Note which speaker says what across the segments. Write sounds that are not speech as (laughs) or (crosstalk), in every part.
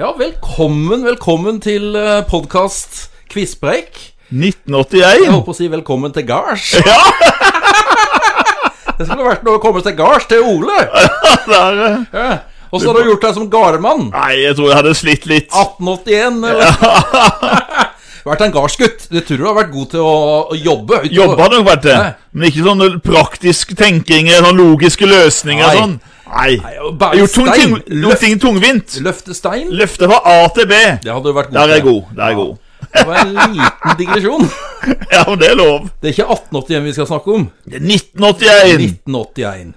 Speaker 1: Ja, velkommen, velkommen til eh, podkast Quizpreik.
Speaker 2: 1981!
Speaker 1: Jeg holdt på å si velkommen til gards. Ja! (laughs) det skulle vært noe å komme til gards til Ole.
Speaker 2: Det er, eh,
Speaker 1: Åssen har du gjort deg som gardmann?
Speaker 2: nei, jeg tror jeg hadde slitt litt.
Speaker 1: 1881, eller? (laughs) vært en gardsgutt. Du tror du har vært god til å, å jobbe. ut-
Speaker 2: Jobba hadde nok vært det.
Speaker 1: Nei.
Speaker 2: Men ikke sånn praktisk tenking eller sånn logiske løsninger
Speaker 1: Nei.
Speaker 2: og sånn. Nei.
Speaker 1: å bære
Speaker 2: Jeg gjorde
Speaker 1: stein.
Speaker 2: ting, noen ting tungvint.
Speaker 1: Løfte stein.
Speaker 2: Løfte fra A til B.
Speaker 1: Det hadde du vært god
Speaker 2: Der er jeg
Speaker 1: til.
Speaker 2: god. Der er jeg god.
Speaker 1: (laughs) Det var en liten digresjon.
Speaker 2: Ja, men det er lov.
Speaker 1: Det er ikke 1881 vi skal snakke om.
Speaker 2: Det er 1981.
Speaker 1: 1981.
Speaker 2: Oi, Mm.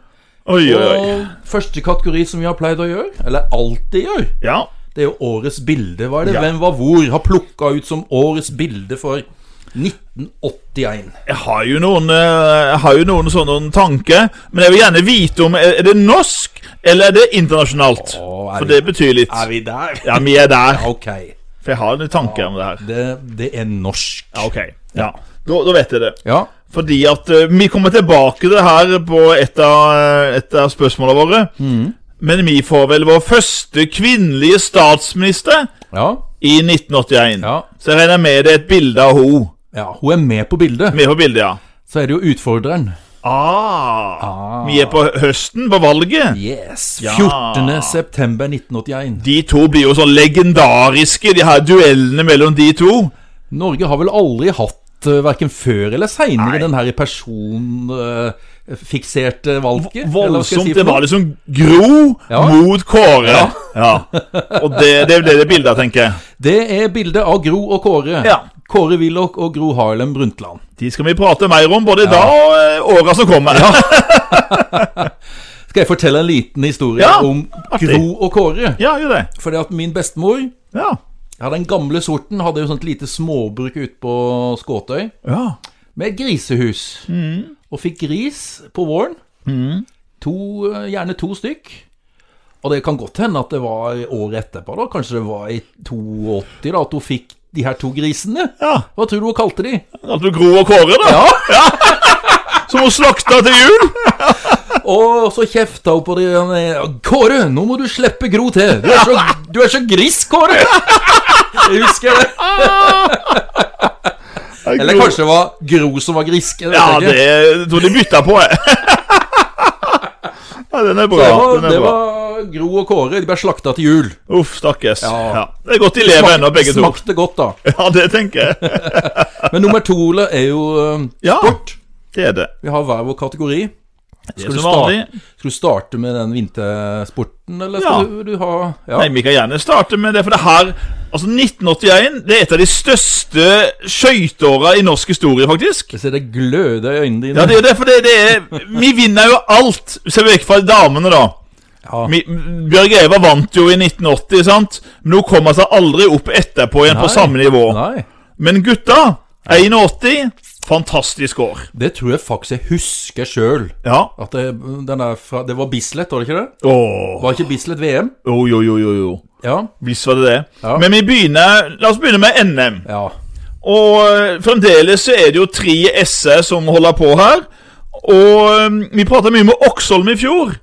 Speaker 2: oi, oi.
Speaker 1: Og første kategori som vi har pleid å gjøre, eller alltid gjør,
Speaker 2: Ja.
Speaker 1: det er jo årets bilde. Hva er det
Speaker 2: Ja.
Speaker 1: Hvem var hvor? Har plukka ut som årets bilde for 1981.
Speaker 2: Jeg har jo noen, eh, jeg har jo noen sånne noen tanker, men jeg vil gjerne vite om Er er det norsk, eller er det internasjonalt?
Speaker 1: Å, er
Speaker 2: For
Speaker 1: vi-
Speaker 2: det betyr litt.
Speaker 1: Er vi der?
Speaker 2: Ja, vi er der.
Speaker 1: Ok.
Speaker 2: For jeg har noen tanker om det her.
Speaker 1: Det, det er norsk.
Speaker 2: Ja, ok. Ja. Da, da vet jeg det.
Speaker 1: Ja.
Speaker 2: Fordi at eh, vi kommer tilbake til det her på et av, eh, et av spørsmålene våre.
Speaker 1: Mm.
Speaker 2: Men vi får vel vår første kvinnelige statsminister
Speaker 1: Ja.
Speaker 2: i 1981.
Speaker 1: Ja.
Speaker 2: Så jeg regner med det er et bilde av henne
Speaker 1: ja. Hun er med på bildet.
Speaker 2: med på bildet, ja.
Speaker 1: Så er det jo utfordreren.
Speaker 2: Ah, Vi er på høsten, på valget.
Speaker 1: Yes.
Speaker 2: Ja.
Speaker 1: 14. september 1981.
Speaker 2: De to blir jo så legendariske, de her duellene mellom de to.
Speaker 1: Norge har vel aldri hatt uh, verken før eller seinere
Speaker 2: Nei.
Speaker 1: den her personfikserte valget? eller hva skal jeg
Speaker 2: Voldsomt.
Speaker 1: si for
Speaker 2: Det
Speaker 1: noe?
Speaker 2: var liksom Gro
Speaker 1: Ja.
Speaker 2: mot Kåre. Ja. Og det, det ble det bildet, tenker jeg.
Speaker 1: Det er bildet av Gro og Kåre.
Speaker 2: Ja.
Speaker 1: Kåre Willoch og Gro Harlem Brundtland.
Speaker 2: De skal vi prate mer om, både i dag og eh, åra som kommer. (laughs) Ja.
Speaker 1: Skal jeg fortelle en liten historie
Speaker 2: Ja,
Speaker 1: om
Speaker 2: artig.
Speaker 1: Gro og Kåre?
Speaker 2: gjør det.
Speaker 1: Fordi at min bestemor,
Speaker 2: Ja.
Speaker 1: ja, den gamle sorten, hadde jo sånt lite småbruk ute på Skåtøy
Speaker 2: ja.
Speaker 1: med et grisehus.
Speaker 2: Mm.
Speaker 1: Og fikk gris på våren. To, eh, gjerne to stykk. Og det kan godt hende at det var året etterpå, da. Kanskje det var i 82, da, at hun fikk de her to grisene.
Speaker 2: ja.
Speaker 1: Hva tror du hun kalte de?
Speaker 2: Kalte du Gro og Kåre, da? (laughs) Ja. Som hun slakta til jul?
Speaker 1: Og så kjefta hun på det han, eh, Kåre, nå må du slippe Gro til! Du er så, du er så gris, Kåre! Jeg husker det. Eller
Speaker 2: Gro-
Speaker 1: kanskje det var Gro som var grisk. jeg vet
Speaker 2: Ja,
Speaker 1: ikke.
Speaker 2: det jeg tror de bytta på, jeg. (laughs) Ja, den er bra.
Speaker 1: det, var,
Speaker 2: den er
Speaker 1: det
Speaker 2: bra.
Speaker 1: var Gro og Kåre. De ble slakta til jul.
Speaker 2: Uff, stakkars.
Speaker 1: Ja.
Speaker 2: Ja. Det er godt de lever ennå, begge to.
Speaker 1: Smakte godt, da.
Speaker 2: Ja, det tenker
Speaker 1: (laughs)
Speaker 2: jeg.
Speaker 1: Men nummer to Ole, er jo eh,
Speaker 2: Ja,
Speaker 1: sport.
Speaker 2: det er det.
Speaker 1: Vi har hver vår kategori.
Speaker 2: Det
Speaker 1: Skal
Speaker 2: er
Speaker 1: du,
Speaker 2: som vanlig.
Speaker 1: starte, skal du starte med den vintersporten, eller
Speaker 2: Ja.
Speaker 1: skal du, du ha ja.
Speaker 2: Nei, vi kan gjerne starte med det, for det her Altså, 1981 det er et av de største skøyteåra i norsk historie, faktisk.
Speaker 1: Jeg ser det gløder i øynene dine.
Speaker 2: Ja, det er det, for det, det er Vi vinner jo alt, ser vi vekk fra damene, da.
Speaker 1: Ja.
Speaker 2: Vi, Bjørg Eva vant jo i 1980, sant? Men hun kom altså aldri opp etterpå igjen på
Speaker 1: Nei.
Speaker 2: samme nivå.
Speaker 1: Nei.
Speaker 2: Men gutta, 81 Fantastisk år.
Speaker 1: Det tror jeg faktisk jeg husker sjøl.
Speaker 2: Ja.
Speaker 1: At det, den er fra, det var Bislett, var det ikke det?
Speaker 2: Åh.
Speaker 1: Var ikke Bislett VM?
Speaker 2: Jo, jo, jo, jo, jo.
Speaker 1: Ja.
Speaker 2: Visst var det det.
Speaker 1: Ja.
Speaker 2: Men vi begynner La oss begynne med NM.
Speaker 1: ja.
Speaker 2: Og eh, fremdeles så er det jo tre s-er som holder på her. Og eh, vi prata mye med Oksholm i fjor.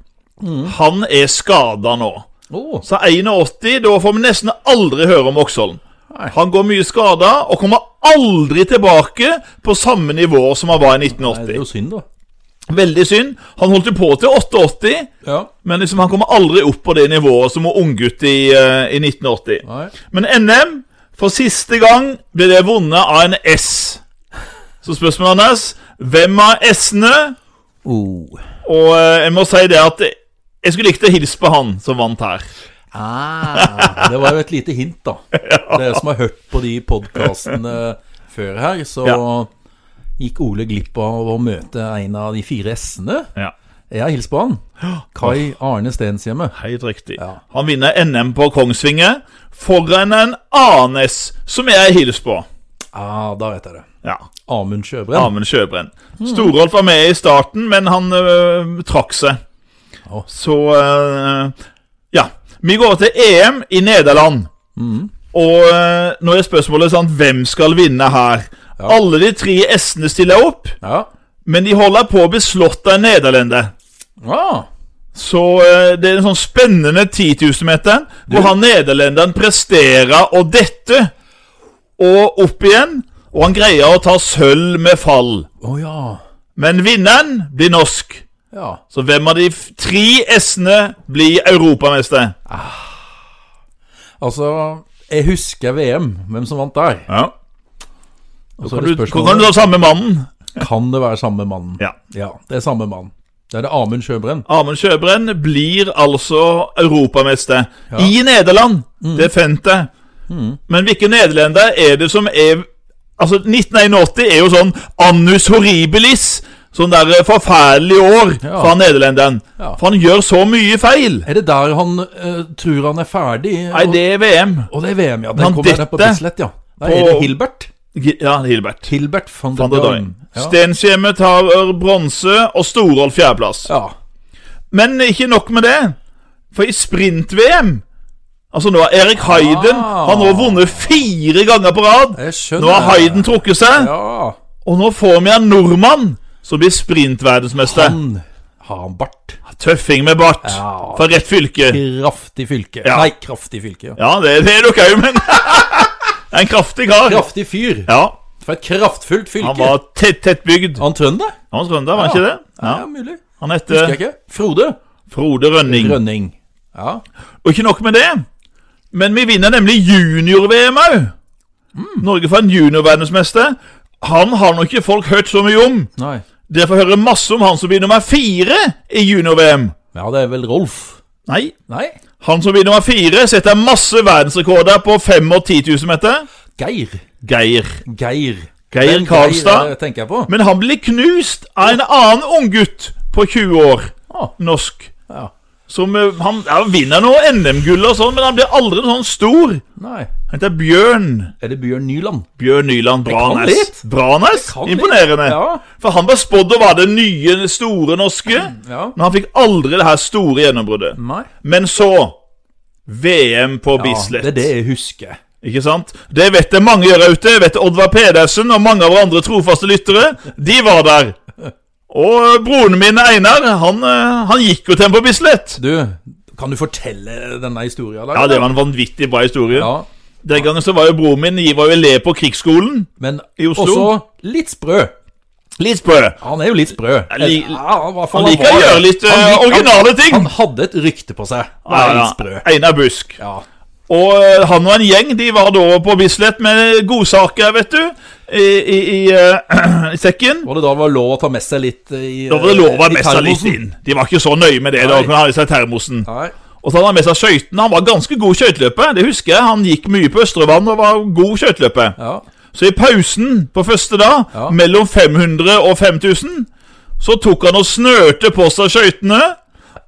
Speaker 1: Mm.
Speaker 2: Han er skada nå.
Speaker 1: Å,
Speaker 2: Så 81, da får vi nesten aldri høre om Oksholm.
Speaker 1: Nei.
Speaker 2: Han går mye skada og kommer aldri tilbake på samme nivå som han var i
Speaker 1: nei, det er
Speaker 2: 1980.
Speaker 1: jo synd, da.
Speaker 2: Veldig synd. Han holdt jo på til 88,
Speaker 1: Ja.
Speaker 2: men liksom han kommer aldri opp på det nivået som unggutt i, eh, i 1980.
Speaker 1: Nei.
Speaker 2: Men NM, for siste gang, ble det vunnet av en S. Så spørsmålet hans Hvem av S-ene?
Speaker 1: Oh.
Speaker 2: Og eh, jeg må si det at jeg skulle likt å hilse på han som vant her.
Speaker 1: Ah, det var jo et lite hint, (laughs) da. Dere som har hørt på de podkastene før her, så
Speaker 2: Ja.
Speaker 1: gikk Ole glipp av å møte en av de fire S-ene.
Speaker 2: Ja,
Speaker 1: Jeg har hilst på han. Kai Arne Stenshjemme.
Speaker 2: Helt riktig.
Speaker 1: Ja.
Speaker 2: Han vinner NM på Kongsvinger foran en annen S, som jeg hilser på.
Speaker 1: Ah, da vet jeg det.
Speaker 2: Ja,
Speaker 1: Amund Sjøbrenn.
Speaker 2: Amund Sjøbrenn. Storolf var med i starten, men han øh, trakk seg.
Speaker 1: Å.
Speaker 2: Så øh, Ja. Vi går til EM i Nederland.
Speaker 1: Mm.
Speaker 2: Og øh, nå er spørsmålet sant, hvem skal vinne her? Alle de tre S-ene stiller opp,
Speaker 1: Ja.
Speaker 2: men de holder på å bli slått av en nederlender.
Speaker 1: Ah,
Speaker 2: Så eh, det er en sånn spennende 10 000-meter, hvor han nederlenderen presterer å dette og opp igjen, og han greier å ta sølv med fall.
Speaker 1: Å ja.
Speaker 2: Men vinneren blir norsk.
Speaker 1: Ja.
Speaker 2: Så hvem av de f- tre S-ene blir europamester?
Speaker 1: Altså, jeg husker VM, hvem som vant der.
Speaker 2: Ja.
Speaker 1: Og så
Speaker 2: Kan
Speaker 1: er
Speaker 2: du,
Speaker 1: det
Speaker 2: kan du
Speaker 1: spørsmålet
Speaker 2: ta samme mannen?
Speaker 1: Kan det være samme mannen.
Speaker 2: Ja.
Speaker 1: Ja, det er samme mann. Det er det Amund Sjøbrenn.
Speaker 2: Amund Sjøbrenn blir altså europamester i Nederland.
Speaker 1: Mm.
Speaker 2: Det fant jeg. Men hvilke nederlender er det som er Altså, 1981 er jo sånn annus horribilis. Sånn der forferdelig år
Speaker 1: Ja.
Speaker 2: fra nederlenderen.
Speaker 1: Ja.
Speaker 2: For han gjør så mye feil.
Speaker 1: Er det der han eh, tror han er ferdig?
Speaker 2: Nei, det er VM.
Speaker 1: Og det er VM, ja.
Speaker 2: Han
Speaker 1: Den kommer der på
Speaker 2: dette-
Speaker 1: Bislett, ja. Nei,
Speaker 2: på-
Speaker 1: er det Hilbert?
Speaker 2: Ja, Hilbert.
Speaker 1: Hilbert van der
Speaker 2: Van der
Speaker 1: Dam.
Speaker 2: Døyen.
Speaker 1: Ja.
Speaker 2: Stenshjemmet tar bronse, og Storolf fjerdeplass.
Speaker 1: ja.
Speaker 2: Men ikke nok med det. For i sprint-VM Altså nå har Erik Hayden
Speaker 1: Ah.
Speaker 2: Han har nå vunnet fire ganger på rad.
Speaker 1: Jeg skjønner.
Speaker 2: Nå har Hayden trukket seg,
Speaker 1: Ja.
Speaker 2: og nå får vi en nordmann som blir sprintverdensmester.
Speaker 1: Han har han bart.
Speaker 2: Tøffing med bart.
Speaker 1: Ja.
Speaker 2: Fra rett fylke.
Speaker 1: Kraftig fylke.
Speaker 2: Ja.
Speaker 1: Nei, kraftig fylke. Ja.
Speaker 2: Ja, det, det er dere òg, men (laughs) En kraftig kar.
Speaker 1: Kraftig fyr.
Speaker 2: Ja,
Speaker 1: Fra et kraftfullt fylke.
Speaker 2: Han var tett, tettbygd.
Speaker 1: Er han trønder?
Speaker 2: Han var trønder, var han
Speaker 1: Ja.
Speaker 2: ikke det? Ja.
Speaker 1: ja, mulig.
Speaker 2: Han
Speaker 1: Husker
Speaker 2: heter
Speaker 1: jeg ikke. Frode
Speaker 2: Frode Rønning.
Speaker 1: Rønning. Ja.
Speaker 2: Og ikke nok med det, men vi vinner nemlig junior-VM òg. Norge får en junior-verdensmester. Han har nok ikke folk hørt så mye om.
Speaker 1: Nei.
Speaker 2: Derfor hører masse om han som blir nummer fire i junior-VM.
Speaker 1: Ja, det er vel Rolf.
Speaker 2: Nei,
Speaker 1: Nei.
Speaker 2: han som blir nummer fire, setter masse verdensrekorder på 5 og 10 000 meter.
Speaker 1: Geir.
Speaker 2: Geir.
Speaker 1: Geir.
Speaker 2: Geir
Speaker 1: Den
Speaker 2: Karlstad.
Speaker 1: Geir, eh, tenker jeg på.
Speaker 2: Men han blir knust av en annen unggutt på 20 år,
Speaker 1: Ah.
Speaker 2: norsk.
Speaker 1: Ja.
Speaker 2: Som eh, Han ja, vinner noe NM-gull og sånn, men han blir aldri sånn stor.
Speaker 1: Nei.
Speaker 2: Han heter Bjørn.
Speaker 1: Er det Bjørn Nyland?
Speaker 2: Bjørn Nyland
Speaker 1: kan
Speaker 2: Branes.
Speaker 1: litt.
Speaker 2: Branes?
Speaker 1: kan litt.
Speaker 2: Imponerende.
Speaker 1: Ja.
Speaker 2: For han ble spådd å være det nye, store norske,
Speaker 1: Ja.
Speaker 2: men han fikk aldri det her store gjennombruddet.
Speaker 1: Nei.
Speaker 2: Men så VM på
Speaker 1: Ja,
Speaker 2: Bislett.
Speaker 1: det er det jeg husker.
Speaker 2: Ikke sant? Det vet det mange gjør ute. Jeg vet Oddvar Pedersen og mange av våre andre trofaste lyttere. De var der. Og eh, broren min Einar, han, eh, han gikk jo til en på Bislett.
Speaker 1: Du, kan du fortelle denne historien?
Speaker 2: Ja, det var en vanvittig bra historie.
Speaker 1: Ja.
Speaker 2: Den gangen så var jo broren min jeg var jo elev på krigsskolen.
Speaker 1: Men
Speaker 2: I Oslo?
Speaker 1: også litt sprø.
Speaker 2: Litt sprø.
Speaker 1: Han er jo litt sprø.
Speaker 2: li-
Speaker 1: i hvert fall
Speaker 2: Han liker å
Speaker 1: var-
Speaker 2: gjøre litt eh,
Speaker 1: Han lik-
Speaker 2: originale ting.
Speaker 1: Han hadde et rykte på seg. Han er litt sprø.
Speaker 2: Einar Busk.
Speaker 1: Ja.
Speaker 2: Og eh, han og en gjeng de var da på Bislett med godsaker, vet du, i, i, i, eh, (clears throat) i sekken.
Speaker 1: Var det da det var lov å ta med seg litt eh, i
Speaker 2: Da var det lov å ha
Speaker 1: i
Speaker 2: med seg litt
Speaker 1: termosen?
Speaker 2: inn. De var ikke så nøye med det. da,
Speaker 1: Nei.
Speaker 2: kunne ha i seg termosen.
Speaker 1: Nei.
Speaker 2: Og så hadde han med seg skøytene. Han var ganske god skøyteløper. Det husker jeg. Han gikk mye på Østrevann og var god skøyteløper.
Speaker 1: Ja.
Speaker 2: Så i pausen på første dag,
Speaker 1: Ja.
Speaker 2: mellom 500 og 5000, så tok han og snørte på seg skøytene,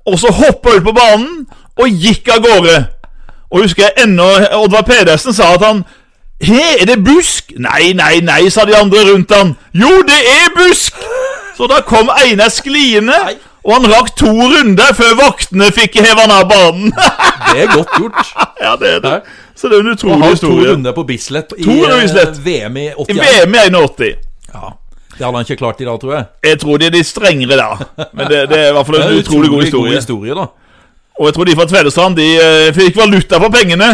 Speaker 2: og så hoppa ut på banen og gikk av gårde. Og husker jeg ennå Oddvar Pedersen sa at han He, er det busk? Nei, nei, nei, sa de andre rundt han. Jo, det er busk! Så da kom Einar skliende,
Speaker 1: Nei.
Speaker 2: og han rakk to runder før vaktene fikk heve han av banen. (laughs)
Speaker 1: Det er godt gjort.
Speaker 2: ja, det er det.
Speaker 1: Nei.
Speaker 2: Så det er en
Speaker 1: Han
Speaker 2: utrolig
Speaker 1: har to
Speaker 2: historie.
Speaker 1: runder på Bislett i
Speaker 2: To runder på
Speaker 1: eh,
Speaker 2: Bislett.
Speaker 1: VM i
Speaker 2: I
Speaker 1: 81.
Speaker 2: VM i 81.
Speaker 1: Ja. Det hadde han ikke klart i dag, tror jeg.
Speaker 2: Jeg tror de er de strengere da. Men det, det er i hvert
Speaker 1: (laughs)
Speaker 2: fall en utrolig, god historie.
Speaker 1: da.
Speaker 2: Og jeg tror de fra Tvedestrand de eh, fikk valuta for pengene.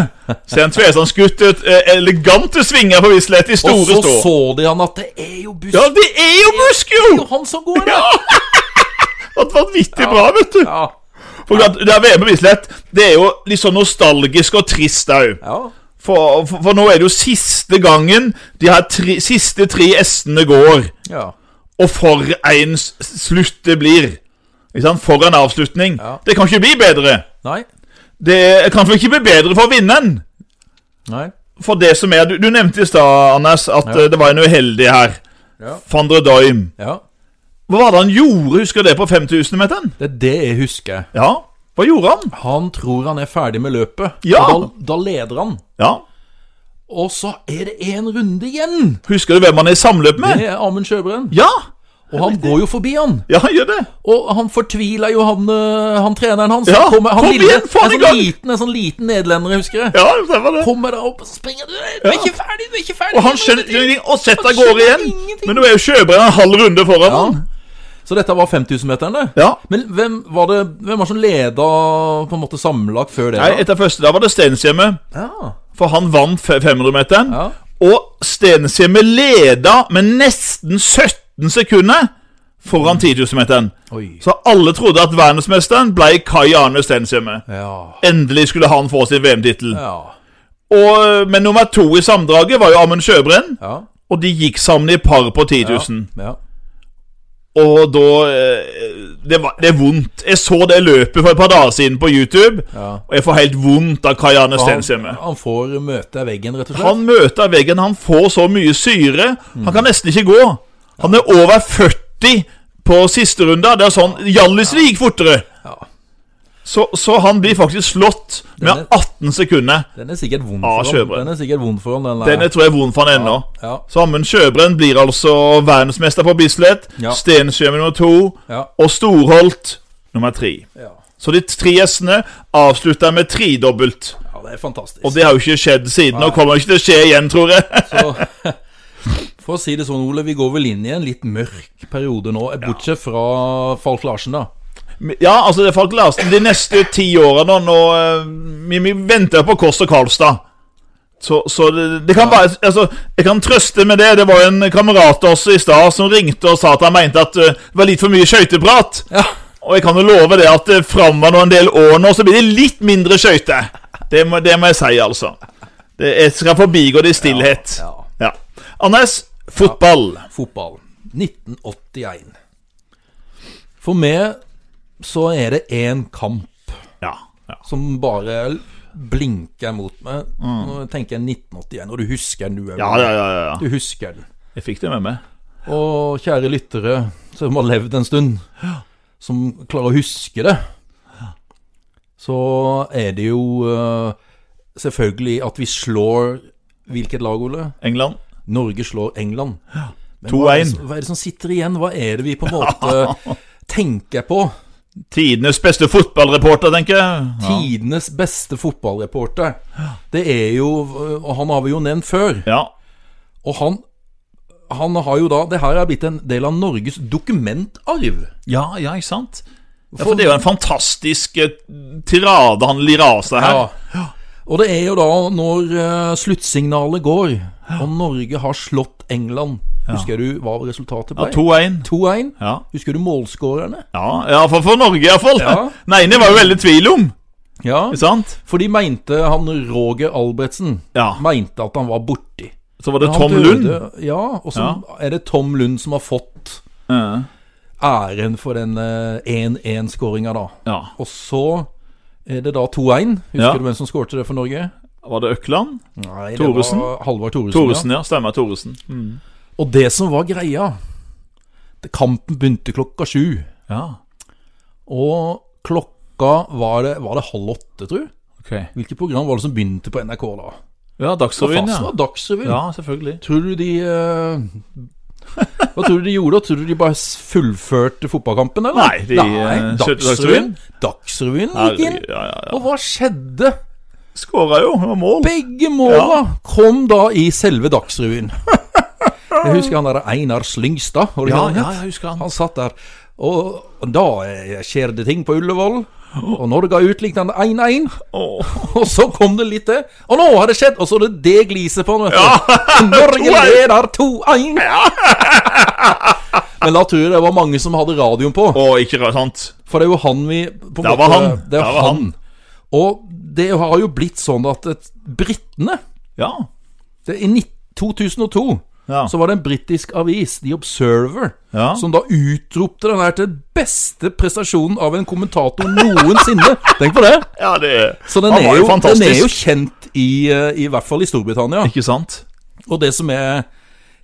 Speaker 2: Sen Tvedestrand skutt et eh, elegante svinger på Bislett i
Speaker 1: Og
Speaker 2: store
Speaker 1: så
Speaker 2: stå.
Speaker 1: så de han at det er jo buss.
Speaker 2: Ja, det er jo Busk,
Speaker 1: Det er
Speaker 2: jo!
Speaker 1: jo han som går der.
Speaker 2: Ja. Det var vanvittig bra, vet du.
Speaker 1: Ja.
Speaker 2: For at det er VM på Bislett det er jo litt sånn nostalgisk og trist òg.
Speaker 1: ja.
Speaker 2: For, for, for nå er det jo siste gangen de her tre, siste tre S-ene går.
Speaker 1: ja.
Speaker 2: Og for en s- slutt det blir. Ikke sant? For en avslutning.
Speaker 1: Ja.
Speaker 2: Det kan ikke bli bedre.
Speaker 1: Nei.
Speaker 2: Det kan vel ikke bli bedre for vinneren?
Speaker 1: Nei.
Speaker 2: For det som er Du, du nevnte i stad, Anders, at eh, det var en uheldig her.
Speaker 1: Ja.
Speaker 2: Van der Doim.
Speaker 1: Ja.
Speaker 2: Hva var det han gjorde, husker du det, på 5000-meteren?
Speaker 1: Det er det jeg husker.
Speaker 2: Ja. Hva gjorde han?
Speaker 1: Han tror han er ferdig med løpet.
Speaker 2: Ja.
Speaker 1: Og da, da leder han.
Speaker 2: Ja.
Speaker 1: Og så er det én runde igjen!
Speaker 2: Husker du hvem han er i samløp med?
Speaker 1: Det er Amund Sjøbrenn.
Speaker 2: Ja!
Speaker 1: Og han går jo forbi han.
Speaker 2: Ja, han gjør det.
Speaker 1: Og han fortviler jo, han, øh, han treneren hans.
Speaker 2: Ja,
Speaker 1: Kommer- han
Speaker 2: kom
Speaker 1: ville-
Speaker 2: igjen, få han
Speaker 1: en
Speaker 2: i gang!
Speaker 1: sånn liten, en sånn liten nederlender, jeg husker jeg.
Speaker 2: Ja, det var det.
Speaker 1: Kommer da opp og springer. Du er du er ikke ferdig, du er ikke ferdig.
Speaker 2: Og
Speaker 1: Du
Speaker 2: han
Speaker 1: er
Speaker 2: skjønner
Speaker 1: ikke ferdig.
Speaker 2: ingenting og setter
Speaker 1: Han
Speaker 2: av gårde
Speaker 1: skjønner
Speaker 2: igjen.
Speaker 1: ingenting.
Speaker 2: Men nå er jo Sjøbrenn en halv runde foran
Speaker 1: Ja.
Speaker 2: han.
Speaker 1: Så dette var 5000-meterne.
Speaker 2: Ja.
Speaker 1: Men hvem var det Hvem var som leda på en måte sammenlagt før det?
Speaker 2: Nei,
Speaker 1: da?
Speaker 2: etter første da var det Stenshjemmet,
Speaker 1: Ja.
Speaker 2: for han vant fe- 500-meteren.
Speaker 1: Ja.
Speaker 2: Og Stenshjemmet leda med nesten 17 sekunder foran 10 000-meteren.
Speaker 1: Oi.
Speaker 2: Så alle trodde at verdensmesteren ble Kai Arne Stenshjemmet.
Speaker 1: Ja.
Speaker 2: Endelig skulle han få sin VM-tittel.
Speaker 1: Ja.
Speaker 2: Og- Men nummer to i sammendraget var jo Amund Sjøbrenn,
Speaker 1: Ja.
Speaker 2: og de gikk sammen i par på 10
Speaker 1: Ja.
Speaker 2: 000.
Speaker 1: ja.
Speaker 2: Og da eh, det, var, det er vondt. Jeg så det løpet for et par dager siden på YouTube,
Speaker 1: Ja.
Speaker 2: og jeg får helt vondt av Kajane
Speaker 1: Han,
Speaker 2: Stenshjemme.
Speaker 1: han får møte veggen, rett og slett.
Speaker 2: Han møter veggen, han får så mye syre. Han kan nesten ikke gå. Han er over 40 på siste runde. Det er sånn Hjallisli gikk fortere.
Speaker 1: Ja.
Speaker 2: Så, så han blir faktisk slått med
Speaker 1: Denne-
Speaker 2: 18 sekunder.
Speaker 1: Den er sikkert vond
Speaker 2: Ah,
Speaker 1: for
Speaker 2: Sjøbrenn.
Speaker 1: ham. Den er sikkert vond for ham, den der.
Speaker 2: Den jeg tror jeg er vond for han ennå.
Speaker 1: ja.
Speaker 2: Så Amund Sjøbrenn blir altså verdensmester på Bislett.
Speaker 1: Ja.
Speaker 2: Stensjøen nummer to.
Speaker 1: Ja.
Speaker 2: Og Storholt nummer tre.
Speaker 1: ja.
Speaker 2: Så de tre gjestene avslutta med tredobbelt.
Speaker 1: Ja, det er fantastisk.
Speaker 2: Og det har jo ikke skjedd siden, og kommer ikke til å skje igjen, tror jeg.
Speaker 1: Så, for å si det sånn, Ole, vi går vel inn i en litt mørk periode nå, bortsett fra Falk Larsen, da.
Speaker 2: Ja, altså, det er Falk Larsen de neste ti åra nå, nå eh, vi, vi venter på Kåss og Karlstad. Så, så det, det kan bare Altså, jeg kan trøste med det. Det var jo en kamerat av oss i stad som ringte og sa at han mente at eh, det var litt for mye skøyteprat.
Speaker 1: Ja.
Speaker 2: Og jeg kan jo love det at eh, framover nå en del år nå, så blir det litt mindre skøyter. Det, må- det må jeg si, altså. Det, jeg skal forbigå det i stillhet.
Speaker 1: ja.
Speaker 2: Ja. Anders, fotball.
Speaker 1: Fotball. 1981. For meg så er det én kamp
Speaker 2: Ja. ja.
Speaker 1: som bare blinker mot meg. Nå tenker jeg 1981, og du husker den, du òg.
Speaker 2: Ja, ja, ja, ja, ja.
Speaker 1: Du husker den.
Speaker 2: Jeg fikk det med meg.
Speaker 1: Og kjære lyttere som har levd en stund, som klarer å huske det, så er det jo eh, selvfølgelig at vi slår Hvilket lag, Ole?
Speaker 2: England.
Speaker 1: Norge slår England. Men hva er, det,
Speaker 2: 2-1.
Speaker 1: som- hva er det som sitter igjen? Hva er det vi på en
Speaker 2: (laughs)
Speaker 1: måte tenker på?
Speaker 2: Tidenes beste fotballreporter, tenker jeg. Ja.
Speaker 1: Tidenes beste fotballreporter. Det er jo Og han har vi jo nevnt før.
Speaker 2: ja.
Speaker 1: Og han, han har jo da Det her er blitt en del av Norges dokumentarv.
Speaker 2: Ja, ja, ikke sant? Ja, for det er jo en fantastisk eh, tirade han lirer av seg her.
Speaker 1: Ja. Og det er jo da når eh, sluttsignalet går, og Norge har slått England Husker du hva resultatet ble?
Speaker 2: 2-1.
Speaker 1: 2-1.
Speaker 2: Ja.
Speaker 1: Husker du målskårerne?
Speaker 2: Ja, ja, for, for Norge, iallfall.
Speaker 1: Ja.
Speaker 2: (laughs) Nei, det var jo veldig tvil om.
Speaker 1: Ja.
Speaker 2: Ikke sant?
Speaker 1: For de mente han Roger Albertsen
Speaker 2: Ja.
Speaker 1: Mente at han var borti.
Speaker 2: Så var det
Speaker 1: Han
Speaker 2: Tom
Speaker 1: døde-
Speaker 2: Lund.
Speaker 1: Ja, og så er det Tom Lund som har fått
Speaker 2: Ja.
Speaker 1: æren for den 1-1-skåringa, da.
Speaker 2: ja.
Speaker 1: Og så er det da 2-1. Husker
Speaker 2: Ja.
Speaker 1: du hvem som skårte det for Norge?
Speaker 2: Var det Økland?
Speaker 1: Nei, det
Speaker 2: Thoresen?
Speaker 1: var Halvard Thoresen. ja.
Speaker 2: Thoresen, ja. Stemmer Thoresen.
Speaker 1: Og det som var greia det- Kampen begynte klokka sju.
Speaker 2: Ja,
Speaker 1: Og klokka var det, var det halv åtte, tror jeg.
Speaker 2: ok.
Speaker 1: Hvilket program var det som begynte på NRK da?
Speaker 2: Ja, Dagsrevyen,
Speaker 1: Fast
Speaker 2: ja.
Speaker 1: var Dagsrevyen.
Speaker 2: Ja, selvfølgelig.
Speaker 1: Tror du de eh, (laughs) Hva tror du de gjorde? Tror du de bare s- fullførte fotballkampen, eller?
Speaker 2: Nei, de, eh, kjørte
Speaker 1: Dagsrevyen, Dagsrevyen gikk inn.
Speaker 2: Herregud, ja, ja, ja.
Speaker 1: Og hva skjedde?
Speaker 2: Skåra jo, det var mål.
Speaker 1: Begge måla kom da i selve
Speaker 2: (laughs)
Speaker 1: Dagsrevyen. Jeg husker han der Einar Slyngstad. var det
Speaker 2: Ja,
Speaker 1: ikke han
Speaker 2: ja,
Speaker 1: het?
Speaker 2: jeg husker han.
Speaker 1: Han satt der. Og og da eh, skjer det ting på Ullevål. Og Norge har utlignet 1-1.
Speaker 2: Åh.
Speaker 1: (laughs) Og så kom det litt til. Og nå har det skjedd! Og så er det det gliset på han, vet du. (laughs)
Speaker 2: (laughs)
Speaker 1: Norge
Speaker 2: 2-1.
Speaker 1: leder 2-1! (laughs) Men da tror jeg det var mange som hadde radioen på.
Speaker 2: Og ikke rart, sant?
Speaker 1: For det er jo han vi på en
Speaker 2: Der var
Speaker 1: måte-
Speaker 2: han.
Speaker 1: Det er
Speaker 2: Der var
Speaker 1: han. Og det har jo blitt sånn at et- britene
Speaker 2: Ja.
Speaker 1: det, I nitt- 2002
Speaker 2: Ja.
Speaker 1: så var det en britisk avis, The Observer,
Speaker 2: Ja.
Speaker 1: som da utropte den her til den beste prestasjonen av en kommentator noensinne.
Speaker 2: (laughs)
Speaker 1: Tenk på det!
Speaker 2: ja, det
Speaker 1: Så den
Speaker 2: Han
Speaker 1: er,
Speaker 2: var jo
Speaker 1: jo, den er
Speaker 2: fantastisk.
Speaker 1: jo kjent i, eh, i hvert fall i Storbritannia.
Speaker 2: Ikke sant?
Speaker 1: Og det som er,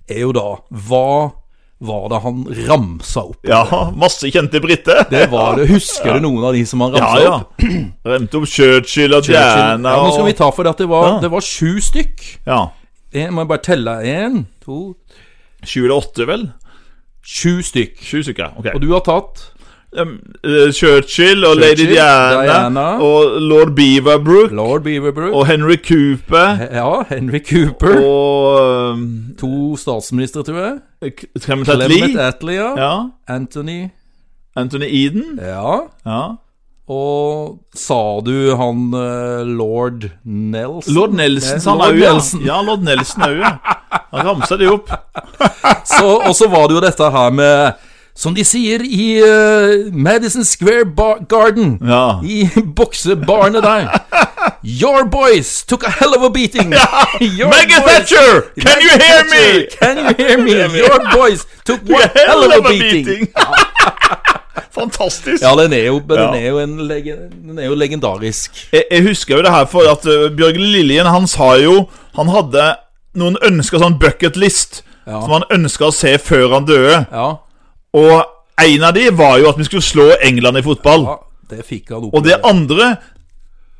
Speaker 1: er jo da Hva var det han ramsa opp?
Speaker 2: Ja, masse kjente briter.
Speaker 1: Det var det, Husker du noen av de som han
Speaker 2: Ja,
Speaker 1: ramsa
Speaker 2: ja.
Speaker 1: opp?
Speaker 2: Remte om Churchill og
Speaker 1: Ja,
Speaker 2: Diana
Speaker 1: nå skal
Speaker 2: og
Speaker 1: vi ta for det at det var,
Speaker 2: Ja.
Speaker 1: det var sju stykk.
Speaker 2: Ja.
Speaker 1: Jeg må bare telle én, to
Speaker 2: Sju eller åtte, vel?
Speaker 1: Sju stykk.
Speaker 2: Sju stykker. ok
Speaker 1: Og du har tatt
Speaker 2: um, eh, Churchill og Lady
Speaker 1: Churchill,
Speaker 2: Diana,
Speaker 1: Diana.
Speaker 2: og lord Beaverbrook
Speaker 1: Lord Beaverbrook.
Speaker 2: og Henry Cooper
Speaker 1: Ja, Henry Cooper.
Speaker 2: og um,
Speaker 1: To statsministre, tror jeg.
Speaker 2: K- Clement Attlee.
Speaker 1: Clement Attlee, ja.
Speaker 2: Ja.
Speaker 1: Anthony.
Speaker 2: Anthony Eden.
Speaker 1: Ja.
Speaker 2: Ja.
Speaker 1: Og sa du han eh, lord Nelson?
Speaker 2: Lord Nelson sa han
Speaker 1: Lord
Speaker 2: òg, ja.
Speaker 1: Nelson.
Speaker 2: ja. Lord Nelson òg, ja. Han ramsa det opp.
Speaker 1: Så, og så var det jo dette her med Som de sier i eh, Madison Square Bar Garden.
Speaker 2: Ja.
Speaker 1: I boksebarene der. Your boys took a hell of a beating. Your
Speaker 2: Maggie
Speaker 1: boys-
Speaker 2: Thatcher, can
Speaker 1: Maggie
Speaker 2: you hear
Speaker 1: Thatcher,
Speaker 2: me?
Speaker 1: Can you hear me? Your boys took one hell of a beating. (laughs)
Speaker 2: Fantastisk.
Speaker 1: Ja, den er jo, men
Speaker 2: Ja.
Speaker 1: den er jo, en lege, den er jo legendarisk.
Speaker 2: Jeg, jeg husker jo det her for at eh, Bjørgen Liljen, han sa jo Han hadde noen ønsker, sånn bucketlist,
Speaker 1: Ja.
Speaker 2: som han ønska å se før han døde.
Speaker 1: Ja,
Speaker 2: Og en av de var jo at vi skulle slå England i fotball.
Speaker 1: ja det fikk han opp.
Speaker 2: Og det andre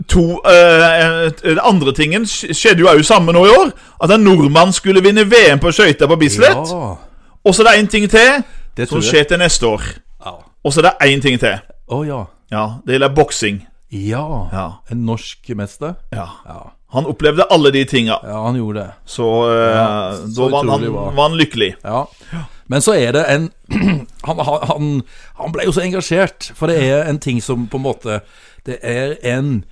Speaker 2: to, eh, eh, Det andre tingen sk- skjedde jo òg samme nå i år. At en nordmann skulle vinne VM på skøyter på Bislett.
Speaker 1: Ja,
Speaker 2: Og så er det én ting til
Speaker 1: det
Speaker 2: som
Speaker 1: tror jeg.
Speaker 2: skjer til neste år.
Speaker 1: Ja.
Speaker 2: Og så er det én ting til.
Speaker 1: Å ja.
Speaker 2: Ja, Det gjelder boksing.
Speaker 1: Ja.
Speaker 2: Ja.
Speaker 1: En norsk mester.
Speaker 2: ja.
Speaker 1: Ja.
Speaker 2: Han opplevde alle de tinga.
Speaker 1: ja, han gjorde det.
Speaker 2: Så, eh, da var han,
Speaker 1: utrolig
Speaker 2: han,
Speaker 1: bra.
Speaker 2: var han lykkelig.
Speaker 1: Ja. Men så er det en (clears throat) han, han, han, han ble jo så engasjert, for det er en ting som på en måte Det er en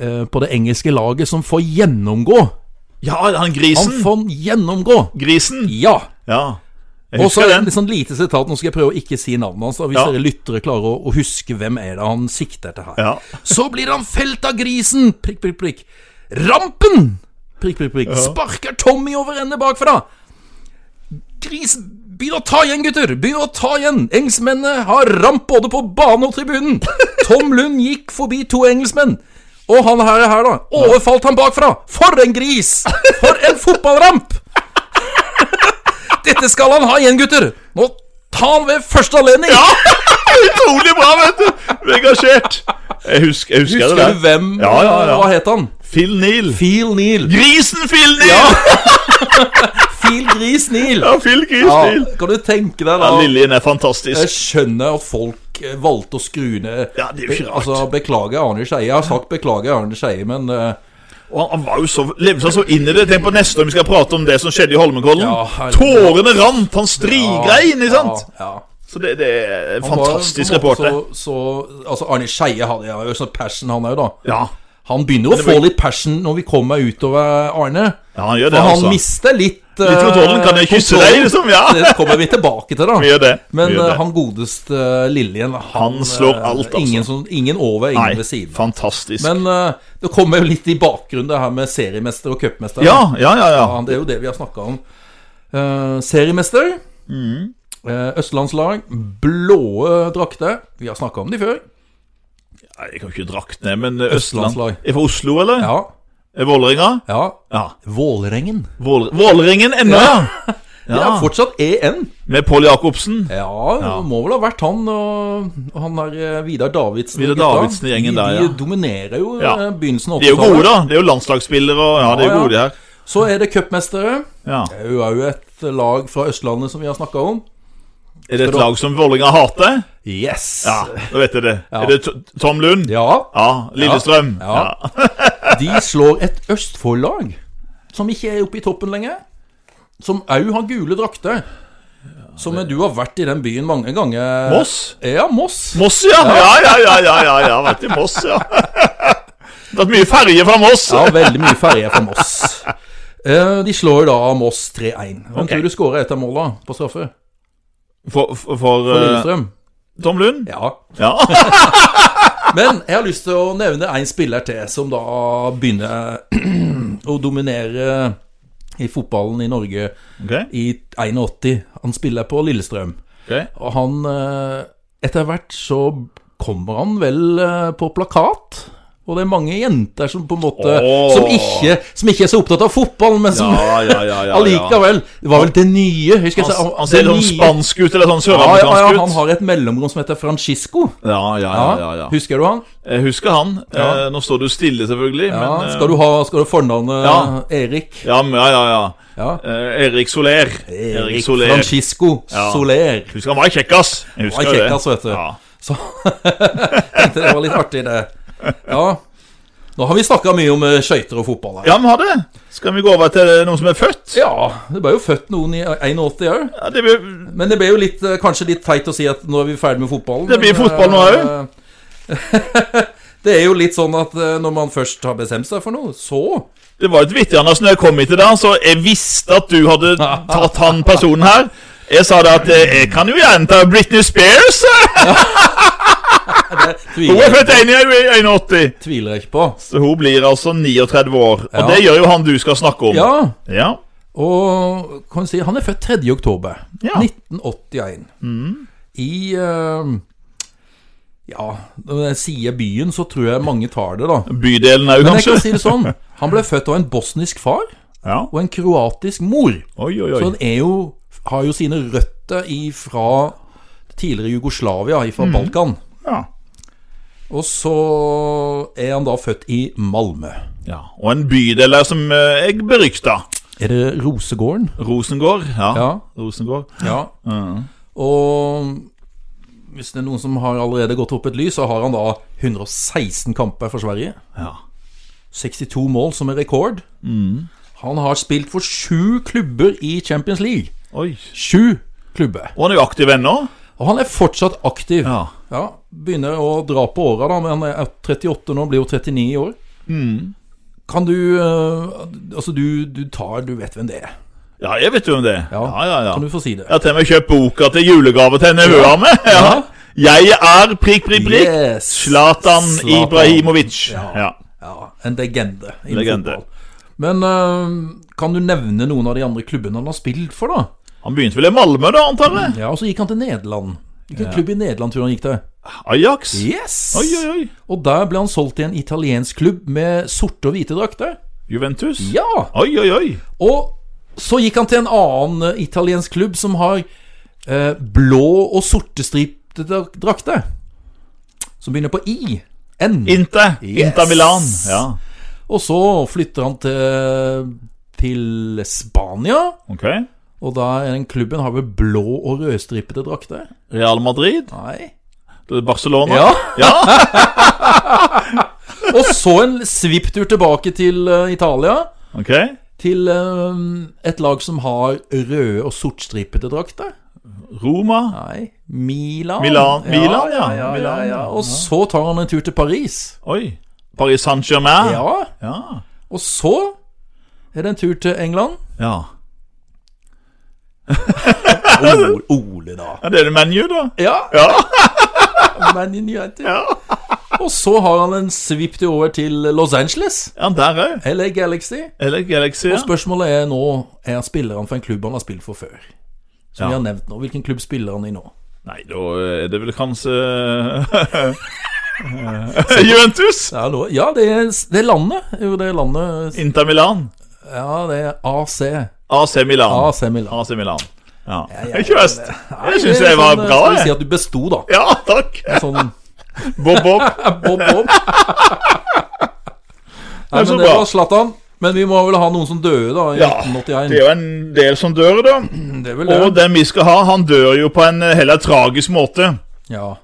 Speaker 1: eh, på det engelske laget som får gjennomgå.
Speaker 2: Ja, han
Speaker 1: Han
Speaker 2: grisen.
Speaker 1: får gjennomgå!
Speaker 2: Grisen.
Speaker 1: Ja.
Speaker 2: Ja. Jeg
Speaker 1: Og så
Speaker 2: husker
Speaker 1: et
Speaker 2: den.
Speaker 1: sånn lite sitat. Nå skal jeg prøve å ikke si navnet hans, da, hvis
Speaker 2: Ja.
Speaker 1: dere lyttere klarer å, å huske hvem er det han sikter til her.
Speaker 2: Ja. (laughs)
Speaker 1: Så blir han felt av grisen! Prikk, prikk, prikk. Rampen! Prikk, prikk, prikk. Sparker Tommy over ende bakfra. Gris Begynn å ta igjen, gutter! Begynn å ta igjen! Engelskmennene har ramp både på bane og tribunen! Tom Lund gikk forbi to engelskmenn. Og han her, er her da, overfalt han bakfra! For en gris! For en fotballramp! Dette skal han ha igjen, gutter! Nå ta han ved første anledning!
Speaker 2: Utrolig bra, vet du! Engasjert. Jeg husker, jeg
Speaker 1: Husker
Speaker 2: husker, det
Speaker 1: du
Speaker 2: der.
Speaker 1: hvem
Speaker 2: Ja, ja, ja.
Speaker 1: Hva het han?
Speaker 2: Phil Neal.
Speaker 1: Phil Neal.
Speaker 2: Grisen Phil Neal!
Speaker 1: Ja. Phil Gris Neal.
Speaker 2: (laughs) Ja, Phil Gris
Speaker 1: Ja,
Speaker 2: Neal.
Speaker 1: kan du tenke deg da?
Speaker 2: Ja, Liljen er fantastisk.
Speaker 1: Jeg skjønner at folk eh, valgte å skru ned
Speaker 2: Ja, det er jo ikke rart.
Speaker 1: Altså, beklager Arne Skeie. Jeg har sagt beklager Arne Skeie, men eh,
Speaker 2: Og han- han var jo så, levde seg så inn i det. Tenk på neste år vi skal prate om det som skjedde i Holmenkollen.
Speaker 1: Ja, herregud.
Speaker 2: Tårene rant, han strigrein, ikke sant?
Speaker 1: Ja, ja.
Speaker 2: Så det, det er
Speaker 1: Han var
Speaker 2: fantastisk
Speaker 1: på en måte
Speaker 2: reporter.
Speaker 1: Så, så, altså, Arne Skeie hadde jeg jo sånn passion, han òg, da.
Speaker 2: Ja.
Speaker 1: Han begynner å
Speaker 2: var-
Speaker 1: få litt passion når vi kommer utover Arne.
Speaker 2: ja, han gjør
Speaker 1: For
Speaker 2: det,
Speaker 1: han
Speaker 2: altså.
Speaker 1: mister litt
Speaker 2: Litt
Speaker 1: eh,
Speaker 2: kontrollen, kan jeg kysse deg,
Speaker 1: kontrollen.
Speaker 2: liksom? Ja!
Speaker 1: Det kommer vi tilbake til, da.
Speaker 2: Vi gjør det. vi
Speaker 1: Men
Speaker 2: gjør
Speaker 1: eh,
Speaker 2: det.
Speaker 1: han godeste Liljen Han,
Speaker 2: Han slår
Speaker 1: eh,
Speaker 2: alt, altså.
Speaker 1: Ingen, som, ingen over, ingen ved
Speaker 2: Nei,
Speaker 1: siden.
Speaker 2: fantastisk.
Speaker 1: Men eh, det kommer jo litt i bakgrunnen, det her med seriemester og cupmester.
Speaker 2: ja, ja, ja, ja.
Speaker 1: Ja, Det er jo det vi har snakka om. Eh, seriemester,
Speaker 2: Mm.
Speaker 1: eh, østlandslag, blåe drakter. Vi har snakka om de før.
Speaker 2: Nei, Jeg kan ikke drakt ned, men eh, Østland
Speaker 1: Østlandslag.
Speaker 2: Er fra Oslo, eller?
Speaker 1: Ja,
Speaker 2: Er Vålerenga?
Speaker 1: ja.
Speaker 2: Ja.
Speaker 1: Vålerengen.
Speaker 2: Vål- Vålerengen ennå, ja.
Speaker 1: Det er fortsatt E EN.
Speaker 2: Med Pål Jacobsen.
Speaker 1: Ja, det må vel ha vært han og og han der eh, Vidar Davidsen. og
Speaker 2: Vidar
Speaker 1: gutta.
Speaker 2: Davidsen-gjengen
Speaker 1: de,
Speaker 2: der,
Speaker 1: De
Speaker 2: ja.
Speaker 1: dominerer jo
Speaker 2: Ja.
Speaker 1: eh, begynnelsen av
Speaker 2: De er jo gode,
Speaker 1: 80-tallet.
Speaker 2: da. De er jo landslagsspillere og Ja, de
Speaker 1: Ja,
Speaker 2: er jo
Speaker 1: ja.
Speaker 2: gode, de her.
Speaker 1: Så er det cupmestere.
Speaker 2: Ja.
Speaker 1: Det er jo òg et lag fra Østlandet som vi har snakka om.
Speaker 2: Er det et
Speaker 1: du-
Speaker 2: lag som Vålerenga hater?
Speaker 1: Yes!
Speaker 2: Ja, da vet jeg det. Er det T- Tom Lund?
Speaker 1: Ja,
Speaker 2: Ja. Lillestrøm?
Speaker 1: Ja. De slår et Østfold-lag som ikke er oppe i toppen lenger. Som òg har gule drakter. Som du har vært i den byen mange ganger.
Speaker 2: Moss?
Speaker 1: Ja, Moss.
Speaker 2: Moss, ja. Ja, ja, ja, ja, ja, ja. Vært i Moss, ja. (laughs) Det har vært mye ferje fra Moss.
Speaker 1: Ja, veldig mye ferje fra Moss. Eh, De slår da Moss 3-1. Hvem
Speaker 2: Ok.
Speaker 1: tror du skårer et av måla på straffe?
Speaker 2: For, for, for
Speaker 1: For
Speaker 2: eh,
Speaker 1: Lillestrøm?
Speaker 2: Tom Lund?
Speaker 1: Ja.
Speaker 2: Ja.
Speaker 1: Men jeg har lyst til å nevne en spiller til som da begynner (clears throat) å dominere i fotballen i Norge
Speaker 2: (laughs) Ok,
Speaker 1: i 81. Han spiller på Lillestrøm.
Speaker 2: ok.
Speaker 1: Og han eh, Etter hvert så kommer han vel eh, på plakat. Og det er mange jenter som på en måte
Speaker 2: Åh.
Speaker 1: som, ikke, som ikke er så opptatt av fotball, men som
Speaker 2: Ja, ja, ja, ja, ja.
Speaker 1: allikevel altså, Det var vel det nye. Husker jeg,
Speaker 2: Han,
Speaker 1: sa-
Speaker 2: han ser
Speaker 1: det
Speaker 2: sånn
Speaker 1: nye-
Speaker 2: spansk ut, eller sånn
Speaker 1: ja, ja, ja,
Speaker 2: søramerikansk
Speaker 1: han
Speaker 2: ut.
Speaker 1: har et mellomrom som heter Francisco.
Speaker 2: Ja, ja, ja, ja, ja.
Speaker 1: Husker du han?
Speaker 2: Jeg husker han.
Speaker 1: Ja.
Speaker 2: Eh, nå står du stille, selvfølgelig.
Speaker 1: Ja,
Speaker 2: men, eh,
Speaker 1: skal, du ha, skal du ha fornavnet
Speaker 2: Ja.
Speaker 1: Erik?
Speaker 2: ja, men- ja, ja, ja.
Speaker 1: Ja.
Speaker 2: Eh, Erik Soler.
Speaker 1: Erik Francisco
Speaker 2: Ja.
Speaker 1: Soler.
Speaker 2: Husker han var kjekkas.
Speaker 1: Han
Speaker 2: Jeg husker
Speaker 1: var
Speaker 2: det.
Speaker 1: kjekkas, altså. vet du.
Speaker 2: Ja.
Speaker 1: Så tenkte (laughs) det var litt artig, det. Ja. Nå har vi snakka mye om eh, skøyter og fotball her.
Speaker 2: Ja, vi har det. Skal vi gå over til noen som er født?
Speaker 1: det ble jo født noen i 81 òg.
Speaker 2: Ja, det blir,
Speaker 1: Men det ble jo litt, eh, kanskje litt teit å si at nå er vi ferdig med fotballen.
Speaker 2: Det blir
Speaker 1: men,
Speaker 2: fotball nå
Speaker 1: eh, (laughs) det er jo litt sånn at eh, når man først har bestemt seg for noe, så
Speaker 2: det var litt vittig, Anders, når jeg kom hit i dag, så jeg visste at du hadde tatt han personen her. Jeg sa det at eh, jeg kan jo gjerne ta Britney Spears. eh. Hun er
Speaker 1: tviler,
Speaker 2: født 1 i 81.
Speaker 1: tviler jeg ikke på.
Speaker 2: Så hun blir altså 39 år. Og
Speaker 1: Ja.
Speaker 2: det gjør jo han du skal snakke om.
Speaker 1: Ja,
Speaker 2: ja.
Speaker 1: og kan du si han er født 3. oktober
Speaker 2: Ja. Mm.
Speaker 1: 1981. I eh, Ja, når jeg sier byen, så tror jeg mange tar det, da.
Speaker 2: Bydelen òg,
Speaker 1: Men jeg
Speaker 2: kanskje?
Speaker 1: kan si det sånn. Han ble født av en bosnisk far
Speaker 2: Ja.
Speaker 1: og en kroatisk mor.
Speaker 2: Oi, oi,
Speaker 1: Så
Speaker 2: oi.
Speaker 1: han er jo, har jo sine røtter fra tidligere Jugoslavia, fra Balkan.
Speaker 2: Ja.
Speaker 1: Og så er han da født i Malmö.
Speaker 2: ja. Og en bydel der som eh, jeg berykta.
Speaker 1: Er det Rosegården?
Speaker 2: Rosengård. Ja.
Speaker 1: Ja.
Speaker 2: Rosengård.
Speaker 1: ja. Og hvis det er noen som har allerede gått opp et lys, så har han da 116 kamper for Sverige.
Speaker 2: Ja.
Speaker 1: 62 mål som er rekord. Han har spilt for sju klubber i Champions League.
Speaker 2: Oi.
Speaker 1: Sju klubber.
Speaker 2: Og han er jo aktiv ennå.
Speaker 1: Og han er fortsatt aktiv.
Speaker 2: Ja.
Speaker 1: Ja, Begynner å dra på åra, da, men han er 38 nå, blir jo 39 i år. Kan du eh, Altså, du, du tar Du vet hvem det er.
Speaker 2: Ja, jeg vet jo om det. Ja, ja, ja.
Speaker 1: Kan du få si det?
Speaker 2: Jeg har til og med kjøpt boka til julegave til nevøa mi. Ja. Jeg er prikk, prikk, prikk.
Speaker 1: Yes.
Speaker 2: Zlatan
Speaker 1: Zlatan.
Speaker 2: Ibrahimovic.
Speaker 1: Ja.
Speaker 2: Ja.
Speaker 1: Ja, en legende. innen
Speaker 2: Legende.
Speaker 1: fotball. Men eh, kan du nevne noen av de andre klubbene han har spilt for, da?
Speaker 2: Han begynte vel i Malmö, da, antar jeg?
Speaker 1: Ja, Og så gikk han til Nederland. Hvilken klubb i Nederland tror du han gikk til?
Speaker 2: Ajax?
Speaker 1: Yes!
Speaker 2: Oi, oi, oi.
Speaker 1: Og der ble han solgt til en italiensk klubb med sorte og hvite drakter.
Speaker 2: Juventus?
Speaker 1: Ja!
Speaker 2: Oi, oi, oi.
Speaker 1: Og så gikk han til en annen eh, italiensk klubb som har eh, blå og sortestripte drak- drakter. Som begynner på I. N.
Speaker 2: Inter.
Speaker 1: Yes.
Speaker 2: Inter Milan. Ja,
Speaker 1: Og så flytter han til, til Spania.
Speaker 2: ok.
Speaker 1: Og da er den klubben har vel blå og rødstripete drakter?
Speaker 2: Real Madrid?
Speaker 1: Nei.
Speaker 2: Barcelona?
Speaker 1: Ja. (laughs) og så en svipptur tilbake til eh, Italia.
Speaker 2: Ok.
Speaker 1: Til eh, et lag som har røde og sortstripete drakter.
Speaker 2: Roma?
Speaker 1: Nei, Milan.
Speaker 2: Milan- Milan, ja.
Speaker 1: ja, ja,
Speaker 2: Milan,
Speaker 1: ja, ja.
Speaker 2: ja.
Speaker 1: Og så tar han en tur til Paris.
Speaker 2: Oi. Paris Saint-Germain?
Speaker 1: Ja.
Speaker 2: Ja.
Speaker 1: Og så er det en tur til England.
Speaker 2: ja.
Speaker 1: Ole, Ole da.
Speaker 2: Ja, Det er det ManU, da.
Speaker 1: Ja.
Speaker 2: Ja.
Speaker 1: (laughs) Man United.
Speaker 2: Ja.
Speaker 1: Og så har han en svipp til over til Los Angeles.
Speaker 2: ja der òg.
Speaker 1: LA Galaxy.
Speaker 2: Eller Galaxy. Ja.
Speaker 1: Og spørsmålet er nå Er han spilleren for en klubb han har spilt for før. Som
Speaker 2: Ja.
Speaker 1: vi har nevnt nå. Hvilken klubb spiller han i nå?
Speaker 2: Nei, da er det vel kanskje eh, (laughs) Juventus?
Speaker 1: Det er nå- Ja, det er, det er landet. Jo, det er landet
Speaker 2: Inter Milan?
Speaker 1: Ja, det er AC.
Speaker 2: AC Milan.
Speaker 1: AC Milan.
Speaker 2: AC Milan. Ja.
Speaker 1: ja,
Speaker 2: Ikke verst.
Speaker 1: Nei,
Speaker 2: Det syns jeg var
Speaker 1: sånn, eh,
Speaker 2: bra.
Speaker 1: Skal vi si
Speaker 2: jeg.
Speaker 1: at du besto, da.
Speaker 2: Ja, takk.
Speaker 1: Sånn
Speaker 2: Bob
Speaker 1: (laughs)
Speaker 2: Bob.
Speaker 1: Bob,
Speaker 2: (laughs)
Speaker 1: Bob. Nei,
Speaker 2: så
Speaker 1: men det
Speaker 2: bra.
Speaker 1: var Zlatan. Men vi må vel ha noen som døde, da, i
Speaker 2: Ja, Det er
Speaker 1: 1981.
Speaker 2: jo en del som dør, da.
Speaker 1: Det er vel
Speaker 2: Og
Speaker 1: det.
Speaker 2: den vi skal ha, han dør jo på en eh, heller tragisk måte.
Speaker 1: Ja.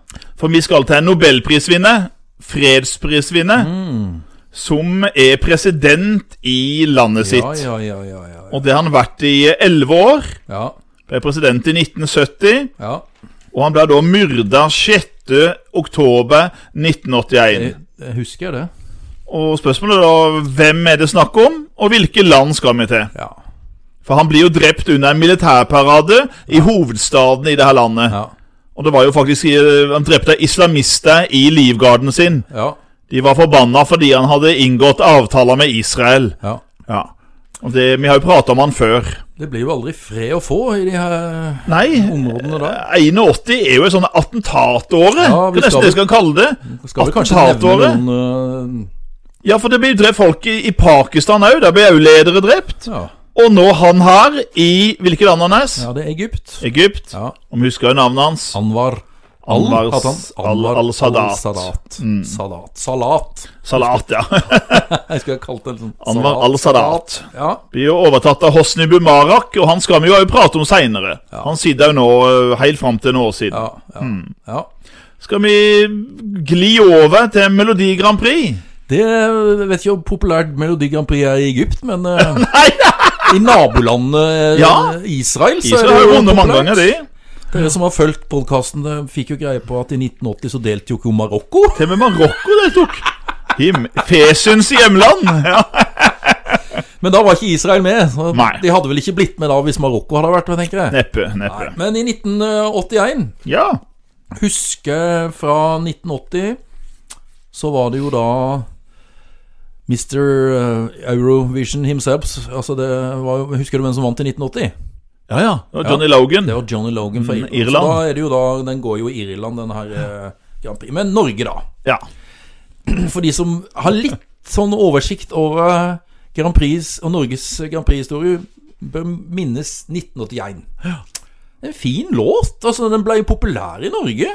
Speaker 2: For vi skal til en nobelprisvinner, fredsprisvinner,
Speaker 1: Mm.
Speaker 2: som er president i landet
Speaker 1: Ja,
Speaker 2: sitt.
Speaker 1: ja, ja, ja, ja, ja.
Speaker 2: Og det har han vært i elleve år.
Speaker 1: ja.
Speaker 2: Ble president i 1970,
Speaker 1: ja.
Speaker 2: og han ble da myrda 6. oktober
Speaker 1: Jeg,
Speaker 2: 1981.
Speaker 1: jeg husker det.
Speaker 2: Og spørsmålet er da hvem er det snakk om, og hvilke land skal vi til?
Speaker 1: Ja.
Speaker 2: For han blir jo drept under en militærparade i hovedstaden i det her landet.
Speaker 1: Ja.
Speaker 2: Og det var jo faktisk eh, Han drepte islamister i livgarden sin.
Speaker 1: ja,
Speaker 2: De var forbanna fordi han hadde inngått avtaler med Israel.
Speaker 1: ja.
Speaker 2: Ja. Og det, vi har jo prata om han før.
Speaker 1: Det blir jo aldri fred å få i de her
Speaker 2: Nei, eh,
Speaker 1: områdene der.
Speaker 2: 81 er jo et sånt attentatåret.
Speaker 1: Ja, vi
Speaker 2: det er nesten
Speaker 1: skal
Speaker 2: det vi skal kalle det.
Speaker 1: Skal vi kanskje nevne
Speaker 2: Attentatåret.
Speaker 1: noen
Speaker 2: Ja, for det blir jo drept folk i, i Pakistan òg. Der ble òg ledere
Speaker 1: eh,
Speaker 2: drept.
Speaker 1: ja.
Speaker 2: Og nå han her i Hvilket land han er?
Speaker 1: ja, det er Egypt.
Speaker 2: Egypt.
Speaker 1: Ja.
Speaker 2: Om vi husker jo navnet hans.
Speaker 1: Anwar
Speaker 2: Anwar
Speaker 1: Al- Hatan-
Speaker 2: Al-
Speaker 1: Anwar
Speaker 2: Al-Sadat. Mm.
Speaker 1: Al-Sadat. Sadat. Salat.
Speaker 2: Salat, ja. (laughs)
Speaker 1: Jeg skulle ha kalt det sånn
Speaker 2: Anwar al-Sadat.
Speaker 1: Ja.
Speaker 2: Blir jo overtatt av Hosni Bumarak, og han skal vi jo også prate om seinere. Han sitter jo nå eh, helt fram til noen år siden.
Speaker 1: Ja, ja, ja.
Speaker 2: Skal vi gli over til Melodi Grand Prix?
Speaker 1: Det jeg vet ikke hvor populært Melodi Grand Prix er i Egypt, men eh,
Speaker 2: (laughs) Nei,
Speaker 1: i nabolandet eh,
Speaker 2: Ja.
Speaker 1: Israel så
Speaker 2: Israel har
Speaker 1: er
Speaker 2: jo
Speaker 1: det
Speaker 2: vunnet mange
Speaker 1: populært.
Speaker 2: ganger, de.
Speaker 1: Dere som har fulgt podkasten, fikk jo greie på at i 1980 så deltok jo Marokko. (laughs)
Speaker 2: Til og med Marokko deltok. Him Fesuns hjemland. (laughs) Ja.
Speaker 1: Men da var ikke Israel med. Så
Speaker 2: Nei.
Speaker 1: De hadde vel ikke blitt med da hvis Marokko hadde vært med, tenker jeg.
Speaker 2: Neppe. neppe.
Speaker 1: Men i 1981
Speaker 2: Ja.
Speaker 1: husker fra 1980 så var det jo da Mr. Eurovision himself altså det var, jo- Husker du hvem som vant i 1980?
Speaker 2: Ja, ja. Og Johnny Logan.
Speaker 1: Det var Johnny Logan fra
Speaker 2: Mm,
Speaker 1: Irland.
Speaker 2: Irland.
Speaker 1: Så da er det jo da, Den går jo i Irland, den her eh, Grand Prix. Men Norge, da.
Speaker 2: Ja.
Speaker 1: For de som har litt sånn oversikt over eh, Grand Prix og Norges eh, Grand Prix-historie, bør minnes 1981. En fin låt. altså Den ble jo populær i Norge.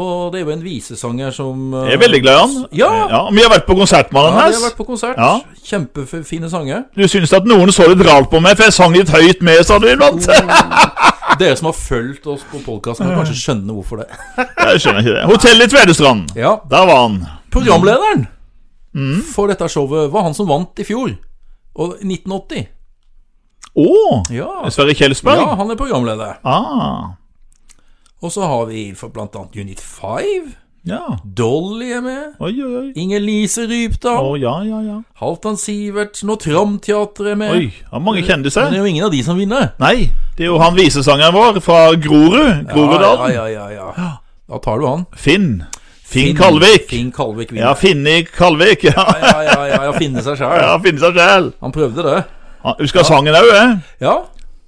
Speaker 1: Og det er jo en visesanger som
Speaker 2: Mm.
Speaker 1: eh,
Speaker 2: Jeg er veldig glad i han.
Speaker 1: Ja.
Speaker 2: ja Vi har vært på konsert med han
Speaker 1: Ja, de har
Speaker 2: hans.
Speaker 1: vært på konsert.
Speaker 2: Ja.
Speaker 1: Kjempefine sanger.
Speaker 2: Du syns at noen så litt rart på meg, for jeg sang litt høyt med, sa du iblant.
Speaker 1: Oh. Dere som har fulgt oss på podkasten, kan kanskje skjønne hvorfor det.
Speaker 2: (laughs) Jeg skjønner ikke det. Hotellet i Tvedestrand.
Speaker 1: Ja,
Speaker 2: Der var han.
Speaker 1: Programlederen
Speaker 2: Mm.
Speaker 1: for dette showet var han som vant i fjor. Og 1980.
Speaker 2: Å!
Speaker 1: Ja,
Speaker 2: Sverre Kjelsberg.
Speaker 1: ja han er programleder.
Speaker 2: Ah.
Speaker 1: Og så har vi for blant annet Unit 5.
Speaker 2: Ja.
Speaker 1: Dolly er med.
Speaker 2: Oi, oi, oi.
Speaker 1: Inger Lise
Speaker 2: Å,
Speaker 1: Rypdal.
Speaker 2: ja, ja, ja.
Speaker 1: Halvdan Sivertsen og Tramteatret er med.
Speaker 2: Oi, har mange
Speaker 1: Men
Speaker 2: kjendiser.
Speaker 1: det er jo ingen av de som vinner.
Speaker 2: Nei, det er jo han visesangeren vår fra Grorud.
Speaker 1: ja,
Speaker 2: Groruddalen.
Speaker 1: ja, ja, ja. Da tar du han.
Speaker 2: Finn. Finn Kalvik.
Speaker 1: Finn Kalvik
Speaker 2: Ja,
Speaker 1: vinner.
Speaker 2: Finni Kalvik. (laughs) Ja,
Speaker 1: Ja, ja, ja, ja, finne seg sjæl.
Speaker 2: ja finne seg sjæl.
Speaker 1: Han prøvde det.
Speaker 2: Husker sangen òg, eh?
Speaker 1: Ja.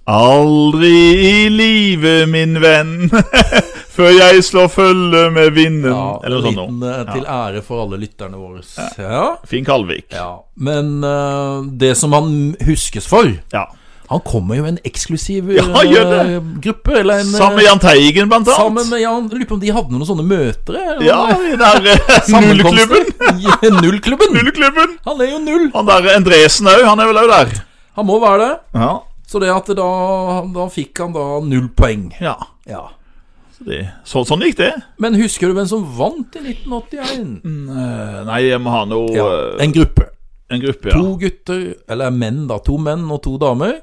Speaker 2: Aldri i livet, min venn, (laughs) før jeg slår følge med vinden.
Speaker 1: ja
Speaker 2: Eller noe
Speaker 1: en
Speaker 2: sånt. noe.
Speaker 1: liten eh, til ære for alle lytterne våre. Ja.
Speaker 2: Finn Kalvik.
Speaker 1: ja. Men eh, det som han huskes for
Speaker 2: Ja.
Speaker 1: Han kommer jo i en eksklusiv
Speaker 2: Ja, han gjør det.
Speaker 1: eh, gruppe. Eller en, eh,
Speaker 2: Sammen med Jahn Teigen, blant annet.
Speaker 1: Sammen med Jan Lurer på om de hadde noen sånne møter? eller
Speaker 2: Ja,
Speaker 1: noe?
Speaker 2: i den
Speaker 1: (laughs)
Speaker 2: der eh, nullklubben.
Speaker 1: Sammenkomster? I Nullklubben! (laughs)
Speaker 2: Nullklubben.
Speaker 1: Han er jo null!
Speaker 2: Han der Endresen òg, han er vel òg der.
Speaker 1: Han må være det.
Speaker 2: Ja.
Speaker 1: Så det at da, da fikk han da null poeng.
Speaker 2: ja.
Speaker 1: Ja.
Speaker 2: Så det, så, sånn gikk det.
Speaker 1: Men husker du hvem som vant i 1981?
Speaker 2: Eh, Nei, jeg må ha noe
Speaker 1: Ja,
Speaker 2: eh,
Speaker 1: en gruppe.
Speaker 2: En gruppe, ja.
Speaker 1: To gutter, eller menn, da. To menn og to damer.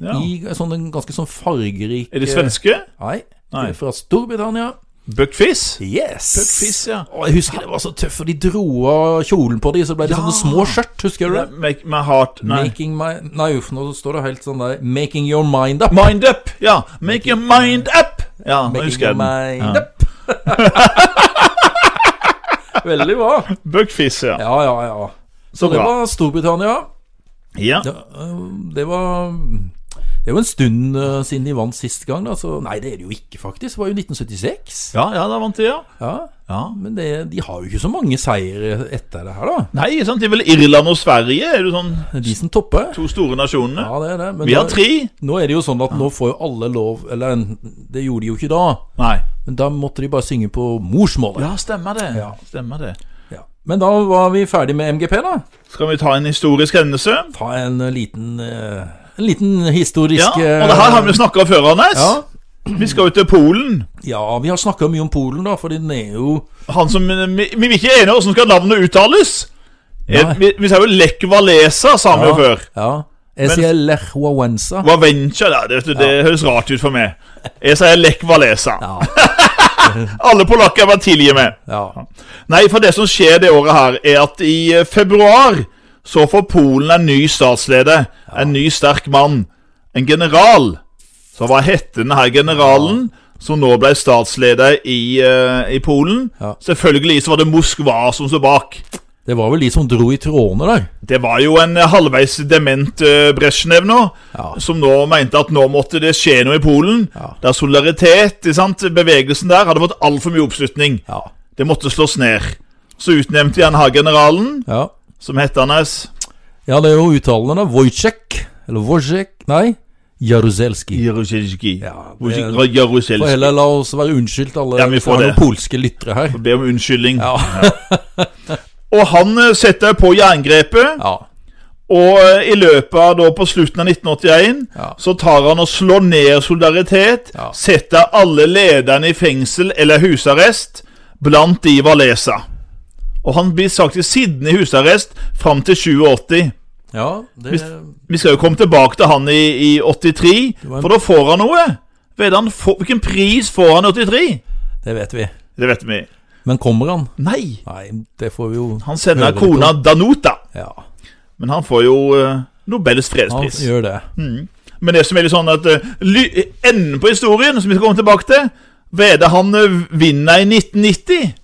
Speaker 2: ja.
Speaker 1: I en sånn, en ganske sånn fargerik
Speaker 2: Er de svenske?
Speaker 1: Nei. De
Speaker 2: Nei.
Speaker 1: er fra Storbritannia.
Speaker 2: Buckfizz?
Speaker 1: Yes!
Speaker 2: Puckfiss, ja.
Speaker 1: Og jeg husker det var så tøft, for de dro av kjolen på dem, så ble det sånne små skjørt. Husker du det?
Speaker 2: Make my heart Nei.
Speaker 1: Making my Nei, uff, nå står det helt sånn der Making your mind up.
Speaker 2: Mind up! Ja. Make your mind up! Ja, nå
Speaker 1: Making
Speaker 2: husker
Speaker 1: your
Speaker 2: jeg
Speaker 1: mind
Speaker 2: den. Ja.
Speaker 1: up. (laughs) Veldig bra.
Speaker 2: Buckfizz, ja.
Speaker 1: Ja, ja, ja.
Speaker 2: Så
Speaker 1: Så det
Speaker 2: bra.
Speaker 1: var Storbritannia.
Speaker 2: ja.
Speaker 1: Det, øh, det var Det er jo en stund øh, siden de vant sist gang, da. Så nei, det er det jo ikke, faktisk. Det var jo 1976.
Speaker 2: Ja, ja, da vant de, ja.
Speaker 1: Ja.
Speaker 2: ja.
Speaker 1: Men det, de har jo ikke så mange seire etter det her, da.
Speaker 2: Nei, ikke sant? det er vel Irland og Sverige er jo sånn
Speaker 1: Det er de som topper.
Speaker 2: to store nasjonene.
Speaker 1: Ja, det er det. Men
Speaker 2: Vi har
Speaker 1: da-
Speaker 2: tre.
Speaker 1: nå er det jo sånn at nå får jo alle lov Eller det gjorde de jo ikke da.
Speaker 2: Nei.
Speaker 1: Men da måtte de bare synge på morsmålet.
Speaker 2: Ja, stemmer det.
Speaker 1: Ja.
Speaker 2: Stemmer det.
Speaker 1: Ja. Men da var vi ferdig med MGP, da.
Speaker 2: Skal vi ta en historisk hendelse?
Speaker 1: Ta en eh, liten eh, En liten historisk
Speaker 2: Ja, og det her har vi snakka om før, Anders.
Speaker 1: ja.
Speaker 2: Vi skal jo til Polen.
Speaker 1: eh, ja, vi har snakka mye om Polen, da, for den er jo
Speaker 2: Han som Vi, vi er ikke enige om hvordan skal navnet uttales. Eh,
Speaker 1: Nei.
Speaker 2: Vi, vi sa jo Lech Walesa, sa vi jo før.
Speaker 1: Ja. Jeg
Speaker 2: Men-
Speaker 1: sier Lech Wawensa.
Speaker 2: Wavencha, da, det, vet du, det høres rart ut for meg. Jeg sier Lech Walesa.
Speaker 1: Ja.
Speaker 2: (laughs) Alle polakker var tidlige med.
Speaker 1: ja.
Speaker 2: Nei, for det som skjer det året her, er at i eh, februar så får Polen en ny statsleder. En ny, sterk mann. En general. Så hva hette denne her generalen som nå ble statsleder i, eh, i Polen?
Speaker 1: Ja.
Speaker 2: Selvfølgelig så var det Moskva som sto bak.
Speaker 1: Det var vel de som dro i trådene der.
Speaker 2: Det var jo en eh, halvveis dement eh, Brezjnev nå,
Speaker 1: Ja.
Speaker 2: som nå mente at nå måtte det skje noe i Polen.
Speaker 1: Ja.
Speaker 2: Der solidaritet, ikke sant? bevegelsen der, hadde fått altfor mye oppslutning.
Speaker 1: Ja.
Speaker 2: Det måtte slås ned. Så utnevnte de han her generalen,
Speaker 1: Ja,
Speaker 2: som het Anders
Speaker 1: ja det er jo uttalende, da. Wojciech. Eller Wojciech Nei, Jaruzelski.
Speaker 2: Jaruzelski.
Speaker 1: Ja, det-
Speaker 2: Wojciech
Speaker 1: For
Speaker 2: Jaruzelski.
Speaker 1: heller la oss være unnskyldt, alle
Speaker 2: Ja, vi får
Speaker 1: har noen
Speaker 2: det.
Speaker 1: polske lyttere her.
Speaker 2: Be om unnskyldning.
Speaker 1: Ja.
Speaker 2: Og han eh, setter på jerngrepet,
Speaker 1: ja.
Speaker 2: Og eh, i løpet av da på slutten av 1981
Speaker 1: Ja.
Speaker 2: så tar han og slår ned solidaritet,
Speaker 1: Ja.
Speaker 2: setter alle lederne i fengsel eller husarrest, blant de var Lesa. Og han blir sagt i Sydney husarrest fram til 2080.
Speaker 1: Ja, det
Speaker 2: Vi skal jo komme tilbake til han i, i 83,
Speaker 1: var en-
Speaker 2: for da får han noe. Vet han, få- hvilken pris får han i 83?
Speaker 1: Det vet vi.
Speaker 2: Det vet vi.
Speaker 1: Men kommer han?
Speaker 2: Nei!
Speaker 1: Nei, det får vi jo
Speaker 2: Han sender
Speaker 1: Hører
Speaker 2: kona Danuta,
Speaker 1: Ja,
Speaker 2: men han får jo eh, Nobels
Speaker 1: han
Speaker 2: fredspris.
Speaker 1: gjør det.
Speaker 2: Men det som er litt sånn at eh, ly enden på historien, som vi skal komme tilbake til Vede han eh, vinner i 1990.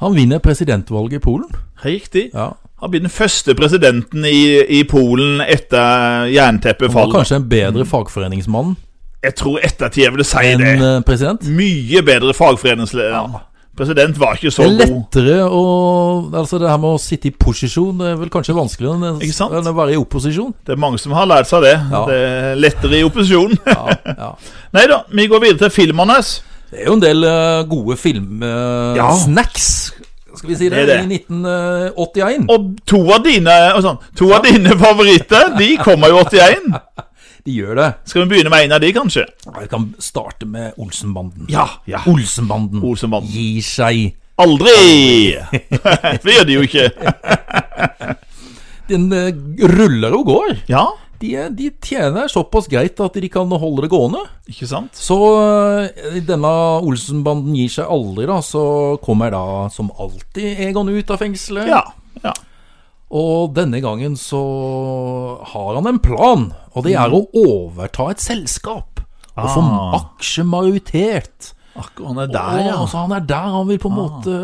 Speaker 1: Han vinner presidentvalget i Polen.
Speaker 2: Riktig.
Speaker 1: Ja.
Speaker 2: Han blir den første presidenten i, i Polen etter
Speaker 1: Han var
Speaker 2: jernteppefallet.
Speaker 1: kanskje en bedre fagforeningsmann
Speaker 2: Jeg tror ettertida vil si
Speaker 1: enn
Speaker 2: Mm. det.
Speaker 1: eh, president.
Speaker 2: Mye bedre fagforeningsleder. President var ikke
Speaker 1: Det
Speaker 2: så
Speaker 1: er
Speaker 2: god.
Speaker 1: lettere å Altså, det her med å sitte i posisjon Det er vel kanskje vanskeligere enn,
Speaker 2: Ikke sant?
Speaker 1: enn å være i opposisjon.
Speaker 2: Det er mange som har lært seg det.
Speaker 1: Ja.
Speaker 2: Det er lettere i opposisjon.
Speaker 1: Ja,
Speaker 2: (laughs)
Speaker 1: ja.
Speaker 2: Nei da, vi går videre til filmen hans.
Speaker 1: Det er jo en del eh, gode filmsnacks,
Speaker 2: Ja.
Speaker 1: snacks skal vi si det,
Speaker 2: Det er det.
Speaker 1: i 1981.
Speaker 2: Og to av dine, og sånn, to av dine favoritter de kommer jo 81.
Speaker 1: De gjør det.
Speaker 2: Skal vi begynne med en av de, kanskje?
Speaker 1: Vi kan starte med Olsenbanden.
Speaker 2: Ja, ja.
Speaker 1: Olsenbanden
Speaker 2: Olsenbanden.
Speaker 1: gir seg.
Speaker 2: Aldri! For (laughs) det gjør de jo ikke.
Speaker 1: Den eh, ruller og går.
Speaker 2: Ja,
Speaker 1: De, er- de tjener såpass greit at de kan holde det gående.
Speaker 2: ikke sant?
Speaker 1: Så eh, denne Olsenbanden gir seg aldri, da. Så kommer da som alltid Egon ut av fengselet.
Speaker 2: Ja. ja.
Speaker 1: Og denne gangen så har han en plan, og det
Speaker 2: Mm.
Speaker 1: er å overta et selskap. Og få
Speaker 2: Ah.
Speaker 1: aksjemajoritet.
Speaker 2: Akkurat han er
Speaker 1: Og, så han er der, han vil på en måte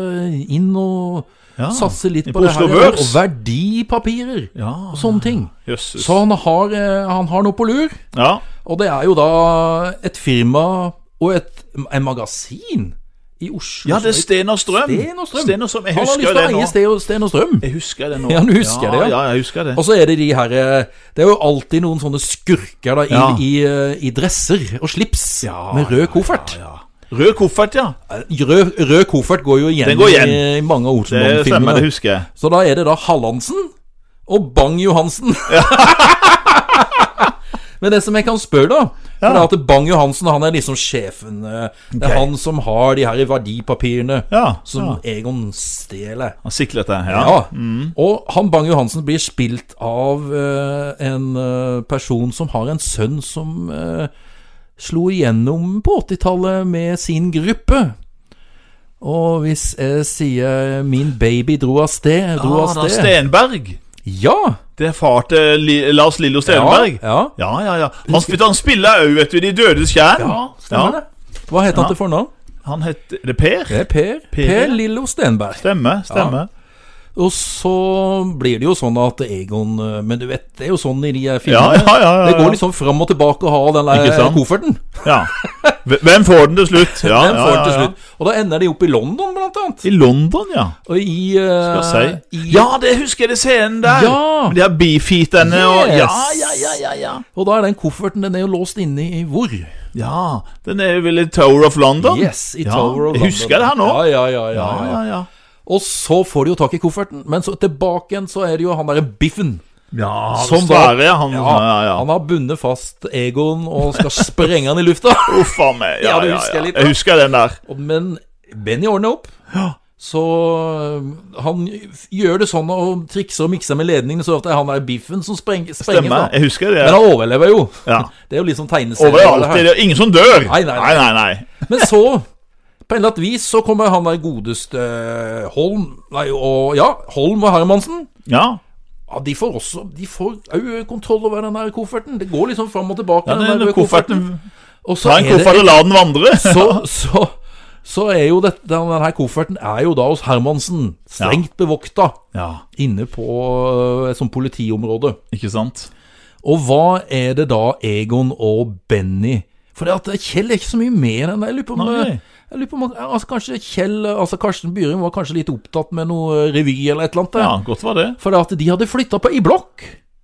Speaker 1: inn og
Speaker 2: Ah. Ja,
Speaker 1: satse litt
Speaker 2: inn
Speaker 1: på,
Speaker 2: på
Speaker 1: det
Speaker 2: Oslo
Speaker 1: her. Og
Speaker 2: Børs.
Speaker 1: verdipapirer
Speaker 2: Ja.
Speaker 1: og sånne ting.
Speaker 2: Jøsses.
Speaker 1: Så han har, eh, han har noe på lur,
Speaker 2: Ja.
Speaker 1: og det er jo da et firma og et en magasin i Oslo.
Speaker 2: ja, det er
Speaker 1: som heter
Speaker 2: Sten og Strøm.
Speaker 1: Sten og Strøm.
Speaker 2: Sten og Strøm. Jeg
Speaker 1: han har
Speaker 2: husker
Speaker 1: lyst
Speaker 2: jo
Speaker 1: til
Speaker 2: det
Speaker 1: å
Speaker 2: nå.
Speaker 1: eie Sten og- Sten og Strøm.
Speaker 2: Jeg husker det nå.
Speaker 1: Ja, du husker det, ja.
Speaker 2: ja. Ja, jeg husker det.
Speaker 1: Og så er det de her eh, Det er jo alltid noen sånne skurker da, i,
Speaker 2: Ja.
Speaker 1: i, eh, i dresser og slips
Speaker 2: Ja,
Speaker 1: med rød koffert. Eh,
Speaker 2: Ja, ja. Rød koffert, ja.
Speaker 1: Rød, rød koffert går jo igjen,
Speaker 2: Den går igjen.
Speaker 1: i- i mange av
Speaker 2: Det stemmer, det
Speaker 1: Olsenbanden-filmene.
Speaker 2: husker jeg.
Speaker 1: Så da er det da Hallandsen og Bang Johansen. (laughs) Men det som jeg kan spørre, da for
Speaker 2: Ja.
Speaker 1: det er at Bang Johansen han er liksom sjefen. eh, Det
Speaker 2: Ok.
Speaker 1: er han som har de her verdipapirene
Speaker 2: Ja,
Speaker 1: som Egon stjeler.
Speaker 2: Han siklet det. Ja. Mm.
Speaker 1: Ja. Og han Bang Johansen blir spilt av eh, en eh, person som har en sønn som eh, slo igjennom på 80-tallet med sin gruppe. Og hvis jeg sier 'min baby dro av sted', dro
Speaker 2: Ah,
Speaker 1: av
Speaker 2: da,
Speaker 1: sted
Speaker 2: Stenberg.
Speaker 1: Ja!
Speaker 2: Det er far til Li Lars Lillo Stenberg.
Speaker 1: Ja, ja.
Speaker 2: ja, ja. ja. Han, spil- han spiller òg, vet du, i De dødes kjern.
Speaker 1: ja stemmer det. Hva het han
Speaker 2: Ja.
Speaker 1: til fornavn?
Speaker 2: Han het Er det Per?
Speaker 1: Det er Per. Per, Lillo Stenberg.
Speaker 2: Stemmer. stemmer.
Speaker 1: Og så blir det jo sånn at Egon eh, Men du vet, det er jo sånn i de eh,
Speaker 2: Ja,
Speaker 1: filmene.
Speaker 2: ja, ja. ja, ja.
Speaker 1: Det går liksom fram og tilbake å ha den
Speaker 2: Ikke
Speaker 1: der eh,
Speaker 2: sant?
Speaker 1: kofferten.
Speaker 2: ja. Hv- Hvem får den til slutt? Ja,
Speaker 1: Den
Speaker 2: ja,
Speaker 1: får
Speaker 2: ja,
Speaker 1: den til
Speaker 2: ja.
Speaker 1: slutt. Og da ender de opp i London, blant annet.
Speaker 2: I London, ja.
Speaker 1: Og i, eh,
Speaker 2: Skal jeg si.
Speaker 1: i
Speaker 2: Ja, det husker jeg det scenen der.
Speaker 1: Ja.
Speaker 2: Med De har beefeaterne og
Speaker 1: Yes.
Speaker 2: ja, ja, ja, ja, ja.
Speaker 1: Og da er den kofferten Den er jo låst inne i hvor?
Speaker 2: Ja, Den er jo vel i Tower of London?
Speaker 1: Yes, i
Speaker 2: Ja,
Speaker 1: Tower of London.
Speaker 2: jeg husker det her nå.
Speaker 1: Ja, ja, ja,
Speaker 2: Ja,
Speaker 1: ja, ja.
Speaker 2: ja, ja.
Speaker 1: Og så får de jo tak i kofferten, men så tilbake igjen så er det jo han derre Biffen.
Speaker 2: ja
Speaker 1: Som
Speaker 2: Sverre,
Speaker 1: var-
Speaker 2: ja, han, ja, ja, ja.
Speaker 1: Han har bundet fast Egon og skal sprenge han i lufta.
Speaker 2: Uff a meg. Ja,
Speaker 1: Ja, du
Speaker 2: ja,
Speaker 1: husker
Speaker 2: ja.
Speaker 1: litt, da.
Speaker 2: Jeg husker den der.
Speaker 1: Og- Men Benny ordner opp. Så øh, han gjør det sånn og trikser og mikser med ledningene, så at det er han der Biffen som sprenger. sprenger
Speaker 2: Stemmer.
Speaker 1: da.
Speaker 2: Jeg husker det.
Speaker 1: Men han overlever jo.
Speaker 2: Ja.
Speaker 1: (laughs) Det er jo litt sånn tegneserie.
Speaker 2: Overalt.
Speaker 1: det her.
Speaker 2: Det er ingen som dør.
Speaker 1: Nei, nei, nei.
Speaker 2: nei, nei.
Speaker 1: Men så, på en eller annet vis, så kommer han der godeste eh, Holm Nei, og ja, Holm og Hermansen.
Speaker 2: Ja.
Speaker 1: Ja, De får også De får òg kontroll over den der kofferten. Det går liksom fram og tilbake.
Speaker 2: ja
Speaker 1: den
Speaker 2: den,
Speaker 1: der
Speaker 2: den kofferten
Speaker 1: Og så
Speaker 2: Ta en
Speaker 1: er det-
Speaker 2: koffert og la den vandre.
Speaker 1: (laughs) så, så, så er jo dette, den her kofferten er jo da hos Hermansen. Strengt bevokta
Speaker 2: Ja,
Speaker 1: inne på øh, et sånt politiområde.
Speaker 2: ikke sant?
Speaker 1: Og hva er det da Egon og Benny For det at Kjell er ikke så mye mer enn det. Jeg lurer på om,
Speaker 2: Nei.
Speaker 1: jeg lurer på om at- altså kanskje Kjell Altså Karsten Byring var kanskje litt opptatt med noe revy eh, eller et eller annet. der.
Speaker 2: Ja, godt var det.
Speaker 1: For det at de hadde flytta på i blokk.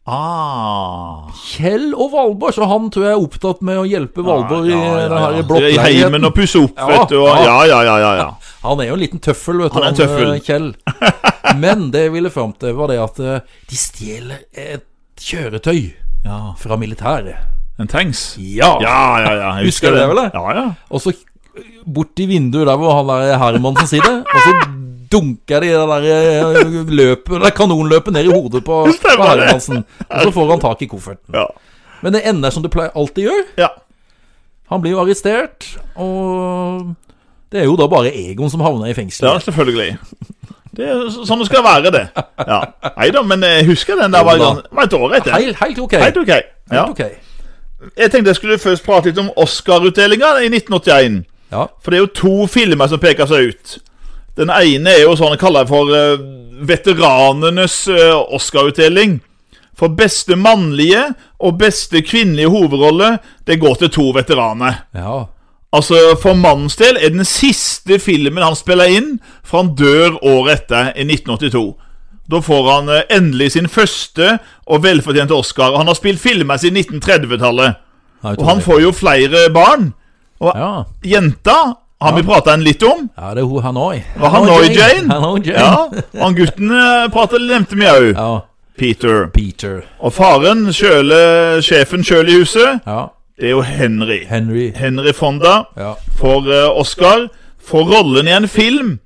Speaker 2: Ah.
Speaker 1: Kjell og Valborg, så han tror jeg er opptatt med å hjelpe Valborg
Speaker 2: Ja,
Speaker 1: i
Speaker 2: ja,
Speaker 1: den her
Speaker 2: I heimen
Speaker 1: blokkleiligheten.
Speaker 2: og pusse opp,
Speaker 1: Ja,
Speaker 2: vet du. Og, ja, ja, ja, ja, ja.
Speaker 1: Han er jo en liten tøffel, vet du.
Speaker 2: Han er en tøffel.
Speaker 1: eh, Kjell. (laughs) Men det jeg ville fram til, var det at eh, de stjeler et kjøretøy
Speaker 2: ja.
Speaker 1: fra militæret.
Speaker 2: En tanks.
Speaker 1: Ja!
Speaker 2: Ja, ja, ja. Jeg
Speaker 1: Husker du det, eller?
Speaker 2: Ja, ja.
Speaker 1: Og så bort i vinduet der hvor han der Hermansen sitter, og så dunker de det der eh, løpet, det der kanonløpet ned i hodet på, på
Speaker 2: Stemmer det.
Speaker 1: Hermansen. Og så får han tak i kofferten.
Speaker 2: Ja.
Speaker 1: Men det ender som det pleier alltid gjør.
Speaker 2: ja.
Speaker 1: Han blir jo arrestert, og det er jo da bare Egon som havner i fengsel.
Speaker 2: Ja, selvfølgelig. Det er så- sånn det skal være, det. Ja. Nei da, men jeg husker den der var,
Speaker 1: Jo da.
Speaker 2: gans- var et år etter.
Speaker 1: Helt, helt ok.
Speaker 2: Helt ok. Ja.
Speaker 1: Helt ok.
Speaker 2: Jeg tenkte jeg skulle først prate litt om Oscar-utdelinga i 1981.
Speaker 1: Ja.
Speaker 2: For det er jo to filmer som peker seg ut. Den ene er jo sånn jeg kaller for eh, veteranenes eh, Oscar-utdeling. For beste mannlige og beste kvinnelige hovedrolle, det går til to veteraner.
Speaker 1: ja.
Speaker 2: Altså, For mannens del er den siste filmen han spiller inn, for han dør året etter, i 1982. Da får han eh, endelig sin første og velfortjente Oscar. og Han har spilt filmer siden 1930-tallet.
Speaker 1: Nei,
Speaker 2: Og han får jo flere barn.
Speaker 1: Ja.
Speaker 2: Jenta har vi prata en litt om.
Speaker 1: ja, det er hun Hanoi.
Speaker 2: Og Hanoi Jane.
Speaker 1: Hanoi Jane.
Speaker 2: Ja, og han gutten eh, prater nevnte vi òg.
Speaker 1: ja.
Speaker 2: Peter.
Speaker 1: Peter.
Speaker 2: Og faren, sjøle, sjefen sjøl i huset,
Speaker 1: Ja.
Speaker 2: det er jo Henry.
Speaker 1: Henry.
Speaker 2: Henry Fonda
Speaker 1: Ja.
Speaker 2: for eh, Oscar for rollen i en film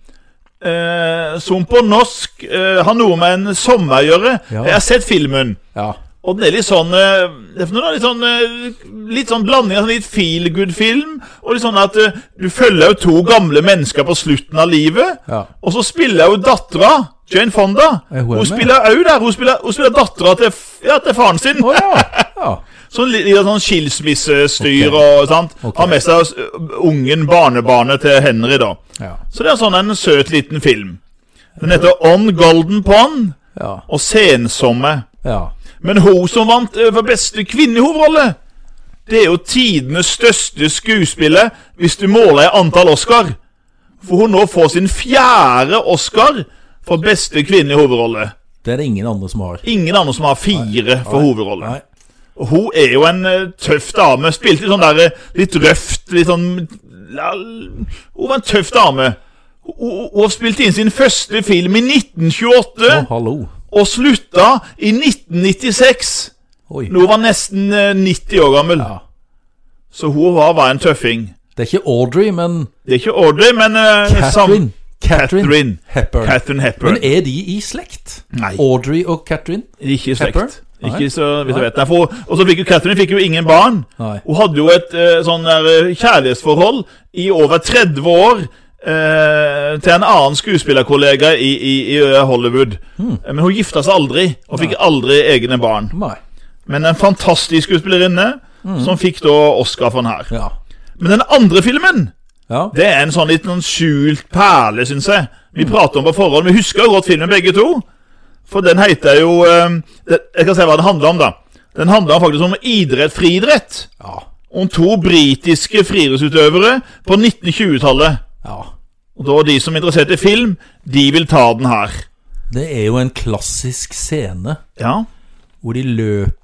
Speaker 2: eh, som på norsk eh, har noe med en sommer å gjøre.
Speaker 1: Ja.
Speaker 2: Jeg har sett filmen,
Speaker 1: Ja.
Speaker 2: og den er litt sånn eh, det er for noe da, litt sånn, eh, litt sånn blanding av sånn litt feel good-film, og litt sånn at eh, du følger jo to gamle mennesker på slutten av livet,
Speaker 1: Ja.
Speaker 2: og så spiller jo dattera Jane Fonda.
Speaker 1: Er hun
Speaker 2: Hun
Speaker 1: med?
Speaker 2: spiller òg der. Hun spiller, hun spiller dattera til, f- ja, til faren sin.
Speaker 1: Å ja. ja.
Speaker 2: Sånn litt, litt sånn skilsmissestyr
Speaker 1: Ok.
Speaker 2: og sånt. Har med seg s- ungen barnebarnet til Henry, da.
Speaker 1: Ja.
Speaker 2: Så det er sånn en søt liten film. Den heter On Golden Pond
Speaker 1: Ja.
Speaker 2: og Sensomme.
Speaker 1: ja.
Speaker 2: Men hun som vant eh, for beste kvinnehovedrolle, det er jo tidenes største skuespiller hvis du måler i antall Oscar. For hun nå får sin fjerde Oscar for beste kvinnelige hovedrolle.
Speaker 1: Det er det ingen andre som har.
Speaker 2: Ingen andre som har fire for hovedrolle.
Speaker 1: Nei.
Speaker 2: Og Hun er jo en eh, tøff dame. Spilte litt sånn der eh, litt røft, litt sånn ja, Hun var en tøff dame. Hun- Hun hun har spilt inn sin første film i 1928,
Speaker 1: Å, hallo.
Speaker 2: og slutta i 1996.
Speaker 1: Oi.
Speaker 2: Nå var hun nesten eh, 90 år gammel.
Speaker 1: Ja.
Speaker 2: Så hun var, var en tøffing.
Speaker 1: Det er ikke Audrey, men
Speaker 2: Det er ikke Audrey, men eh,
Speaker 1: Catherine.
Speaker 2: sam- Catherine.
Speaker 1: Hepburn.
Speaker 2: Catherine Hepburn.
Speaker 1: Men er de i slekt?
Speaker 2: Nei.
Speaker 1: Audrey og Catherine?
Speaker 2: Ikke i
Speaker 1: Pepper?
Speaker 2: slekt.
Speaker 1: Nei.
Speaker 2: Ikke så vidt jeg
Speaker 1: Nei.
Speaker 2: vet. Nei, for, og så fikk jo Catherine fikk jo ingen barn.
Speaker 1: Nei.
Speaker 2: Hun hadde jo et eh, sånn der eh, kjærlighetsforhold i over 30 år eh, til en annen skuespillerkollega i, i, i eh, Hollywood.
Speaker 1: Hmm.
Speaker 2: Eh, Men hun gifta seg aldri, og fikk aldri egne barn.
Speaker 1: Nei.
Speaker 2: Men en fantastisk skuespillerinne
Speaker 1: Hmm.
Speaker 2: som fikk da Oscar for den her.
Speaker 1: Ja.
Speaker 2: Men den andre filmen
Speaker 1: Ja.
Speaker 2: det er en sånn litt sånn skjult perle, syns jeg. Vi prater om på forhånd. Vi husker jo godt filmen, begge to. For den heter jo eh, det, Jeg kan si hva den handler om, da. Den handler faktisk om idrett, friidrett.
Speaker 1: Ja.
Speaker 2: Om to britiske friidrettsutøvere på 1920-tallet.
Speaker 1: ja.
Speaker 2: Og da de som er interessert i film, de vil ta den her.
Speaker 1: Det er jo en klassisk scene
Speaker 2: Ja.
Speaker 1: hvor de løper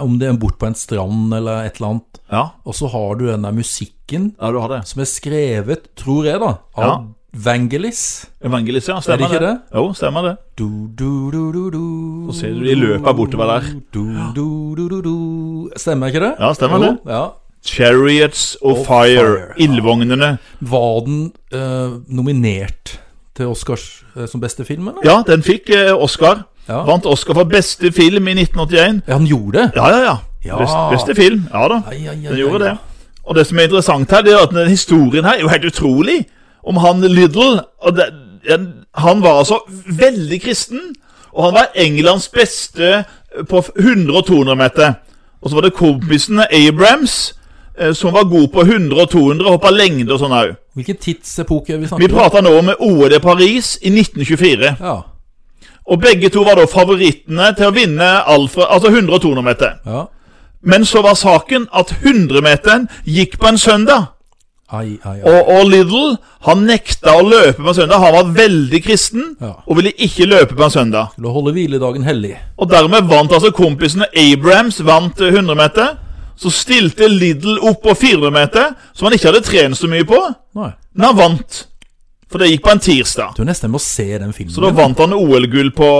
Speaker 1: Om det er bort på en strand eller et eller annet,
Speaker 2: Ja,
Speaker 1: og så har du den der musikken
Speaker 2: ja du har det.
Speaker 1: som er skrevet, tror jeg, da, av
Speaker 2: Ja.
Speaker 1: Vangelis.
Speaker 2: Evangelist, ja. Stemmer
Speaker 1: Er det ikke det?
Speaker 2: Jo, stemmer det.
Speaker 1: Du, du, du, du, du.
Speaker 2: Så ser du de løper bortover der.
Speaker 1: Du, du, du, du, du. Stemmer ikke det?
Speaker 2: Ja, stemmer det.
Speaker 1: Ja.
Speaker 2: Chariots of
Speaker 1: Of
Speaker 2: Fire.
Speaker 1: Fire.
Speaker 2: Ildvognene.
Speaker 1: Var den eh, nominert til Oscars eh, som beste film, eller?
Speaker 2: Ja, den fikk eh, Oscar.
Speaker 1: Ja.
Speaker 2: Vant Oscar for beste film i 1981.
Speaker 1: Ja, han gjorde det?
Speaker 2: Ja, ja, ja.
Speaker 1: Ja.
Speaker 2: Best, beste film. Ja da,
Speaker 1: Ai, ai, ai,
Speaker 2: den gjorde
Speaker 1: ai,
Speaker 2: det. Og det som er interessant her, det er at den historien her er jo helt utrolig. Om han Liddle og det, en- Han var altså veldig kristen, og han var Englands beste eh, på 100 og 200 meter. Og så var det kompisen Abrams, eh, som var god på 100 og 200, hoppa lengde og sånn òg.
Speaker 1: Hvilken tidsepoke er vi
Speaker 2: Vi
Speaker 1: snakker om?
Speaker 2: prater nå om OL i Paris i 1924.
Speaker 1: Ja,
Speaker 2: Og begge to var da favorittene til å vinne Alfred, altså 100 og 200 meter.
Speaker 1: ja.
Speaker 2: Men så var saken at 100-meteren gikk på en søndag.
Speaker 1: Ai, ai, ai.
Speaker 2: Og, og Little han nekta å løpe på en søndag. Han var veldig kristen
Speaker 1: Ja.
Speaker 2: og ville ikke løpe på en søndag.
Speaker 1: Skulle holde hviledagen hellig.
Speaker 2: Og dermed vant altså kompisene Abrahams vant eh, 100 meter. Så stilte Little opp på 400 meter, som han ikke hadde trent så mye på.
Speaker 1: Nei.
Speaker 2: Men han vant. For det gikk på en tirsdag.
Speaker 1: Du er nesten med å se den filmen.
Speaker 2: Så da vant han OL-gull på,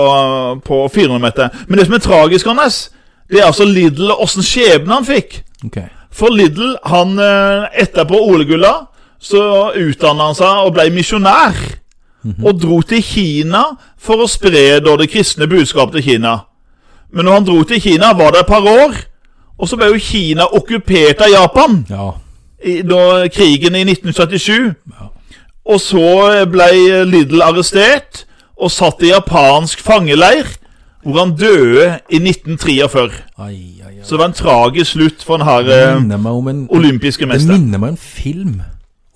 Speaker 2: på 400 meter. Men det som er tragisk, Anders, det er altså Lidl og åssen skjebne han fikk.
Speaker 1: Ok.
Speaker 2: For Lidl, han eh, etterpå OL-gulla, så utdanna han seg og ble misjonær. Og dro til Kina for å spre da det kristne budskapet til Kina. Men når han dro til Kina, var det et par år. Og så ble jo Kina okkupert av Japan
Speaker 1: Ja.
Speaker 2: i, da krigen i 1977.
Speaker 1: Ja.
Speaker 2: Og så ble Lidl arrestert og satt i japansk fangeleir, hvor han døde i 1943.
Speaker 1: Ai, ai, ai.
Speaker 2: Så det var en tragisk slutt for den her
Speaker 1: Det
Speaker 2: eh,
Speaker 1: minner meg om en,
Speaker 2: olympiske
Speaker 1: Mm. det
Speaker 2: mester.
Speaker 1: minner meg om en film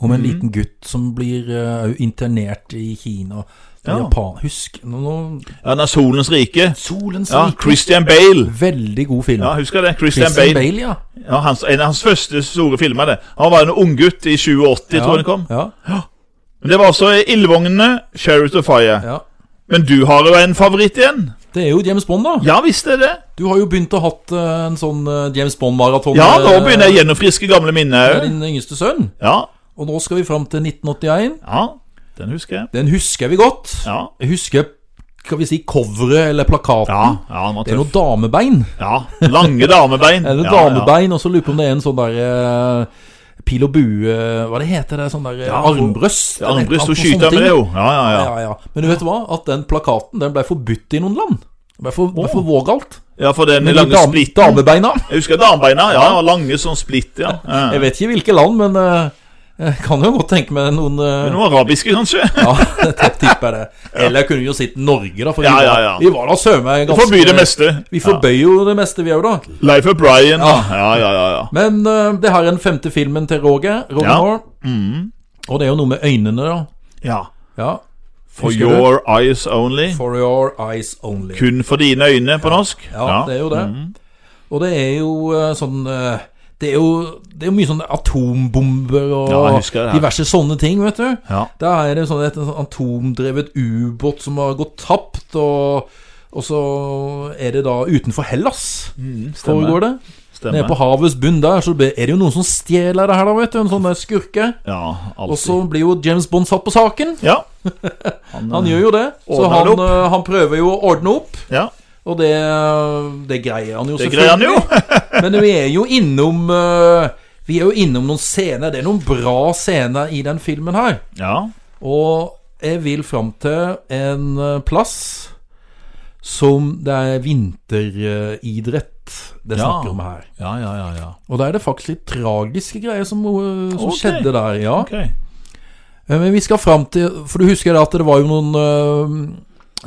Speaker 1: om
Speaker 2: Mhm.
Speaker 1: en liten gutt som blir eh, internert i Kina. i
Speaker 2: Ja.
Speaker 1: Japan. Husk nå, nå,
Speaker 2: Ja, den er Solens rike.
Speaker 1: Solens
Speaker 2: Ja,
Speaker 1: rike.
Speaker 2: Christian Bale.
Speaker 1: Veldig god film.
Speaker 2: Ja, Husker jeg det? Christian
Speaker 1: Christian
Speaker 2: Bale.
Speaker 1: Bale, ja.
Speaker 2: Ja, hans, en av hans første store filmer. det Han var en unggutt i 87,
Speaker 1: ja.
Speaker 2: tror jeg det kom.
Speaker 1: Ja,
Speaker 2: Men Det var altså Ildvognene, Chariot of Fire.
Speaker 1: ja.
Speaker 2: Men du har jo en favoritt igjen?
Speaker 1: Det er jo James Bond, da.
Speaker 2: Ja visst er det.
Speaker 1: Du har jo begynt å hatt eh, en sånn eh, James Bond-maraton.
Speaker 2: Ja, nå
Speaker 1: eh,
Speaker 2: begynner jeg å gjennomfriske gamle minner
Speaker 1: med
Speaker 2: òg.
Speaker 1: din yngste sønn.
Speaker 2: Ja,
Speaker 1: Og nå skal vi fram til 1981.
Speaker 2: ja, den husker jeg.
Speaker 1: Den husker vi godt.
Speaker 2: Ja,
Speaker 1: Jeg husker skal vi si coveret eller plakaten.
Speaker 2: ja, ja den var
Speaker 1: Det er noe
Speaker 2: tøff.
Speaker 1: damebein.
Speaker 2: Ja,
Speaker 1: (laughs)
Speaker 2: Lange damebein.
Speaker 1: Er det
Speaker 2: Ja,
Speaker 1: damebein, og så lurer jeg på om det er en sånn der eh, Pil og bue Hva det heter det? Sånn der eh,
Speaker 2: Ja, og-
Speaker 1: armbrøst?
Speaker 2: Ja,
Speaker 1: eller et eller annet
Speaker 2: Armbrøst, hun
Speaker 1: sånt
Speaker 2: skyter
Speaker 1: ting.
Speaker 2: med det, jo. Ja, ja,
Speaker 1: Ja,
Speaker 2: ja.
Speaker 1: ja. Men du vet hva? At den plakaten den ble forbudt i noen land. Det ble for, ble for vågalt.
Speaker 2: Ja, for den
Speaker 1: Men de
Speaker 2: lange
Speaker 1: dam-
Speaker 2: splitten.
Speaker 1: damebeina
Speaker 2: Jeg husker damebeina. Ja, lange sånn splitt, ja. ja.
Speaker 1: Jeg vet ikke hvilke land, men eh, jeg kan jo godt tenke meg noen eh,
Speaker 2: Noe arabiske, kanskje?
Speaker 1: (laughs) Ja, det tipper jeg det. Eller jeg kunne jo sett Norge, da. For
Speaker 2: Ja,
Speaker 1: vi,
Speaker 2: ja,
Speaker 1: var-
Speaker 2: ja.
Speaker 1: vi var da søren meg ganske
Speaker 2: Forby det meste.
Speaker 1: Vi forbøy jo det meste, vi òg, da.
Speaker 2: Ja. Life of Brian.
Speaker 1: Ja.
Speaker 2: Ja, ja, ja. ja, ja.
Speaker 1: Men eh, det her er den femte filmen til Roger. Roger
Speaker 2: Ja. Mm.
Speaker 1: Moore. Og det er jo noe med øynene, da.
Speaker 2: ja.
Speaker 1: Ja.
Speaker 2: For
Speaker 1: Husker du?
Speaker 2: your eyes only.
Speaker 1: For your eyes only.
Speaker 2: Kun for dine øyne, på norsk. Mm.
Speaker 1: Ja, det er jo det. Og det er jo eh, sånn eh, det er, jo, det er jo mye sånn atombomber og
Speaker 2: Ja, jeg husker det her.
Speaker 1: diverse sånne ting, vet du.
Speaker 2: Ja.
Speaker 1: Da er det sånn et sånn atomdrevet ubåt som har gått tapt, og, og så er det da utenfor Hellas.
Speaker 2: Mm.
Speaker 1: Mm. Foregår det? Nede på
Speaker 2: Stemmer.
Speaker 1: havets bunn der, så be- er det jo noen som stjeler det her, da, vet du. En sånn der skurke.
Speaker 2: Ja,
Speaker 1: Og så
Speaker 2: alltid.
Speaker 1: blir jo James Bond satt på saken.
Speaker 2: Ja.
Speaker 1: Han gjør jo det. Så
Speaker 2: Ordner
Speaker 1: han,
Speaker 2: det opp.
Speaker 1: eh, han prøver jo å ordne opp,
Speaker 2: ja.
Speaker 1: og det, det greier han jo
Speaker 2: Det greier han jo. (laughs)
Speaker 1: Men vi er jo innom eh, Vi er jo innom noen scener. Det er noen bra scener i den filmen her.
Speaker 2: Ja.
Speaker 1: Og jeg vil fram til en eh, plass som det er vinteridrett det
Speaker 2: Ja.
Speaker 1: snakker om her.
Speaker 2: Ja, ja, ja, ja.
Speaker 1: Og da er det faktisk litt tragiske greier som, eh, som
Speaker 2: Ok.
Speaker 1: skjedde der. Ja.
Speaker 2: Ok.
Speaker 1: Eh, Men vi skal fram til For du husker det at det var jo noen eh,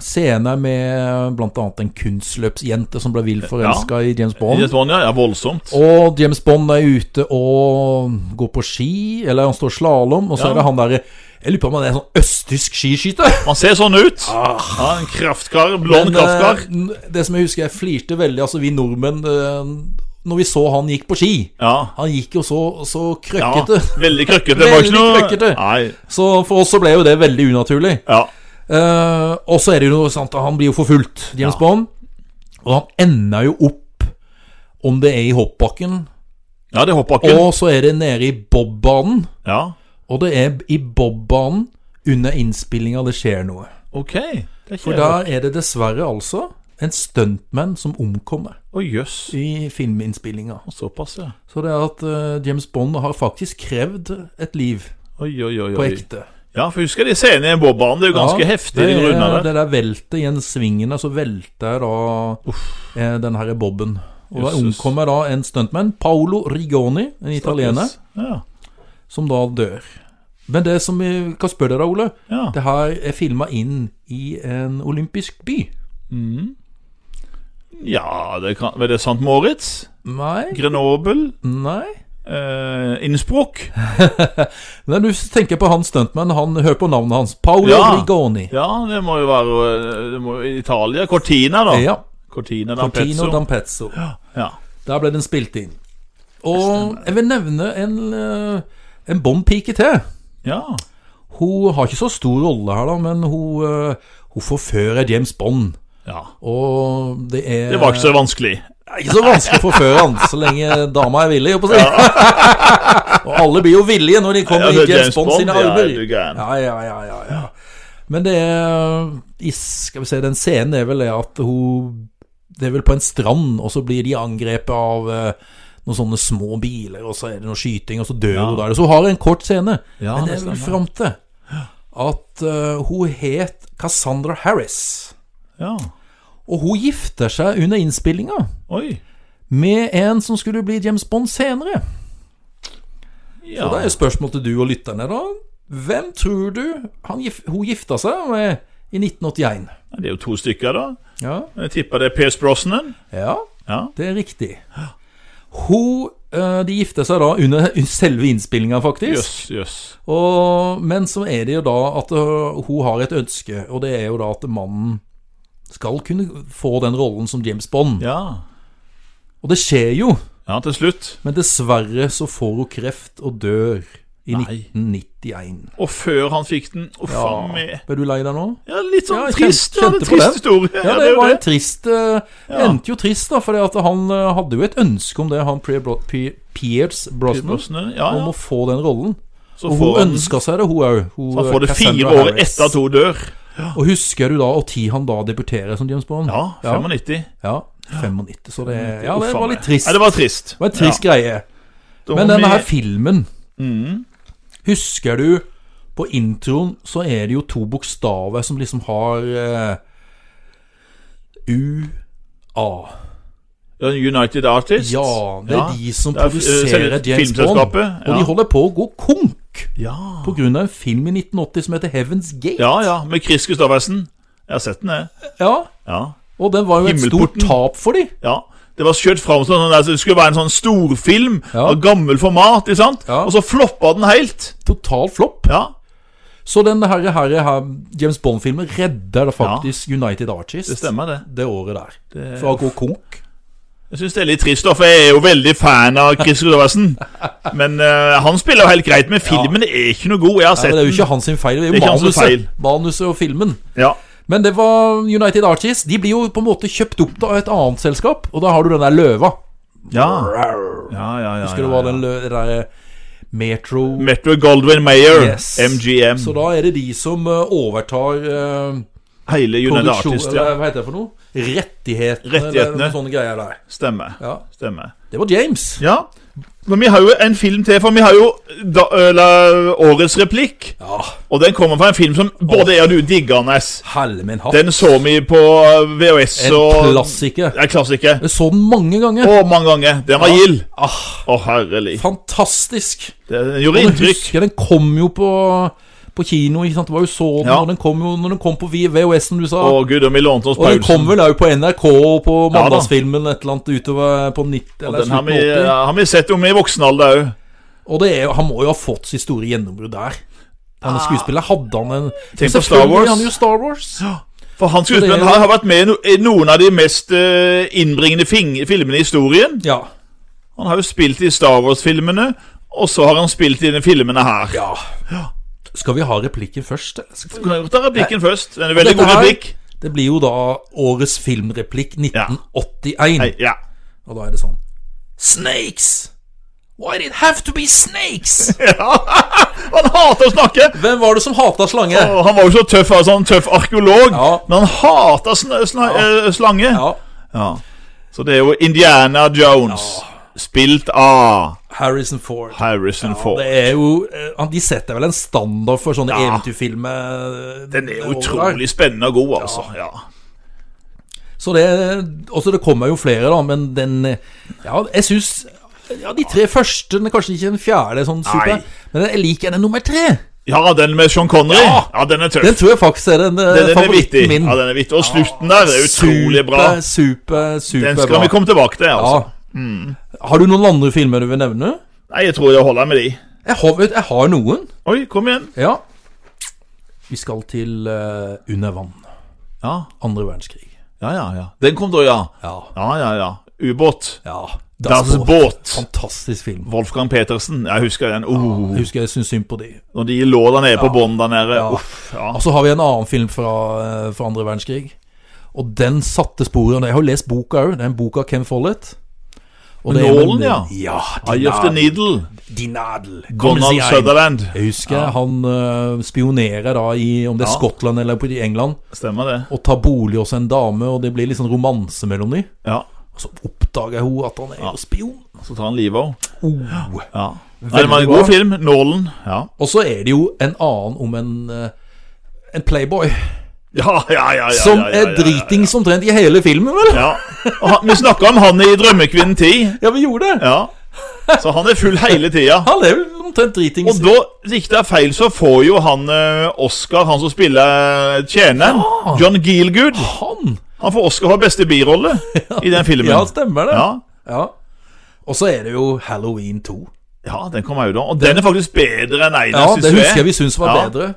Speaker 1: scener med bl.a. en kunstløpsjente som ble vilt forelska i James Bond.
Speaker 2: Jet One, ja. ja, voldsomt.
Speaker 1: Og James Bond er ute og går på ski, eller han står slalåm, og så
Speaker 2: Ja.
Speaker 1: er det han derre Jeg lurer på om han er en sånn østtysk skiskyter.
Speaker 2: Han ser sånn ut. Ja, en kraftkar.
Speaker 1: Ah.
Speaker 2: Blond
Speaker 1: Men, eh,
Speaker 2: kraftkar.
Speaker 1: n- det som jeg husker, jeg flirte veldig, altså vi nordmenn, eh, når vi så han gikk på ski.
Speaker 2: Ja.
Speaker 1: Han gikk jo så, så
Speaker 2: ja.
Speaker 1: krøkkete.
Speaker 2: Veldig krøkkete. Det var ikke noe
Speaker 1: Veldig krøkkete.
Speaker 2: Nei.
Speaker 1: Så for oss så ble jo det veldig unaturlig.
Speaker 2: Ja.
Speaker 1: Eh, og så er det jo noe sant, han blir jo forfulgt, James
Speaker 2: Ja.
Speaker 1: Bond. Og han ender jo opp, om det er i hoppbakken,
Speaker 2: ja, det er hoppbakken.
Speaker 1: og så er det nede i bobbanen.
Speaker 2: Ja.
Speaker 1: Og det er i bobbanen under innspillinga det skjer noe.
Speaker 2: Ok. Det er
Speaker 1: For der er det dessverre altså en stuntman som omkommer
Speaker 2: Å, jøss.
Speaker 1: i filminnspillinga.
Speaker 2: Såpass, ja.
Speaker 1: Så det er at eh, James Bond har faktisk krevd et liv
Speaker 2: Oi, oi, oi.
Speaker 1: på
Speaker 2: oi.
Speaker 1: ekte.
Speaker 2: Ja, for husker de scenene i bobbanen. Det er jo ganske heftig.
Speaker 1: det,
Speaker 2: de
Speaker 1: er-
Speaker 2: rundene der.
Speaker 1: det der veltet i en svingen, så velter da eh, den herre Bobben. Og da
Speaker 2: Jesus.
Speaker 1: omkommer da en stuntman, Paolo Rigoni, en italiener,
Speaker 2: Ja.
Speaker 1: som da dør. Men det som vi kan spørre deg, Ole,
Speaker 2: ja.
Speaker 1: det her er filma inn i en olympisk by.
Speaker 2: ja det kan Var det St. Moritz?
Speaker 1: Nei,
Speaker 2: Grenoble?
Speaker 1: nei
Speaker 2: Eh, Innsbruck?
Speaker 1: Nei, du tenker på han stuntman, han hører på navnet hans. Paolo
Speaker 2: Ja.
Speaker 1: Rigoni.
Speaker 2: Ja, det må jo være eh, det må, Italia. Cortina, da.
Speaker 1: Ja.
Speaker 2: Cortina
Speaker 1: Cortino
Speaker 2: d'Ampezzo.
Speaker 1: Dampezzo.
Speaker 2: Ja.
Speaker 1: Der ble den spilt inn. Og jeg vil nevne en eh, en bompike til.
Speaker 2: Ja.
Speaker 1: Hun har ikke så stor rolle her, da, men hun, eh, hun forfører James Bond.
Speaker 2: ja.
Speaker 1: Og det er
Speaker 2: Det var ikke så vanskelig.
Speaker 1: Det er ikke så vanskelig å forføre han, så lenge dama er villig. holdt på å si. (laughs) og alle blir jo villige når de kommer
Speaker 2: Ja,
Speaker 1: i James Bond sine
Speaker 2: ja,
Speaker 1: armer.
Speaker 2: er du gæren.
Speaker 1: Ja, ja, ja, ja, ja. Men det er i- Skal vi se, den scenen er vel det at hun Det er vel på en strand, og så blir de angrepet av eh, noen sånne små biler, og så er det noe skyting, og så dør hun der. Så hun har en kort scene,
Speaker 2: Ja,
Speaker 1: men det
Speaker 2: det
Speaker 1: er vel
Speaker 2: stemmer.
Speaker 1: fram til at eh, hun het Cassandra Harris.
Speaker 2: Ja.
Speaker 1: Og hun gifter seg under innspillinga
Speaker 2: Oi.
Speaker 1: med en som skulle bli James Bond senere.
Speaker 2: Ja.
Speaker 1: Og da er jo spørsmålet til du og lytterne, da. Hvem tror du han, gif- hun gifta seg med i 1981?
Speaker 2: Det er jo to stykker, da.
Speaker 1: Ja.
Speaker 2: Jeg tipper det er Pierce Brosnan.
Speaker 1: ja,
Speaker 2: Ja.
Speaker 1: det er riktig. Hun eh, De gifter seg da under (laughs) selve innspillinga, faktisk.
Speaker 2: Jøss, jøss.
Speaker 1: Og, men så er det jo da at øh, hun har et ønske, og det er jo da at mannen skal kunne få den rollen som James Bond.
Speaker 2: Ja.
Speaker 1: Og det skjer jo,
Speaker 2: ja, til slutt.
Speaker 1: men dessverre så får hun kreft og dør i
Speaker 2: Nei.
Speaker 1: 1991.
Speaker 2: Og før han fikk den Uff a meg.
Speaker 1: Ble du lei deg nå?
Speaker 2: Ja, litt sånn
Speaker 1: Ja, jeg
Speaker 2: trist.
Speaker 1: kjente-
Speaker 2: ja,
Speaker 1: kjente
Speaker 2: det
Speaker 1: på
Speaker 2: er trist historie.
Speaker 1: Ja,
Speaker 2: er
Speaker 1: det
Speaker 2: jo
Speaker 1: var en trist eh, Det
Speaker 2: Ja.
Speaker 1: endte jo trist, da, for han eh, hadde jo et ønske om det, han Pierre Bro- Pi- Pierce
Speaker 2: Pierce
Speaker 1: Brosnan,
Speaker 2: Brosnan, Ja,
Speaker 1: om
Speaker 2: ja.
Speaker 1: å få den rollen.
Speaker 2: Så
Speaker 1: Og
Speaker 2: får
Speaker 1: hun
Speaker 2: han,
Speaker 1: ønska seg det, hun òg.
Speaker 2: han får det fire år etter at hun dør.
Speaker 1: Og husker du da og tid han da debuterer som James Bond?
Speaker 2: Ja, 95.
Speaker 1: Ja, 95, så det Ja, det
Speaker 2: Uff a
Speaker 1: var
Speaker 2: Mm. meg.
Speaker 1: litt trist.
Speaker 2: Ja, det var trist.
Speaker 1: Det var en trist greie.
Speaker 2: Da
Speaker 1: Men
Speaker 2: må
Speaker 1: denne
Speaker 2: vi-
Speaker 1: her filmen
Speaker 2: Mm.
Speaker 1: Husker du på introen så er det jo to bokstaver som liksom har eh, UA.
Speaker 2: Ja, United Artists.
Speaker 1: Ja, det er
Speaker 2: Ja.
Speaker 1: de som
Speaker 2: Det er, eh,
Speaker 1: produserer
Speaker 2: selve
Speaker 1: James Bond.
Speaker 2: filmselskapet,
Speaker 1: Og
Speaker 2: ja.
Speaker 1: de holder på å gå konk
Speaker 2: Ja.
Speaker 1: pga. en film i 1980 som heter Heaven's Gate.
Speaker 2: ja, ja. Med Chris Gustaffersen. Jeg har sett den, jeg.
Speaker 1: Ja,
Speaker 2: Ja.
Speaker 1: Og den var jo et stort
Speaker 2: Himmelporten.
Speaker 1: tap for de.
Speaker 2: ja. Det var skjøtt fram som sånn der, så det skulle være en sånn storfilm
Speaker 1: Ja.
Speaker 2: av gammel format. ikke sant?
Speaker 1: Ja.
Speaker 2: Og så floppa den helt.
Speaker 1: Total flopp.
Speaker 2: Ja,
Speaker 1: Så den her, her, her James Bond-filmen redder da faktisk United Artists
Speaker 2: det stemmer, det.
Speaker 1: det året der.
Speaker 2: Det-
Speaker 1: Fra å gå konk.
Speaker 2: Jeg syns det er litt trist, da, for jeg er jo veldig fan av
Speaker 1: (laughs)
Speaker 2: Chris Gustaffersen. Men eh, han spiller jo helt greit, men filmen er ikke noe god. Jeg har
Speaker 1: Ja, men
Speaker 2: sett
Speaker 1: det er jo ikke
Speaker 2: (laughs) den.
Speaker 1: hans sin feil, det er
Speaker 2: Det
Speaker 1: jo
Speaker 2: er ikke hans sin
Speaker 1: manuset, manuset og filmen.
Speaker 2: Ja.
Speaker 1: Men det var United Artists. De blir jo på en måte kjøpt opp av et annet selskap, og da har du den der løva.
Speaker 2: Ja. Ja, ja, ja,
Speaker 1: Husker du
Speaker 2: ja,
Speaker 1: hva
Speaker 2: ja.
Speaker 1: den lø det der eh, Metro
Speaker 2: Metro Goldwyn Mayer,
Speaker 1: Yes.
Speaker 2: MGM.
Speaker 1: Så da er det de som eh, overtar eh,
Speaker 2: Hele United
Speaker 1: produksjon
Speaker 2: Artists,
Speaker 1: Eller
Speaker 2: ja.
Speaker 1: hva heter det for noe? Rettighetene,
Speaker 2: Rettighetene.
Speaker 1: eller noen sånne greier der.
Speaker 2: Stemmer.
Speaker 1: Ja.
Speaker 2: Stemmer.
Speaker 1: Det var James.
Speaker 2: Ja. Men vi har jo en film til, for vi har jo da, eller, årets replikk.
Speaker 1: Ja,
Speaker 2: Og den kommer fra en film som både jeg og du digger, Nes.
Speaker 1: helle min hatt.
Speaker 2: Den så vi på eh, VHS
Speaker 1: En
Speaker 2: og
Speaker 1: klassiker.
Speaker 2: Ja, klassiker.
Speaker 1: Jeg så den mange ganger.
Speaker 2: Og mange ganger. Den var gild.
Speaker 1: Ah,
Speaker 2: Å, herlig.
Speaker 1: fantastisk.
Speaker 2: Den gjorde
Speaker 1: Jeg
Speaker 2: inntrykk.
Speaker 1: husker den kom jo på, på kino, ikke sant? Det var jo så den,
Speaker 2: Ja.
Speaker 1: og den kom jo når den kom på V- VHS, som du sa.
Speaker 2: Å, gud, og vi lånte oss
Speaker 1: og den kom
Speaker 2: pausen.
Speaker 1: vel òg på NRK og på
Speaker 2: Ja da.
Speaker 1: Mandagsfilmen et eller annet utover på 90 eller
Speaker 2: Den har
Speaker 1: slutten
Speaker 2: vi, eh,
Speaker 1: av 80.
Speaker 2: har vi sett om i voksen alder òg.
Speaker 1: Og det er, jo- han må jo ha fått sitt store gjennombrudd der. Han skuespiller hadde han en
Speaker 2: Tenk
Speaker 1: Men
Speaker 2: på Star
Speaker 1: selvfølgelig
Speaker 2: Wars.
Speaker 1: er Han jo Star Wars.
Speaker 2: For han
Speaker 1: Så
Speaker 2: skuespilleren
Speaker 1: det er jo-
Speaker 2: har, har vært med i no- i noen av de mest eh, innbringende fing filmene i historien.
Speaker 1: Ja.
Speaker 2: Han har jo spilt i Star Wars-filmene, og så har han spilt i de filmene her.
Speaker 1: ja. Skal vi ha replikken først? eller?
Speaker 2: Så kan jeg godt ta replikken først. Den er en veldig
Speaker 1: Dette
Speaker 2: god
Speaker 1: her-
Speaker 2: replikk.
Speaker 1: Det blir jo da årets filmreplikk 1981.
Speaker 2: Nei, ja.
Speaker 1: Og da er det sånn Snakes! Why did it have to be snakes?
Speaker 2: Han hater å snakke!
Speaker 1: (laughs) Hvem var det som hata slange?
Speaker 2: Og han var jo så tøff, altså, en tøff arkeolog,
Speaker 1: Ja.
Speaker 2: men han hater sn sn eh, slange.
Speaker 1: Ja,
Speaker 2: Ja. Så det er jo Indiana Jones, spilt av
Speaker 1: Harrison Ford.
Speaker 2: Harrison
Speaker 1: Ja,
Speaker 2: Ford.
Speaker 1: det er jo eh, han- De setter vel en standard for sånne
Speaker 2: Ja.
Speaker 1: eventyrfilmer. eh,
Speaker 2: Den er jo
Speaker 1: over der.
Speaker 2: utrolig spennende og god, altså. Ja.
Speaker 1: Så det Også det kommer jo flere, da, men den eh, Ja, jeg syns ja, de tre første, men kanskje ikke den fjerde, er sånn super.
Speaker 2: Nei.
Speaker 1: Men jeg liker den nummer tre.
Speaker 2: ja, den med Sean Connery.
Speaker 1: Ja.
Speaker 2: Ja, den er tøff.
Speaker 1: Den tror jeg faktisk er den, eh,
Speaker 2: Den, den er vittig.
Speaker 1: favoritten min.
Speaker 2: Ja, den er vittig. Og slutten der er utrolig bra.
Speaker 1: Super, super, super
Speaker 2: Den skal vi komme tilbake til. altså.
Speaker 1: Ja. Mm. Har du noen andre filmer du vil nevne?
Speaker 2: Nei, jeg tror jeg holder med de.
Speaker 1: Jeg har, vet, jeg har noen.
Speaker 2: Oi, kom igjen.
Speaker 1: Ja. Vi skal til eh, Under vann.
Speaker 2: Ja,
Speaker 1: Andre verdenskrig.
Speaker 2: ja, ja. ja. Den kom da, ja.
Speaker 1: Ja.
Speaker 2: Ja, ja, ja. ubåt.
Speaker 1: Ja.
Speaker 2: Das Boot.
Speaker 1: Fantastisk film.
Speaker 2: Wolfgang Petersen. Jeg husker den. Oh,
Speaker 1: Jeg husker jeg syns synd på de.
Speaker 2: når de lå der nede på bånn der nede.
Speaker 1: Ja.
Speaker 2: Uff, ja.
Speaker 1: Og så har vi en annen film fra, eh, fra andre verdenskrig. Og den satte sporet. Jeg har jo lest boka òg. Den boka Ken Follett. Og det er
Speaker 2: Nålen,
Speaker 1: vel-
Speaker 2: ja.
Speaker 1: ja
Speaker 2: Eye of the Needle.
Speaker 1: Din adel. Kommer
Speaker 2: Donald
Speaker 1: seg inn.
Speaker 2: Sutherland.
Speaker 1: Jeg husker han eh, spionerer da i om det er
Speaker 2: Ja.
Speaker 1: Skottland eller på- i England,
Speaker 2: Stemmer det.
Speaker 1: og tar bolig hos en dame, og det blir litt sånn romanse mellom dem.
Speaker 2: Ja.
Speaker 1: Og så oppdager hun at han er jo spion.
Speaker 2: Så tar han livet av
Speaker 1: Oh.
Speaker 2: ja. Nei, Det var en
Speaker 1: bra.
Speaker 2: god film. Nålen. Ja.
Speaker 1: Og så er det jo en annen om en eh, en playboy
Speaker 2: Ja, ja, ja, ja,
Speaker 1: som
Speaker 2: ja, ja,
Speaker 1: er
Speaker 2: ja,
Speaker 1: dritings omtrent i hele filmen, vel?
Speaker 2: Ja. Og han, vi snakka om han i 'Drømmekvinnen 10'.
Speaker 1: Ja, vi gjorde det.
Speaker 2: Ja. Så han er full hele tida.
Speaker 1: Han er vel omtrent dritings.
Speaker 2: Og da, hvis ikke det er feil, så får jo han eh, Oscar, han som spiller eh, tjeneren, John Gielgud
Speaker 1: han!
Speaker 2: Han får Oscar for beste birolle i den
Speaker 1: (laughs)
Speaker 2: filmen.
Speaker 1: Ja, stemmer det.
Speaker 2: Ja.
Speaker 1: Ja. Og så er det jo Halloween 2.
Speaker 2: Ja, den kom jo da. Og den er faktisk bedre enn
Speaker 1: Ja,
Speaker 2: Einars
Speaker 1: det husker jeg vi syntes var
Speaker 2: Ja.
Speaker 1: bedre.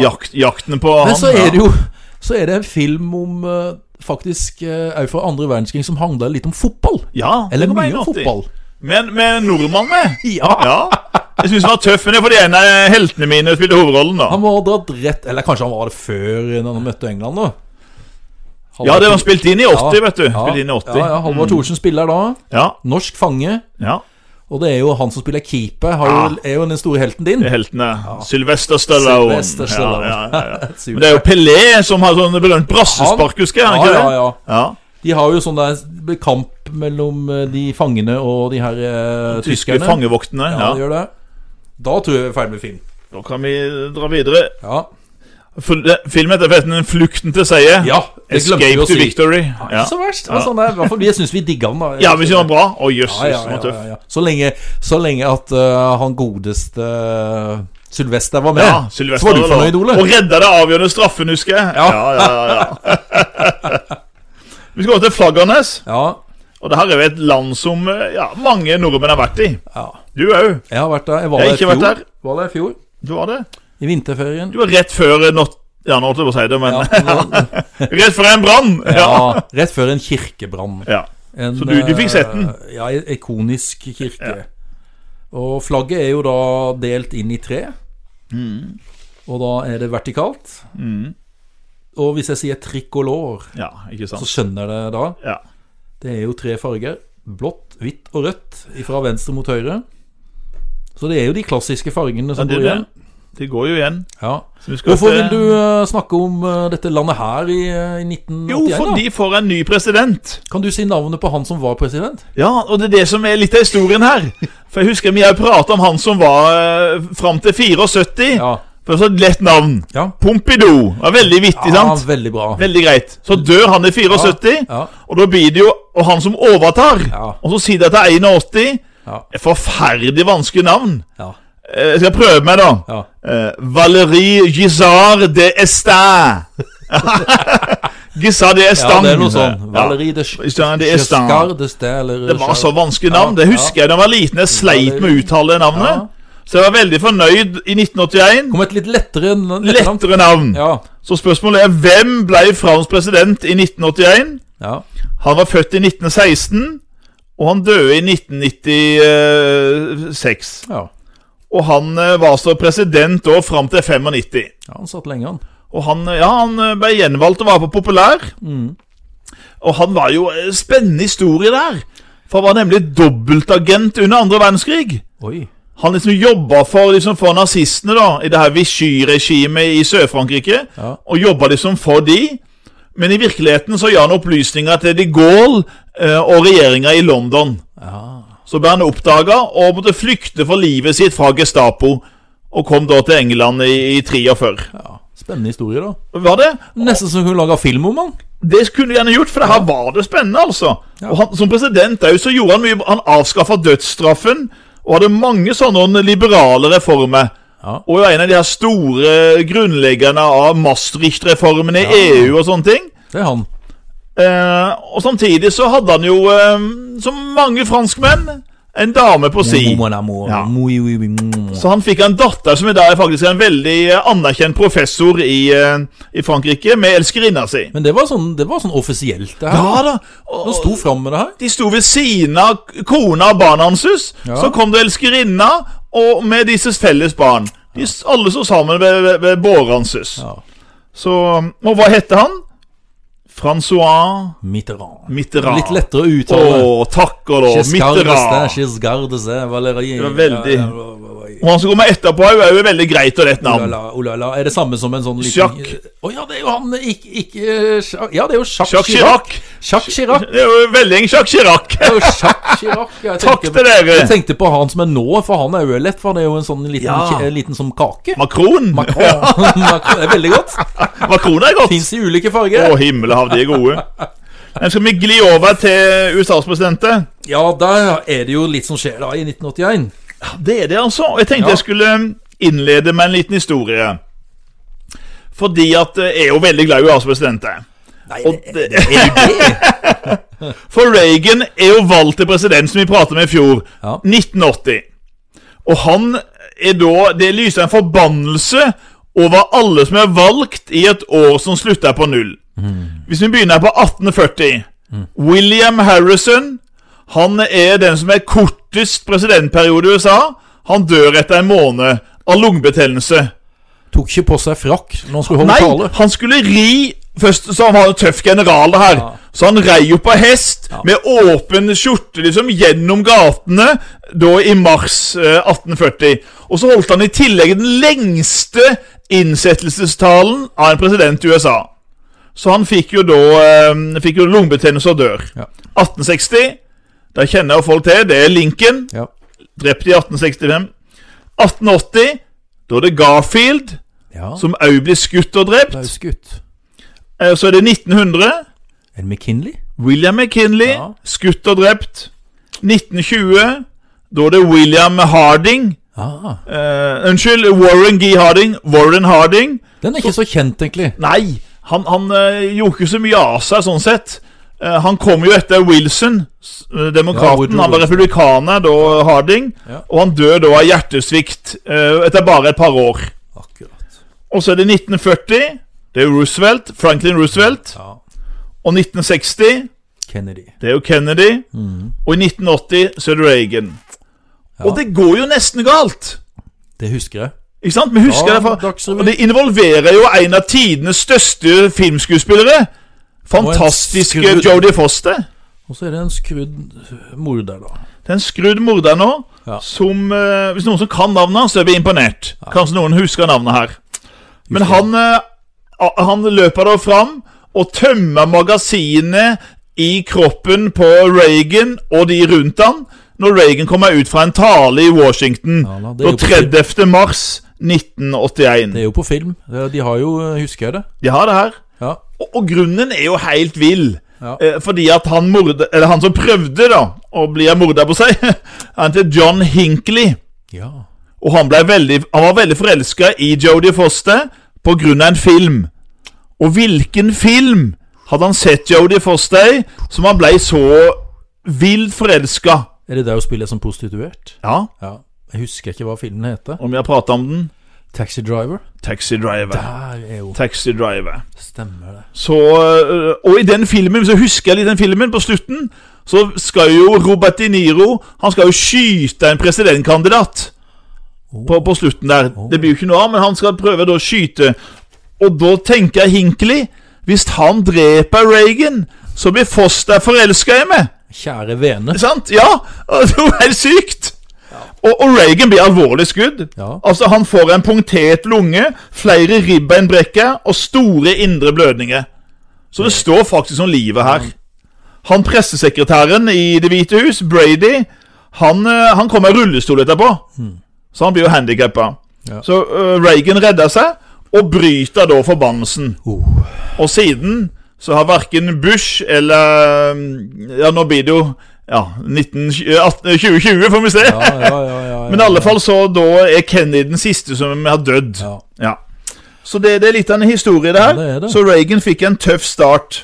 Speaker 2: Jakt, jakten på han.
Speaker 1: Men så
Speaker 2: ja.
Speaker 1: er det jo Så er det en film om eh, Faktisk òg fra andre verdenskrig som handler litt om fotball.
Speaker 2: ja,
Speaker 1: Eller
Speaker 2: den kom
Speaker 1: mye
Speaker 2: i 81.
Speaker 1: fotball.
Speaker 2: Men med nordmann med.
Speaker 1: Ja!
Speaker 2: Ja. Jeg syns den var tøff, men det er fordi en av heltene mine spilte hovedrollen, da.
Speaker 1: Han må ha dratt rett Eller kanskje han var det før når han møtte England, da.
Speaker 2: Ja, det var spilt inn i 80, vet du.
Speaker 1: Ja,
Speaker 2: Spilt inn i Mm. 80.
Speaker 1: Ja, ja, Halvard Thorsen spiller da.
Speaker 2: ja.
Speaker 1: Norsk fange.
Speaker 2: ja.
Speaker 1: Og det er jo han som spiller keeper, har jo, er jo den store helten din.
Speaker 2: Det er heltene. Sylvester Stallone.
Speaker 1: Sylvester Stallone.
Speaker 2: Ja, ja, ja, ja.
Speaker 1: Super.
Speaker 2: Men det er jo Pelé som har sånn belønt brassespark, husker jeg. er han
Speaker 1: ja,
Speaker 2: Ikke
Speaker 1: ja,
Speaker 2: det?
Speaker 1: ja.
Speaker 2: Ja.
Speaker 1: De har jo sånn der kamp mellom eh, de fangene og de her eh,
Speaker 2: Tyske
Speaker 1: tyskerne.
Speaker 2: fangevoktene.
Speaker 1: Ja,
Speaker 2: Ja,
Speaker 1: de gjør det. Da tror jeg vi er ferdig med film.
Speaker 2: Da kan vi dra videre.
Speaker 1: Ja,
Speaker 2: Fil- eh, Filmen heter forresten 'Flukten til seier'.
Speaker 1: ja det glemte vi
Speaker 2: Escape
Speaker 1: å
Speaker 2: to
Speaker 1: si.
Speaker 2: Victory. Ja,
Speaker 1: Ikke så verst. men sånn er det. I hvert fall, jeg syns vi digga den. da
Speaker 2: ja vi synes den var bra. Å, jøss,
Speaker 1: Ja, ja,
Speaker 2: den
Speaker 1: ja,
Speaker 2: var tøff.
Speaker 1: ja, ja. Så, lenge, så lenge at eh, han godeste eh, Sylvester var med,
Speaker 2: Ja, Sylvester
Speaker 1: så var du
Speaker 2: Stallone.
Speaker 1: fornøyd, Ole.
Speaker 2: Og redda det avgjørende straffen, husker jeg.
Speaker 1: Ja.
Speaker 2: ja, ja, (laughs) ja. Vi skal over til Flaggernes.
Speaker 1: Ja,
Speaker 2: Og det her er jo et land som eh, ja, mange nordmenn har vært i.
Speaker 1: ja.
Speaker 2: Du òg.
Speaker 1: Jeg har vært der. Jeg var
Speaker 2: Jeg har
Speaker 1: der i
Speaker 2: ikke vært
Speaker 1: fjor.
Speaker 2: der.
Speaker 1: Var der i fjor.
Speaker 2: Du var det.
Speaker 1: I vinterferien.
Speaker 2: Du var rett før eh, not... Ja, nå holdt jeg på å si det, (laughs) men
Speaker 1: Ja,
Speaker 2: Rett før en brann! Ja.
Speaker 1: ja, rett før en kirkebrann.
Speaker 2: ja.
Speaker 1: En,
Speaker 2: Så du- du fikk sett den?
Speaker 1: eh, Ja, en ikonisk kirke. Og flagget er jo da delt inn i tre.
Speaker 2: Mm.
Speaker 1: Og da er det vertikalt. Og hvis jeg sier tricolor,
Speaker 2: ja. Ikke
Speaker 1: så
Speaker 2: sant.
Speaker 1: skjønner jeg det da.
Speaker 2: Ja.
Speaker 1: Det er jo tre farger. Blått, hvitt og rødt fra venstre mot høyre. Så det er jo de klassiske fargene som
Speaker 2: det er
Speaker 1: går igjen.
Speaker 2: De går jo igjen.
Speaker 1: Ja.
Speaker 2: Så vi skal
Speaker 1: Hvorfor
Speaker 2: til-
Speaker 1: vil du eh, snakke om eh, dette landet her i, eh, i
Speaker 2: Jo,
Speaker 1: 1981?
Speaker 2: for
Speaker 1: da?
Speaker 2: de får en ny president.
Speaker 1: Kan du si navnet på han som var president?
Speaker 2: (laughs) Ja, og det er det som er litt av historien her. For jeg husker vi har pratet om han som var eh, fram til 74.
Speaker 1: Ja.
Speaker 2: For så et lett navn.
Speaker 1: Ja.
Speaker 2: Pompidou. Det var veldig
Speaker 1: ja
Speaker 2: vittig, sant?
Speaker 1: veldig bra.
Speaker 2: Veldig greit. Så dør han i 74,
Speaker 1: Ja.
Speaker 2: og da blir det jo og han som overtar.
Speaker 1: Ja.
Speaker 2: Og så sier de at det er 81.
Speaker 1: Ja.
Speaker 2: Et Forferdelig vanskelig navn.
Speaker 1: Ja.
Speaker 2: Eh, Jeg skal prøve meg, da.
Speaker 1: ja.
Speaker 2: Eh, Valérie Gisard de Estin. (laughs) Gisard de Estin.
Speaker 1: Ja, det er noe sånn. Valerie de
Speaker 2: Ja. Gisard de Estin.
Speaker 1: Chascar de Stel, eller
Speaker 2: Det var så vanskelig
Speaker 1: Ja,
Speaker 2: navn. Det husker jeg da jeg var liten. Jeg sleit med å uttale navnet. Så jeg var veldig fornøyd i 1981.
Speaker 1: Kom et litt lettere enn etternavn.
Speaker 2: Lettere navn.
Speaker 1: Ja.
Speaker 2: Så spørsmålet er hvem ble Frans president i 1981?
Speaker 1: ja.
Speaker 2: Han var født i 1916, og han døde i 1996.
Speaker 1: ja.
Speaker 2: Og han eh, var så president da fram til 95.
Speaker 1: Ja, han satt lenge, han.
Speaker 2: Og han, ja, han eh, ble gjenvalgt og var på populær.
Speaker 1: Mm.
Speaker 2: Og han var jo eh, spennende historie der. For han var nemlig dobbeltagent under andre verdenskrig.
Speaker 1: Oi.
Speaker 2: Han liksom jobba for, liksom for nazistene da, i det her Vichy-regimet i Sør-Frankrike.
Speaker 1: Ja.
Speaker 2: Og jobba liksom for de. Men i virkeligheten så gjør han opplysninger til de Gaulle eh, og regjeringa i London. Så ble han oppdaga og måtte flykte for livet sitt fra Gestapo. Og kom da til England i, i 43.
Speaker 1: Ja. Spennende historie, da.
Speaker 2: Var det?
Speaker 1: Nesten som hun laga film om han.
Speaker 2: Det skulle du gjerne gjort, for det her var det spennende, altså. Og han, som president òg, så gjorde han mye Han avskaffa dødsstraffen og hadde mange sånne liberale reformer.
Speaker 1: Ja.
Speaker 2: Og var en av de her store grunnleggerne av Maastricht-reformene i EU og sånne ting.
Speaker 1: Det er han.
Speaker 2: Eh, og samtidig så hadde han jo, eh, som mange franskmenn, en dame på si.
Speaker 1: Mon amour.
Speaker 2: Ja.
Speaker 1: Muy, oui, oui, mm.
Speaker 2: Så han fikk en datter som i dag er faktisk en veldig eh, anerkjent professor i, eh, i Frankrike, med elskerinna si.
Speaker 1: Men det var sånn, det var sånn offisielt, det her.
Speaker 2: Ja da, og,
Speaker 1: Han sto fram med det her.
Speaker 2: De sto ved siden av kona og barna hans.
Speaker 1: Ja.
Speaker 2: Så kom det elskerinna og med disses felles barn. De, s- alle sto sammen ved, ved, ved båret hans.
Speaker 1: Ja.
Speaker 2: Så, Og hva hette han? Francois
Speaker 1: Mitterrand.
Speaker 2: Mitterrand.
Speaker 1: Litt lettere å
Speaker 2: Å,
Speaker 1: uttale.
Speaker 2: takk og lov.
Speaker 1: Giscard d'Estaing,
Speaker 2: Mitterrand.
Speaker 1: Giscard d'Estaing, Valérie
Speaker 2: var veldig-
Speaker 1: Ja, ja, ja, ja, ja.
Speaker 2: Og han som kommer etterpå, er jo- er jo et veldig greit og lett navn.
Speaker 1: Olala, olala. Er det samme som en sånn liten
Speaker 2: Jacques.
Speaker 1: Å ja, det er jo han ikke, ikke eh, Sja- Ja, det er jo Jacques
Speaker 2: Jacques
Speaker 1: Chirac.
Speaker 2: Chirac.
Speaker 1: Jacques Chirac.
Speaker 2: Det er jo veldig en Jacques Chirac.
Speaker 1: Det er jo Jacques Chirac. Jeg
Speaker 2: Takk
Speaker 1: tenker-
Speaker 2: til dere.
Speaker 1: Jeg tenkte på han som er nå, for han er jo lett, for han er jo en sånn liten,
Speaker 2: Ja.
Speaker 1: en liten som kake. Macron.
Speaker 2: Macron.
Speaker 1: (laughs) Macron. Det er veldig godt.
Speaker 2: Macron er godt.
Speaker 1: Fins i ulike
Speaker 2: Å,
Speaker 1: farger.
Speaker 2: himmelhav, de
Speaker 1: (laughs)
Speaker 2: er gode. Men skal vi gli over til USAs presidenter?
Speaker 1: Ja, der er det jo litt som skjer da i 1981.
Speaker 2: Det er det, altså. Og Jeg
Speaker 1: Ja.
Speaker 2: tenkte jeg skulle um, innlede med en liten historie. Fordi at eh, jeg er jo veldig glad i USAs presidenter.
Speaker 1: Nei,
Speaker 2: Og
Speaker 1: det, det er jo det.
Speaker 2: For Reagan er jo valgt til president, som vi pratet med i fjor.
Speaker 1: Ja.
Speaker 2: 1980. Og han er da Det lyser en forbannelse over alle som er valgt i et år som slutter på null. Hvis vi begynner på 1840 William Harrison Han er den som er kortest presidentperiode i USA. Han dør etter en måned av lungebetennelse.
Speaker 1: Tok ikke på seg frakk når han skulle holde
Speaker 2: Nei,
Speaker 1: tale.
Speaker 2: han skulle ri Først så han var en tøff general det her
Speaker 1: Ja.
Speaker 2: Så han rei jo på hest Med åpen skjorte liksom gjennom gatene Da i mars eh, 1840 Og så holdt han i tillegg den lengste Innsettelsestalen Av en president i USA Så han fikk jo da eh, Fikk jo lungebetennelse og dør
Speaker 1: Ja.
Speaker 2: 1860 Da kjenner jo folk til, det er Lincoln
Speaker 1: Ja.
Speaker 2: Drept i 1865 1880 Da er det Garfield
Speaker 1: ja.
Speaker 2: som òg blir skutt og drept.
Speaker 1: Blauskutt.
Speaker 2: Eh, Så er det 1900.
Speaker 1: Er det McKinley?
Speaker 2: William McKinley
Speaker 1: Ja.
Speaker 2: skutt og drept. 1920. Da er det William Harding
Speaker 1: Ah,
Speaker 2: eh, Unnskyld, Warren G. Harding. Warren Harding.
Speaker 1: den er ikke så kjent, egentlig.
Speaker 2: Nei, han, han eh, gjorde ikke så mye av seg sånn sett. Eh, han kom jo etter Wilson, s- eh,
Speaker 1: Ja,
Speaker 2: demokraten.
Speaker 1: Woodrow
Speaker 2: han var
Speaker 1: Wilson.
Speaker 2: republikaner da, Harding.
Speaker 1: Ja.
Speaker 2: Og han dør da av hjertesvikt eh, etter bare et par år.
Speaker 1: Akkurat.
Speaker 2: Og så er det 1940. Det er Roosevelt, Franklin Roosevelt.
Speaker 1: Ja.
Speaker 2: Og 1960,
Speaker 1: Kennedy.
Speaker 2: det er jo Kennedy.
Speaker 1: Mm.
Speaker 2: Og i 1980 så er det Reagan. Og det går jo nesten galt.
Speaker 1: Det husker jeg.
Speaker 2: Ikke sant? Vi husker
Speaker 1: Ja,
Speaker 2: det fra,
Speaker 1: Dagsrevyen.
Speaker 2: Og det involverer jo en av tidenes største filmskuespillere. Fantastiske
Speaker 1: Og en skrudd-
Speaker 2: Jodie Foster.
Speaker 1: Og så er det en skrudd morder, da.
Speaker 2: Det er en skrudd morder nå.
Speaker 1: Ja.
Speaker 2: Som, eh, hvis noen som kan navnet hans, så er vi imponert. Kanskje noen husker navnet her. Men
Speaker 1: Just
Speaker 2: han, eh, a- han løper da fram og tømmer magasinet i kroppen på Reagan og de rundt han når Reagan kommer ut fra en tale i Washington
Speaker 1: Ja, da, det er
Speaker 2: da
Speaker 1: jo på
Speaker 2: 30. mars 1981.
Speaker 1: Det er jo på film. Det- De har jo eh, Husker jeg det?
Speaker 2: De har det her.
Speaker 1: Ja.
Speaker 2: Og, og grunnen er jo helt vill.
Speaker 1: Ja.
Speaker 2: Eh, fordi at han morde, Eller han som prøvde da å bli en morder på seg, (laughs) han heter John Hinckley.
Speaker 1: ja.
Speaker 2: Og han, ble veldig, han var veldig forelska i Jodie Foster på grunn av en film. Og hvilken film hadde han sett Jodie Foster i som han ble så vilt forelska?
Speaker 1: Er det der hun spiller som prostituert?
Speaker 2: Ja,
Speaker 1: Ja. Jeg husker ikke hva filmen heter.
Speaker 2: om vi har prata om den.
Speaker 1: Taxi Driver.
Speaker 2: Taxi Driver.
Speaker 1: Der er hun.
Speaker 2: Taxi Driver.
Speaker 1: Stemmer det.
Speaker 2: Så, øh, og i den filmen, så husker jeg litt den filmen, på slutten så skal jo Robert De Niro Han skal jo skyte en presidentkandidat på, på slutten der. Det blir jo ikke noe av, men han skal prøve da å skyte. Og da tenker jeg Hinckley Hvis han dreper Reagan, så blir Foster forelska i meg.
Speaker 1: Kjære vene.
Speaker 2: Sant? Ja! (laughs) Det var helt sykt! Og, og Reagan blir alvorlig skudd.
Speaker 1: Ja.
Speaker 2: Altså Han får en punktert lunge, flere ribbeinbrekker og store indre blødninger. Så det står faktisk om livet her. Han pressesekretæren i Det hvite hus, Brady, han, eh, han kom i rullestol etterpå. Så han blir jo handikappa.
Speaker 1: Ja.
Speaker 2: Så eh, Reagan redder seg, og bryter da forbannelsen.
Speaker 1: Oh.
Speaker 2: Og siden så har verken Bush eller mm, Ja, nå blir det jo ja, eh, 19, 18, 2020, får vi se.
Speaker 1: Ja, ja, ja, ja, ja,
Speaker 2: (laughs) Men i alle fall så da er Kennedy den siste som har dødd.
Speaker 1: Ja.
Speaker 2: Ja. Så det, det er litt av en historie, det her.
Speaker 1: Ja, det er det.
Speaker 2: Så Reagan fikk en tøff start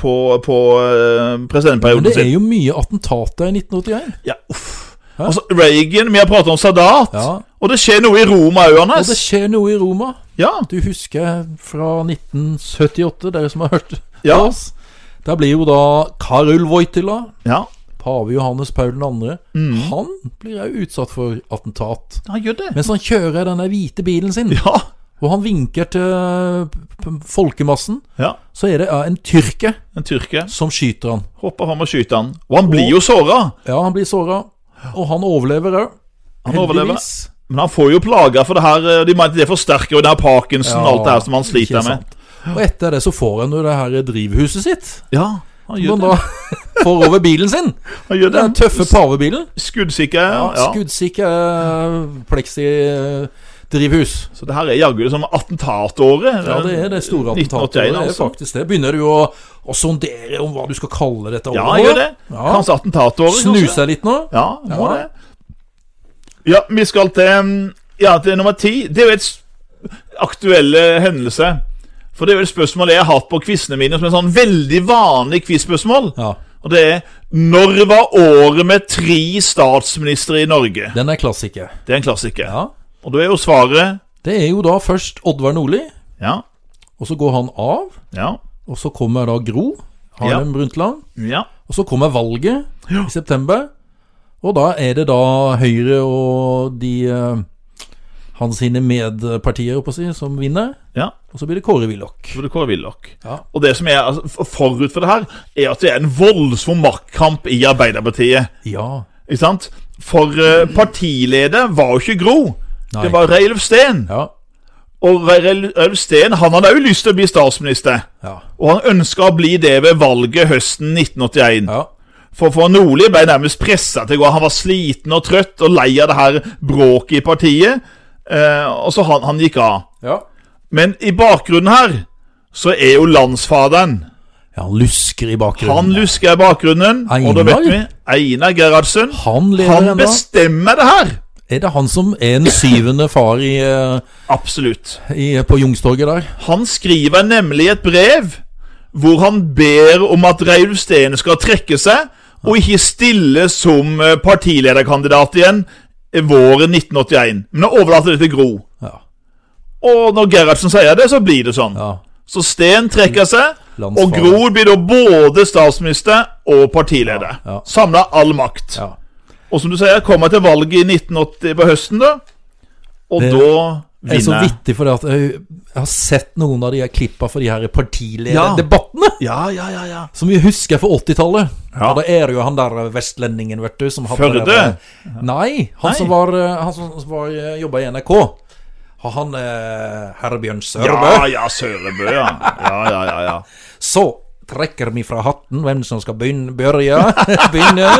Speaker 2: på, på eh,
Speaker 1: Men
Speaker 2: presidentperioden
Speaker 1: det er
Speaker 2: sin.
Speaker 1: jo mye attentater i 1981.
Speaker 2: Ja, uff. Altså, Reagan, vi har pratet om Sadat.
Speaker 1: Ja.
Speaker 2: Og det skjer noe i Roma òg,
Speaker 1: Og det
Speaker 2: Anders.
Speaker 1: skjer noe i Roma.
Speaker 2: Ja.
Speaker 1: Du husker fra 1978, dere som har hørt
Speaker 2: Ja.
Speaker 1: oss. Der blir jo da Karul Wojtyla,
Speaker 2: ja.
Speaker 1: pave Johannes Paul 2.,
Speaker 2: Mm.
Speaker 1: han blir òg utsatt for attentat.
Speaker 2: Han gjør det.
Speaker 1: Mens han kjører denne hvite bilen sin,
Speaker 2: Ja.
Speaker 1: og han vinker til p- p- folkemassen,
Speaker 2: ja.
Speaker 1: så er det eh, en tyrker
Speaker 2: En tyrker
Speaker 1: som skyter han.
Speaker 2: hopper fram og skyter han. Og han blir jo såra,
Speaker 1: Ja, han blir såra, og han overlever òg.
Speaker 2: Han overlever. men han får jo plager for det her. eh, De mener at det forsterker jo det her Parkinson og Sånn alt det her som han sliter med.
Speaker 1: Og etter det så får han jo det her drivhuset sitt.
Speaker 2: Ja, han
Speaker 1: Som
Speaker 2: gjør
Speaker 1: han
Speaker 2: det.
Speaker 1: da (laughs) får over bilen sin.
Speaker 2: Han gjør det.
Speaker 1: Den tøffe pavebilen.
Speaker 2: Skuddsikker.
Speaker 1: Ja,
Speaker 2: Ja.
Speaker 1: Skuddsikker eh, plexidrivhus.
Speaker 2: Så det her er jaggu det som attentatåret.
Speaker 1: Ja, det er det store attentatet.
Speaker 2: 1981,
Speaker 1: Det er
Speaker 2: altså.
Speaker 1: faktisk det. Begynner du å, å sondere om hva du skal kalle dette
Speaker 2: Ja,
Speaker 1: året?
Speaker 2: han gjør det.
Speaker 1: Ja.
Speaker 2: Kanskje attentatåret. kanskje.
Speaker 1: Snuse deg litt nå?
Speaker 2: Ja, må
Speaker 1: Ja.
Speaker 2: det. Ja, vi skal til, mm, ja, til nummer ti. Det er jo et s- aktuelle hendelse. For det er jo et spørsmål jeg har hatt på quizene mine, som er sånn veldig vanlig quizspørsmål.
Speaker 1: Ja.
Speaker 2: Og det er Når var året med tre statsministre i Norge?
Speaker 1: Den er klassiker.
Speaker 2: Det er en klassiker.
Speaker 1: Ja.
Speaker 2: Og da er jo svaret
Speaker 1: Det er jo da først Oddvar Nordli,
Speaker 2: Ja,
Speaker 1: og så går han av.
Speaker 2: ja,
Speaker 1: Og så kommer da Gro Harlem Brundtland.
Speaker 2: ja.
Speaker 1: Og så kommer valget i september. Og da er det da Høyre og de eh, hans sine medpartier oppå si, som vinner.
Speaker 2: ja.
Speaker 1: Og så blir det Kåre Willoch.
Speaker 2: For det Kåre Willoch.
Speaker 1: Ja.
Speaker 2: Og det som er altså, for- forut for det her, er at det er en voldsom maktkamp i Arbeiderpartiet.
Speaker 1: ja.
Speaker 2: Ikke sant? For eh, partileder var jo ikke Gro.
Speaker 1: Nei.
Speaker 2: Det var Reilf Steen.
Speaker 1: Ja.
Speaker 2: Og Reil- Reilf Steen han hadde òg lyst til å bli statsminister.
Speaker 1: Ja.
Speaker 2: Og han ønska å bli det ved valget høsten 1981.
Speaker 1: ja.
Speaker 2: For, for Nordli ble nærmest pressa til å gå. Han var sliten og trøtt og lei av det her bråket i partiet. Eh, og så han, han gikk av.
Speaker 1: ja.
Speaker 2: Men i bakgrunnen her så er jo landsfaderen.
Speaker 1: Ja, han lusker i
Speaker 2: Han
Speaker 1: bakgrunnen.
Speaker 2: lusker i bakgrunnen. Og da vet vi
Speaker 1: Einar?
Speaker 2: Einar Gerhardsen.
Speaker 1: Han lever
Speaker 2: Han
Speaker 1: ennå.
Speaker 2: bestemmer det her!
Speaker 1: Er det han som er en syvende far i, eh,
Speaker 2: Absolutt.
Speaker 1: i, på Youngstorget der?
Speaker 2: Han skriver nemlig et brev hvor han ber om at Reidun Steen skal trekke seg og ikke stille som eh, partilederkandidat igjen eh, våren 1981. Men han overlater det til Gro.
Speaker 1: Ja.
Speaker 2: Og når Gerhardsen sier det, så blir det sånn.
Speaker 1: ja.
Speaker 2: Så Steen trekker seg, og
Speaker 1: Landsfaren.
Speaker 2: Gro blir da både statsminister og partileder.
Speaker 1: Ja, ja.
Speaker 2: Samla all makt.
Speaker 1: ja.
Speaker 2: Og som du sier, kommer til valget i 1980 på høsten, da. Og
Speaker 1: Det
Speaker 2: da
Speaker 1: Det er så
Speaker 2: vinner
Speaker 1: vittig, for at jeg, jeg har sett noen av de her klippa for de her
Speaker 2: Ja.
Speaker 1: partilederdebattene.
Speaker 2: Ja, ja, ja, ja.
Speaker 1: Som vi husker fra 80-tallet. Ja.
Speaker 2: Ja.
Speaker 1: Da er det jo han der eh, vestlendingen, vet du. Som hadde
Speaker 2: Førde?
Speaker 1: det der- Nei, han
Speaker 2: Nei.
Speaker 1: som, var, eh, han som som var, jobba i NRK. Og Han eh, Herbjørn Sørbø.
Speaker 2: Ja, ja, Sørebø, ja. Ja, ja, ja, ja.
Speaker 1: Så trekker vi fra hatten hvem som skal begynne. Børje. (laughs) begynne.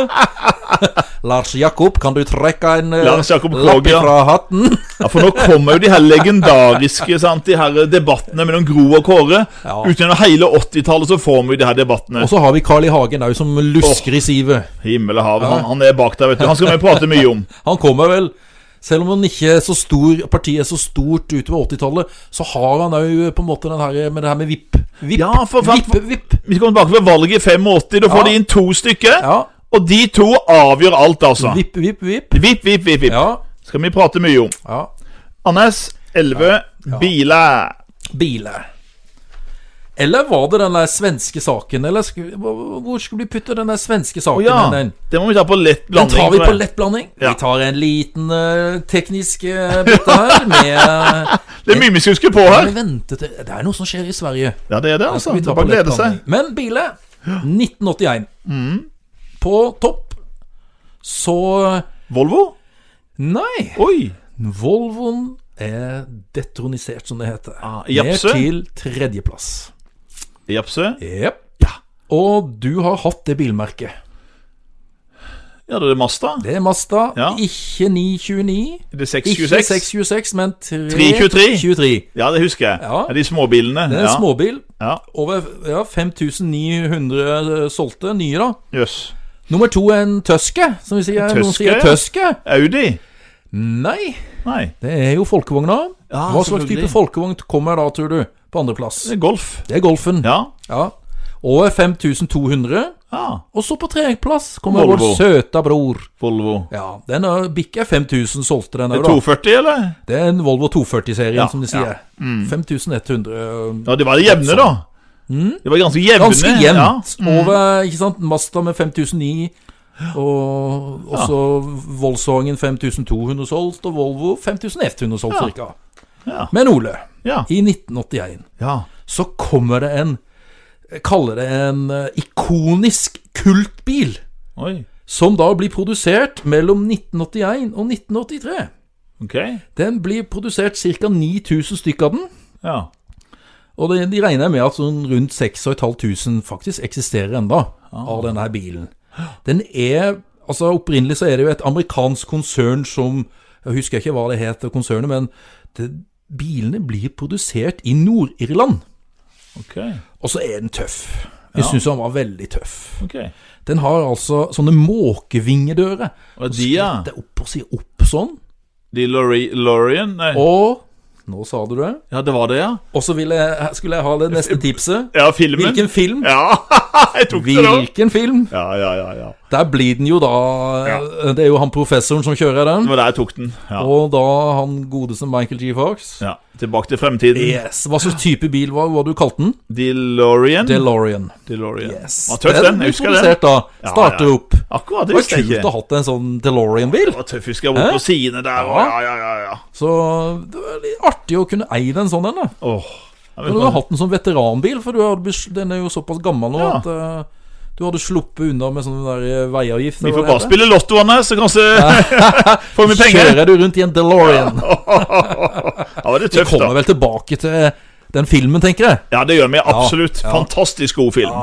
Speaker 1: Lars Jakob, kan du trekke en eh,
Speaker 2: Lars Jakob
Speaker 1: lapp
Speaker 2: Krogh, ja.
Speaker 1: fra
Speaker 2: (laughs)
Speaker 1: hatten?
Speaker 2: ja for nå kommer jo de her legendariske sant, De her debattene mellom Gro og Kåre.
Speaker 1: Ja.
Speaker 2: Utenom hele 80-tallet så får vi jo de her debattene.
Speaker 1: Og så har vi Carl I. Hagen òg, som lusker i sivet.
Speaker 2: Himmel og hav. Han, han er bak der, vet du. Han skal vi prate mye om.
Speaker 1: Han kommer vel Selv om han ikke er så stor partiet er så stort utover 80-tallet, så har han òg på en måte den her med det her med vipp. Vipp,
Speaker 2: Ja, for- for-
Speaker 1: vipp, vipp.
Speaker 2: Vi kommer tilbake ved valget i 85. Da får
Speaker 1: Ja.
Speaker 2: de inn to stykker.
Speaker 1: Ja.
Speaker 2: Og de to avgjør alt, altså.
Speaker 1: Vipp, vipp, vipp.
Speaker 2: Vipp, vipp, vipp. vipp.
Speaker 1: Ja.
Speaker 2: Skal vi prate mye om.
Speaker 1: ja.
Speaker 2: Anders, 11. Biler.
Speaker 1: Biler. Eller var det den der svenske saken? Eller sku, hvor hvor skulle vi putte den der svenske
Speaker 2: Å
Speaker 1: saken?
Speaker 2: ja.
Speaker 1: inn, Den?
Speaker 2: Det må vi ta på lett
Speaker 1: den
Speaker 2: blanding.
Speaker 1: tar vi
Speaker 2: tror jeg.
Speaker 1: på lett blanding.
Speaker 2: Ja.
Speaker 1: Vi tar en liten eh, teknisk uh, bit her med
Speaker 2: (laughs)
Speaker 1: eh,
Speaker 2: Det er mye vi skal huske på her.
Speaker 1: vi venter til- Det er noe som skjer i Sverige.
Speaker 2: Ja, det er det,
Speaker 1: Da
Speaker 2: altså.
Speaker 1: skal vi
Speaker 2: Det
Speaker 1: ta
Speaker 2: er
Speaker 1: på
Speaker 2: bare å glede
Speaker 1: lett
Speaker 2: seg. Mm.
Speaker 1: blanding. Men Bile, 1981. På topp så
Speaker 2: Volvo?
Speaker 1: Nei!
Speaker 2: Oi!
Speaker 1: Volvoen er detronisert, som det heter.
Speaker 2: Ah,
Speaker 1: Ned
Speaker 2: japse.
Speaker 1: til tredjeplass.
Speaker 2: Japse?
Speaker 1: Jepp. Og du har hatt det bilmerket.
Speaker 2: Ja, det er Masta.
Speaker 1: Det er Masta.
Speaker 2: Ja.
Speaker 1: Ikke 929.
Speaker 2: Det er
Speaker 1: Ikke
Speaker 2: 626.
Speaker 1: 626, men 323.
Speaker 2: 323. Ja, det husker jeg.
Speaker 1: Ja.
Speaker 2: Ja. De småbilene.
Speaker 1: Det er en
Speaker 2: ja.
Speaker 1: småbil.
Speaker 2: Ja,
Speaker 1: Over ja, 5900 solgte nye, da.
Speaker 2: Jøss.
Speaker 1: Nummer to er en tøske, som vi sier. Noen
Speaker 2: tøske,
Speaker 1: sier
Speaker 2: ja.
Speaker 1: tøske.
Speaker 2: Audi?
Speaker 1: Nei,
Speaker 2: Nei.
Speaker 1: det er jo folkevogna.
Speaker 2: Ja,
Speaker 1: Hva slags type
Speaker 2: selvfølgelig.
Speaker 1: folkevogn kommer da, tror du, på andreplass?
Speaker 2: Det er Golf.
Speaker 1: Det er Golfen.
Speaker 2: Ja.
Speaker 1: Ja. Over 5200.
Speaker 2: Ah,
Speaker 1: Og så på tredjeplass kommer
Speaker 2: Volvo.
Speaker 1: vår søta bror.
Speaker 2: Volvo.
Speaker 1: Ja, den er- bikker 5000 solgte den
Speaker 2: Er
Speaker 1: òg,
Speaker 2: det
Speaker 1: da.
Speaker 2: 240, eller?
Speaker 1: Det er en Volvo 240-serien,
Speaker 2: Ja, Mm.
Speaker 1: som de sier. 5100.
Speaker 2: Ja, de var jevne, da. De var ganske jevne.
Speaker 1: Mm. Ganske jevnt.
Speaker 2: Ja. Mm.
Speaker 1: Over ikke sant? Mazda med 5009, og og så Volkswagen 5200 solgt, og Volvo 5100 solgt
Speaker 2: Ja.
Speaker 1: cirka.
Speaker 2: Ja.
Speaker 1: Men Ole,
Speaker 2: Ja.
Speaker 1: i 1981
Speaker 2: ja.
Speaker 1: så kommer det en jeg kaller det en eh, ikonisk kultbil,
Speaker 2: Oi.
Speaker 1: som da blir produsert mellom 1981 og 1983.
Speaker 2: Ok.
Speaker 1: Den blir produsert ca. 9000 stykker av den.
Speaker 2: Ja.
Speaker 1: Og de, de regner med at sånn rundt 6500 faktisk eksisterer enda av denne her bilen. Den er Altså Opprinnelig så er det jo et amerikansk konsern som Jeg husker ikke hva det het, det konsernet, men det, bilene blir produsert i Nord-Irland.
Speaker 2: Ok.
Speaker 1: Og så er den tøff. Vi synes syns han var veldig tøff.
Speaker 2: ok.
Speaker 1: Den har altså sånne måkevingedører.
Speaker 2: Og de, ja.
Speaker 1: Det er opp og si opp sånn.
Speaker 2: De Lori- Lorien Nei.
Speaker 1: Og Nå sa du det.
Speaker 2: Ja, det var det, ja.
Speaker 1: Og så ville jeg- skulle jeg ha det neste tipset.
Speaker 2: Ja, filmen.
Speaker 1: Hvilken film?
Speaker 2: Ja, (laughs) jeg tok det, da.
Speaker 1: Hvilken film?
Speaker 2: Ja, ja, ja, ja.
Speaker 1: Der blir den jo da eh, Det er jo han professoren som kjører den.
Speaker 2: Det var der jeg tok den. Ja.
Speaker 1: Og da han godeste Michael G. Fox.
Speaker 2: ja. Tilbake til fremtiden.
Speaker 1: Yes, Hva slags type bil var hva du kalte den?
Speaker 2: DeLorean.
Speaker 1: DeLorean.
Speaker 2: DeLorean.
Speaker 1: Yes.
Speaker 2: Var tøff, den. Jeg husker
Speaker 1: ble
Speaker 2: den.
Speaker 1: produsert da.
Speaker 2: Ja,
Speaker 1: Starter
Speaker 2: ja.
Speaker 1: opp.
Speaker 2: Akkurat,
Speaker 1: Det
Speaker 2: det
Speaker 1: var
Speaker 2: husker jeg
Speaker 1: kult å
Speaker 2: ikke.
Speaker 1: ha hatt en sånn DeLorean-bil.
Speaker 2: Det var tøff, husker jeg, bort på sidene der. og- Ja, ja, ja, ja.
Speaker 1: Så det var litt artig å kunne eie en sånn en. da
Speaker 2: Åh. Ja, men
Speaker 1: Men du har
Speaker 2: man-
Speaker 1: hatt den som veteranbil, for du hadde, bes- den er jo såpass gammel nå
Speaker 2: Ja.
Speaker 1: at eh, du hadde sluppet unna med sånn der eh, veiavgift.
Speaker 2: Vi
Speaker 1: eller
Speaker 2: får
Speaker 1: hva det
Speaker 2: bare
Speaker 1: heter.
Speaker 2: spille Lotto, Anne, så kanskje (laughs) får vi penger.
Speaker 1: Kjører du rundt i en DeLorean?
Speaker 2: Ja, det er
Speaker 1: Vi
Speaker 2: tøft,
Speaker 1: kommer
Speaker 2: da.
Speaker 1: vel tilbake til eh, den filmen, tenker jeg.
Speaker 2: Ja, det gjør vi absolutt.
Speaker 1: Ja, ja.
Speaker 2: Fantastisk god film.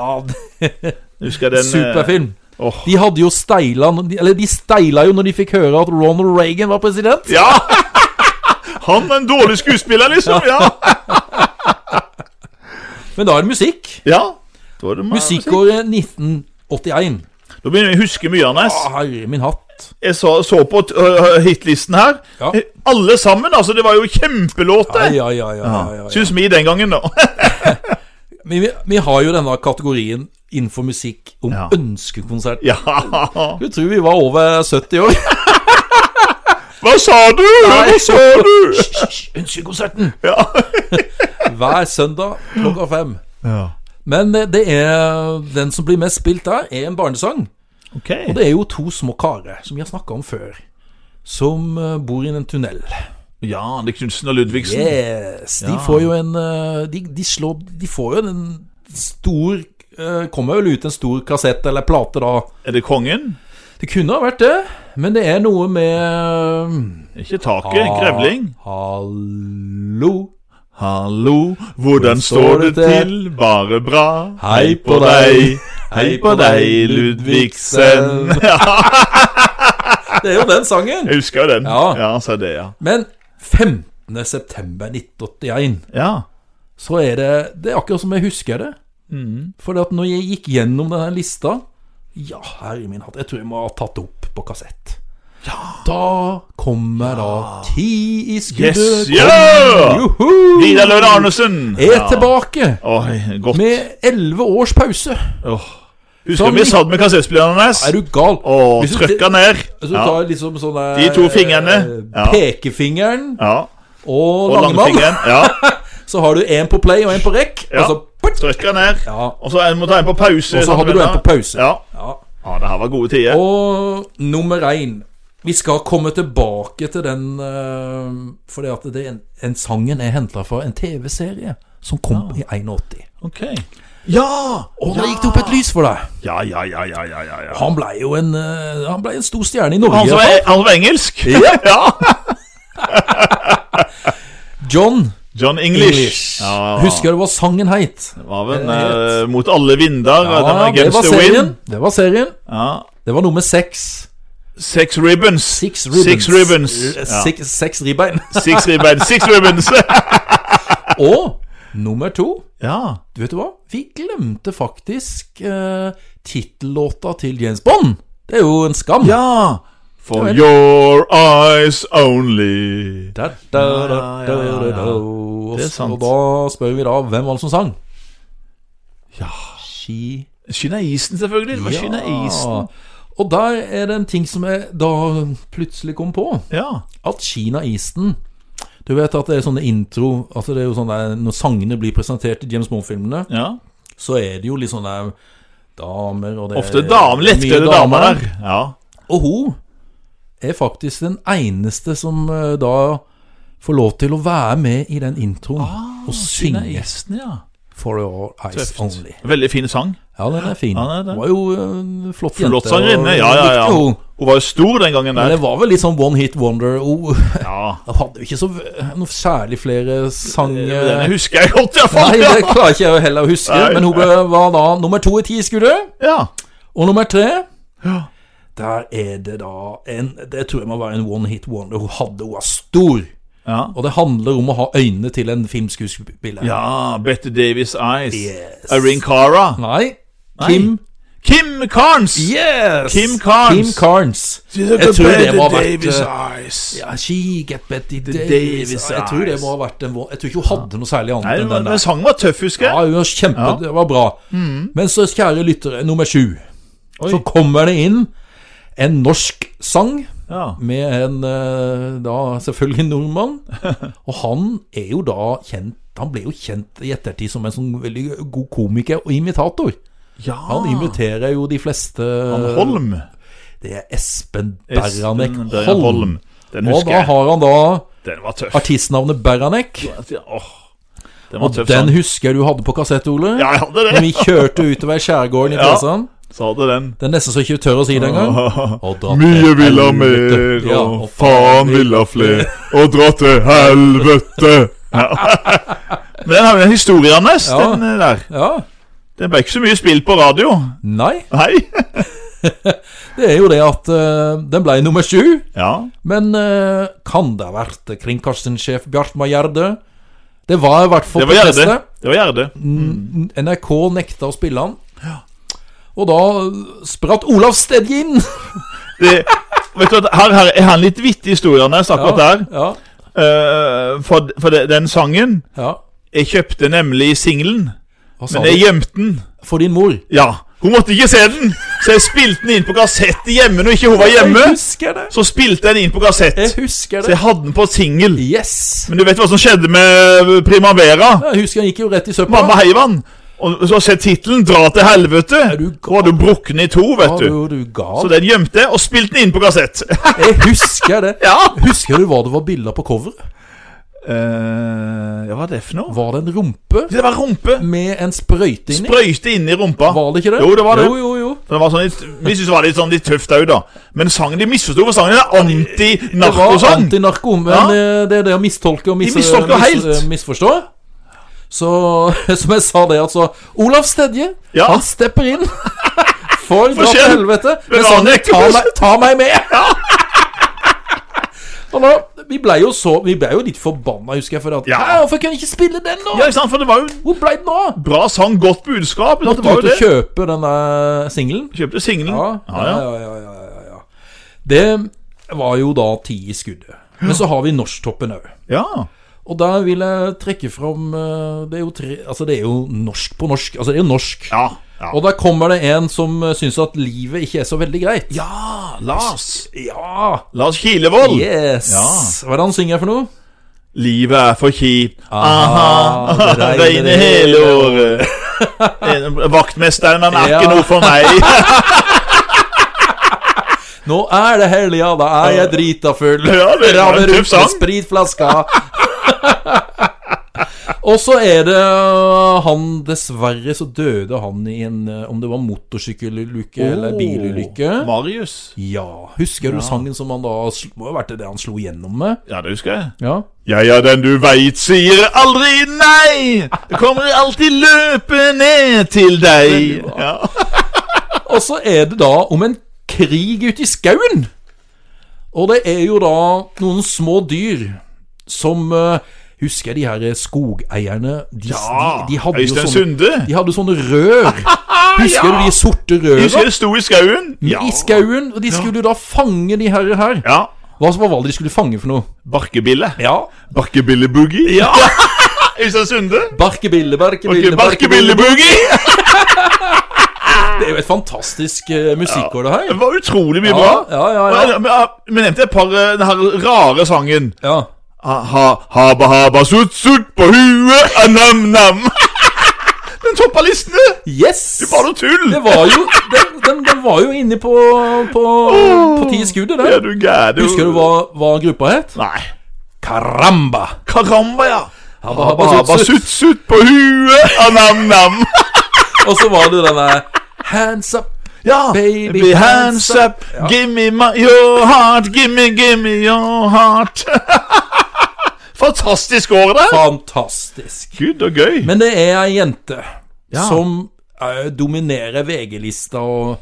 Speaker 2: Husker jeg den eh,
Speaker 1: Superfilm.
Speaker 2: åh.
Speaker 1: De hadde jo steila Eller de steila jo når de fikk høre at Ronald Reagan var president.
Speaker 2: Ja! (laughs) Han er en dårlig skuespiller, liksom. Ja.
Speaker 1: Men da er det musikk.
Speaker 2: ja. Da er det mer
Speaker 1: Musikkåret 1981.
Speaker 2: Da begynner vi å huske mye, Anders.
Speaker 1: Å, herre min hatt.
Speaker 2: Jeg så, så på t- ø, ø, hitlisten her.
Speaker 1: Ja.
Speaker 2: Alle sammen, altså. Det var jo kjempelåter.
Speaker 1: Ai, ai, ai, ai, ai, ai.
Speaker 2: Syns vi den gangen, da.
Speaker 1: Men vi, vi har jo denne kategorien innenfor musikk om
Speaker 2: Ja.
Speaker 1: ønskekonsert.
Speaker 2: (laughs) Ja.
Speaker 1: Du tror vi var over 70 år?
Speaker 2: Hva sa du? Hva sa du?
Speaker 1: (laughs) Hysj, hysj, Ønskekonserten!
Speaker 2: Ja.
Speaker 1: Hver søndag klokka fem.
Speaker 2: ja.
Speaker 1: Men eh, det er den som blir mest spilt der, er en barnesang.
Speaker 2: Ok.
Speaker 1: Og det er jo to små karer, som vi har snakka om før, som eh, bor i en tunnel.
Speaker 2: Ja, det er Knutsen og Ludvigsen.
Speaker 1: Yes, De
Speaker 2: Ja.
Speaker 1: får jo en eh, De, de, slår, de får jo en stor eh, Kommer vel ut en stor kassett eller plate, da.
Speaker 2: Er det kongen?
Speaker 1: Det kunne ha vært det, men det er noe eh, med
Speaker 2: Ikke taket. Grevling.
Speaker 1: Ah, Hallo.
Speaker 2: Hallo, hvordan står det til? Bare bra. Hei på deg. Hei på deg, Ludvigsen.
Speaker 1: Det er jo den sangen.
Speaker 2: (laughs) Jeg husker jo den.
Speaker 1: Ja.
Speaker 2: ja så er det, ja.
Speaker 1: (laughs) Men 15. september 1981
Speaker 2: Ja.
Speaker 1: så er det Det er akkurat som jeg husker det.
Speaker 2: Mm.
Speaker 1: For at når jeg gikk gjennom denne lista Ja, herre min hatt, jeg tror jeg må ha tatt det opp på kassett. Da kommer da ti i skuddet.
Speaker 2: Yes, yeah!
Speaker 1: Juhu!
Speaker 2: Vidar Lønn Arnesen.
Speaker 1: Er
Speaker 2: Ja.
Speaker 1: tilbake
Speaker 2: Oi, godt.
Speaker 1: med elleve års pause.
Speaker 2: Åh. Husker
Speaker 1: Som
Speaker 2: vi
Speaker 1: vi-
Speaker 2: satt med kassettspilleren hans?
Speaker 1: Er du gal?
Speaker 2: Og
Speaker 1: Hvis du-
Speaker 2: trykka ned.
Speaker 1: Hvis du
Speaker 2: Ja.
Speaker 1: tar liksom sånn der,
Speaker 2: De to fingrene.
Speaker 1: eh,
Speaker 2: Ja.
Speaker 1: Pekefingeren
Speaker 2: ja.
Speaker 1: og,
Speaker 2: Og
Speaker 1: langmann.
Speaker 2: langfingeren. Ja.
Speaker 1: Så har du én på play og én på rekk.
Speaker 2: Ja.
Speaker 1: Og så putt!
Speaker 2: Trykka ned.
Speaker 1: Ja.
Speaker 2: Og så en- må ta en på pause. sånn
Speaker 1: Og så hadde du en på pause.
Speaker 2: Ja.
Speaker 1: Ja.
Speaker 2: ja, det her var gode tider.
Speaker 1: Og nummer én Vi skal komme tilbake til den eh, Fordi at det er en, en sangen er henta fra en TV-serie som kom i 81.
Speaker 2: Ok. Ja!
Speaker 1: Og da gikk det opp et lys for deg.
Speaker 2: Ja, ja, ja, ja, ja, ja, ja.
Speaker 1: Han blei jo en, eh, han ble en stor stjerne i
Speaker 2: Han som
Speaker 1: Norge.
Speaker 2: er, han som er engelsk? (laughs) ja.
Speaker 1: John
Speaker 2: John English.
Speaker 1: English.
Speaker 2: Ja, ja, ja.
Speaker 1: Husker du hva sangen het?
Speaker 2: Det var vel
Speaker 1: Eh,
Speaker 2: eh, Mot alle vinder.
Speaker 1: Ja,
Speaker 2: Ja,
Speaker 1: det var serien.
Speaker 2: Wind.
Speaker 1: Det var serien.
Speaker 2: Ja.
Speaker 1: Det var nummer seks.
Speaker 2: Six ribbons.
Speaker 1: Six ribbons.
Speaker 2: Six ribbons.
Speaker 1: Eh,
Speaker 2: Ja.
Speaker 1: Six, seks ribbein.
Speaker 2: Six ribbons. Six
Speaker 1: (laughs)
Speaker 2: ribbons.
Speaker 1: Og nummer to
Speaker 2: ja.
Speaker 1: Du vet du hva? Vi glemte faktisk eh, tittellåta til James Bond. Det er jo en skam.
Speaker 2: Ja! For
Speaker 1: Ja, vel.
Speaker 2: your eyes only.
Speaker 1: Da, da, da, da, da, da,
Speaker 2: Ja, ja, ja.
Speaker 1: Og,
Speaker 2: Det er
Speaker 1: s-
Speaker 2: sant.
Speaker 1: og da spør vi da hvem var det som sang?
Speaker 2: Ja.
Speaker 1: ski.
Speaker 2: Skineisen, selvfølgelig. Det var Skineisen.
Speaker 1: Og der er det en ting som jeg da plutselig kom på.
Speaker 2: Ja.
Speaker 1: At Kina-isen Du vet at det er sånne intro Altså det er jo sånn der Når sangene blir presentert i James Bond-filmene,
Speaker 2: ja.
Speaker 1: så er det jo litt sånn der damer og det er
Speaker 2: Ofte dame, lettkledde
Speaker 1: mye
Speaker 2: damer der. Ja.
Speaker 1: Og hun er faktisk den eneste som eh, da får lov til å være med i den introen
Speaker 2: Ah,
Speaker 1: og synge
Speaker 2: Kinaisen, ja.
Speaker 1: For Your Eyes
Speaker 2: Tøft.
Speaker 1: Only.
Speaker 2: Veldig fin sang.
Speaker 1: Ja, den er fin.
Speaker 2: Ja, den er det.
Speaker 1: Hun var jo en flott jente.
Speaker 2: Flott sangerinne.
Speaker 1: og
Speaker 2: Ja, ja, ja.
Speaker 1: dyktig, hun.
Speaker 2: Hun var jo stor den gangen
Speaker 1: Men
Speaker 2: der.
Speaker 1: det var vel litt sånn one hit wonder. Hun
Speaker 2: Ja.
Speaker 1: hun hadde jo ikke så v- noe særlig flere
Speaker 2: Eh, Den
Speaker 1: sanger
Speaker 2: husker jeg godt,
Speaker 1: Nei,
Speaker 2: iallfall. Ja.
Speaker 1: det klarer ikke jeg heller å huske.
Speaker 2: Nei.
Speaker 1: Men hun ble, var da nummer to i ti skuddet.
Speaker 2: ja.
Speaker 1: Og nummer tre Der er det da en Det tror jeg må være en one hit wonder. Hun hadde, hun var stor.
Speaker 2: ja.
Speaker 1: Og det handler om å ha øynene til en filmskuespiller.
Speaker 2: Ja, Bette Davies Eyes.
Speaker 1: Yes.
Speaker 2: Irene Cara.
Speaker 1: Nei. Kim
Speaker 2: Kim Carnes!
Speaker 1: Yes!
Speaker 2: Kim Carnes.
Speaker 1: Kim Carnes. Jeg tror det må ha vært eh,
Speaker 2: Eyes.
Speaker 1: Ja, she get Betty Davis,
Speaker 2: Davis
Speaker 1: Jeg tror det
Speaker 2: eyes.
Speaker 1: må ha vært en vå- Jeg tror ikke hun hadde noe særlig annet
Speaker 2: Nei,
Speaker 1: enn den
Speaker 2: men
Speaker 1: der.
Speaker 2: sangen var tøff, husker
Speaker 1: Ja,
Speaker 2: jeg.
Speaker 1: hun var kjempe,
Speaker 2: Ja.
Speaker 1: Det var bra. Men så, kjære lyttere, nummer sju. Så
Speaker 2: Oi.
Speaker 1: kommer det inn en norsk sang
Speaker 2: Ja.
Speaker 1: med en eh, da selvfølgelig
Speaker 2: (laughs)
Speaker 1: nordmann. Og han er jo da kjent Han ble jo kjent i ettertid som en sånn veldig god komiker og imitator.
Speaker 2: ja.
Speaker 1: Han imiterer jo de fleste
Speaker 2: Ah. Han Holm.
Speaker 1: Det er Espen
Speaker 2: Espen
Speaker 1: Beranek
Speaker 2: Beranek
Speaker 1: Holm.
Speaker 2: Holm. Den
Speaker 1: Og
Speaker 2: husker
Speaker 1: da
Speaker 2: jeg.
Speaker 1: har han da
Speaker 2: Den var tøff. altså.
Speaker 1: artistnavnet Beranek.
Speaker 2: Åh, den var tøff
Speaker 1: Den
Speaker 2: sang.
Speaker 1: husker du hadde på kassett, Ole.
Speaker 2: Ja, jeg hadde
Speaker 1: Når (laughs) vi
Speaker 2: det.
Speaker 1: kjørte utover skjærgården i
Speaker 2: Ja.
Speaker 1: Kristiansand.
Speaker 2: Så hadde den.
Speaker 1: Det er nesten så ikke du tør å si det engang. Og dratt
Speaker 2: Mye
Speaker 1: til
Speaker 2: vil ha mer,
Speaker 1: helvete. Ja,
Speaker 2: og faen vil ha flere, (laughs) og dra til helvete. Ja. Men den har jo en historie, Anders.
Speaker 1: Ja.
Speaker 2: Den eh, der.
Speaker 1: Ja.
Speaker 2: Den ble ikke så mye spilt på radio.
Speaker 1: Nei,
Speaker 2: Nei. (laughs)
Speaker 1: det er jo det at eh, den ble nummer sju.
Speaker 2: Ja.
Speaker 1: Men eh, kan det ha vært kringkastingssjef Bjartmar Gjerde? Det var i hvert fall
Speaker 2: Det var
Speaker 1: på
Speaker 2: Gjerde. Mm.
Speaker 1: testet.
Speaker 2: Det var Gjerde.
Speaker 1: N- NRK nekta å spille han. Og da eh, spratt Olav Stedje inn.
Speaker 2: Det, vet du, at her, her er han litt vittig historie, Anders, akkurat der.
Speaker 1: (laughs) Ja,
Speaker 2: Eh, for for de- den sangen
Speaker 1: ja.
Speaker 2: Jeg kjøpte nemlig singelen,
Speaker 1: Hva sa
Speaker 2: men
Speaker 1: du?
Speaker 2: jeg gjemte den.
Speaker 1: For din mor.
Speaker 2: Ja, Hun måtte ikke se den, så jeg spilte den inn på kassett hjemme når ikke hun var hjemme.
Speaker 1: Jeg husker det.
Speaker 2: Så spilte jeg den inn på kassett.
Speaker 1: Jeg husker
Speaker 2: Så
Speaker 1: det.
Speaker 2: jeg hadde den på singel.
Speaker 1: Yes.
Speaker 2: Men du vet hva som skjedde med eh, Primavera?
Speaker 1: Ja, Jeg husker han gikk jo rett i søpla.
Speaker 2: Mamma Heivan. Og så har jeg sett tittelen 'Dra til helvete'.
Speaker 1: du
Speaker 2: Da var du brukken i to, vet
Speaker 1: Ja,
Speaker 2: du.
Speaker 1: du, du
Speaker 2: Så
Speaker 1: gal.
Speaker 2: den gjemte jeg, og spilte den inn på kassett. (laughs)
Speaker 1: Jeg husker det.
Speaker 2: ja.
Speaker 1: Husker du hva det var bilder på coveret?
Speaker 2: Eh, ja, hva er det for noe?
Speaker 1: Var det en rumpe
Speaker 2: Det var rumpe.
Speaker 1: med en sprøyte inni?
Speaker 2: Sprøyte inn i rumpa.
Speaker 1: Var det ikke det?
Speaker 2: Jo, det var det.
Speaker 1: Jo, jo, jo.
Speaker 2: For det var sånn litt, vi syntes det var litt, sånn litt tøft òg, da. Men sangen de misforsto, for sangen er
Speaker 1: Det var
Speaker 2: anti-narkosang.
Speaker 1: antinarko, men
Speaker 2: Ja.
Speaker 1: eh, det er det å mistolke og mis
Speaker 2: mistolker
Speaker 1: mis eh,
Speaker 2: helt.
Speaker 1: misforstå. Så (laughs) som jeg sa det, altså Olav Stedje,
Speaker 2: Ja.
Speaker 1: han stepper inn. (laughs) For dra til
Speaker 2: skjer?
Speaker 1: helvete.
Speaker 2: Men
Speaker 1: Med sånn
Speaker 2: han er ikke
Speaker 1: ta
Speaker 2: på-
Speaker 1: meg, ta meg
Speaker 2: (laughs)
Speaker 1: med! Og da, vi blei jo så Vi blei jo litt forbanna, husker jeg. For at,
Speaker 2: Ja.
Speaker 1: «Hæ, Hvorfor kunne jeg ikke spille den nå?
Speaker 2: Ja, ikke sant? For det var jo
Speaker 1: Hvor blei den av?
Speaker 2: bra sang, godt budskap. ikke sant?
Speaker 1: Måtte
Speaker 2: Det
Speaker 1: du
Speaker 2: var jo
Speaker 1: ut og
Speaker 2: det.
Speaker 1: kjøpe denne singelen?
Speaker 2: Kjøpte singelen.
Speaker 1: Ja,
Speaker 2: Ja, ja.
Speaker 1: ja, ja, ja, ja, ja. Det var jo da ti i skuddet. Men så har vi norsktoppen òg.
Speaker 2: ja.
Speaker 1: Og der vil jeg trekke fram eh, Det er jo, tre, altså det er jo norsk på norsk. Altså, det er jo norsk.
Speaker 2: ja. ja.
Speaker 1: Og der kommer det en som eh, syns at livet ikke er så veldig greit.
Speaker 2: Ja, Lars.
Speaker 1: Ja!
Speaker 2: Lars Kilevold.
Speaker 1: Yes!
Speaker 2: Ja.
Speaker 1: Hva er det han synger for noe?
Speaker 2: Livet er for kjipt. Aha,
Speaker 1: Aha, det Ah, regner
Speaker 2: (laughs) regner hele
Speaker 1: (laughs)
Speaker 2: året. En- Vaktmesteren, han er
Speaker 1: Ja.
Speaker 2: ikke noe for meg.
Speaker 1: Nå er det helg, ja, da er jeg drita full.
Speaker 2: Ja, det er en
Speaker 1: Rammer
Speaker 2: tøff
Speaker 1: ut
Speaker 2: sang.
Speaker 1: med spritflaska. (laughs) Og så er det øh, han Dessverre så døde han i en øh, Om det var motorsykkelulykke (laughs) eller bilulykke.
Speaker 2: Åh, Oh. Marius.
Speaker 1: Ja. Husker du sangen som han da sl- Må jo ha vært det han slo gjennom med?
Speaker 2: Ja, det husker jeg.
Speaker 1: Ja.
Speaker 2: Jeg er den du veit sier aldri nei. Jeg kommer alltid løpe ned til deg. Ja.
Speaker 1: Og så er det da om en krig ute i skauen. Og det er jo da noen små dyr som eh, Husker jeg de her skogeierne? De,
Speaker 2: Ja,
Speaker 1: de, de hadde jo
Speaker 2: Øystein
Speaker 1: sånne,
Speaker 2: Sunde.
Speaker 1: de hadde sånne rør. Husker du de sorte
Speaker 2: Husker
Speaker 1: røra?
Speaker 2: det sto i skauen? Ja.
Speaker 1: I skauen. Og de skulle jo da fange de her. her.
Speaker 2: ja.
Speaker 1: Hva, hva var det de skulle fange for noe?
Speaker 2: Barkebille.
Speaker 1: Ja.
Speaker 2: (laughs) Barkebilleboogie. Ja. Øystein Sunde.
Speaker 1: Barkebille, barkebille, barkebille.
Speaker 2: Barkebilleboogie.
Speaker 1: Det er jo et fantastisk eh, musikkår, det
Speaker 2: Det
Speaker 1: her.
Speaker 2: var utrolig mye
Speaker 1: Ja,
Speaker 2: bra.
Speaker 1: ja, ja, ja.
Speaker 2: Men, men, men nevnte et par eh, Den her rare sangen.
Speaker 1: Ja.
Speaker 2: Ha, ha, haba, haba, sutt, sutt på huet, anam-nam. (laughs) Den toppa listene!
Speaker 1: Yes!
Speaker 2: Bare noe tull!
Speaker 1: Det var jo Den, den, den var jo inne på På, på ti skuddet,
Speaker 2: Ja,
Speaker 1: der.
Speaker 2: du gæren.
Speaker 1: Husker du hva, hva gruppa het?
Speaker 2: Nei.
Speaker 1: Caramba!
Speaker 2: Karamba, ja. Altså,
Speaker 1: Habba, habba,
Speaker 2: Haba,
Speaker 1: sutt,
Speaker 2: haba,
Speaker 1: sutt.
Speaker 2: sutt, sutt på huet, eh, anam-nam.
Speaker 1: Og så var det den der Hands up
Speaker 2: Ja,
Speaker 1: Baby,
Speaker 2: baby hands
Speaker 1: hands up.
Speaker 2: up,
Speaker 1: Ja.
Speaker 2: give me my, your heart, give me, give me your
Speaker 1: (laughs)
Speaker 2: heart. Fantastisk år, det.
Speaker 1: Fantastisk.
Speaker 2: Gud og gøy.
Speaker 1: Men det er ei jente
Speaker 2: Ja.
Speaker 1: som eh, dominerer VG-lista og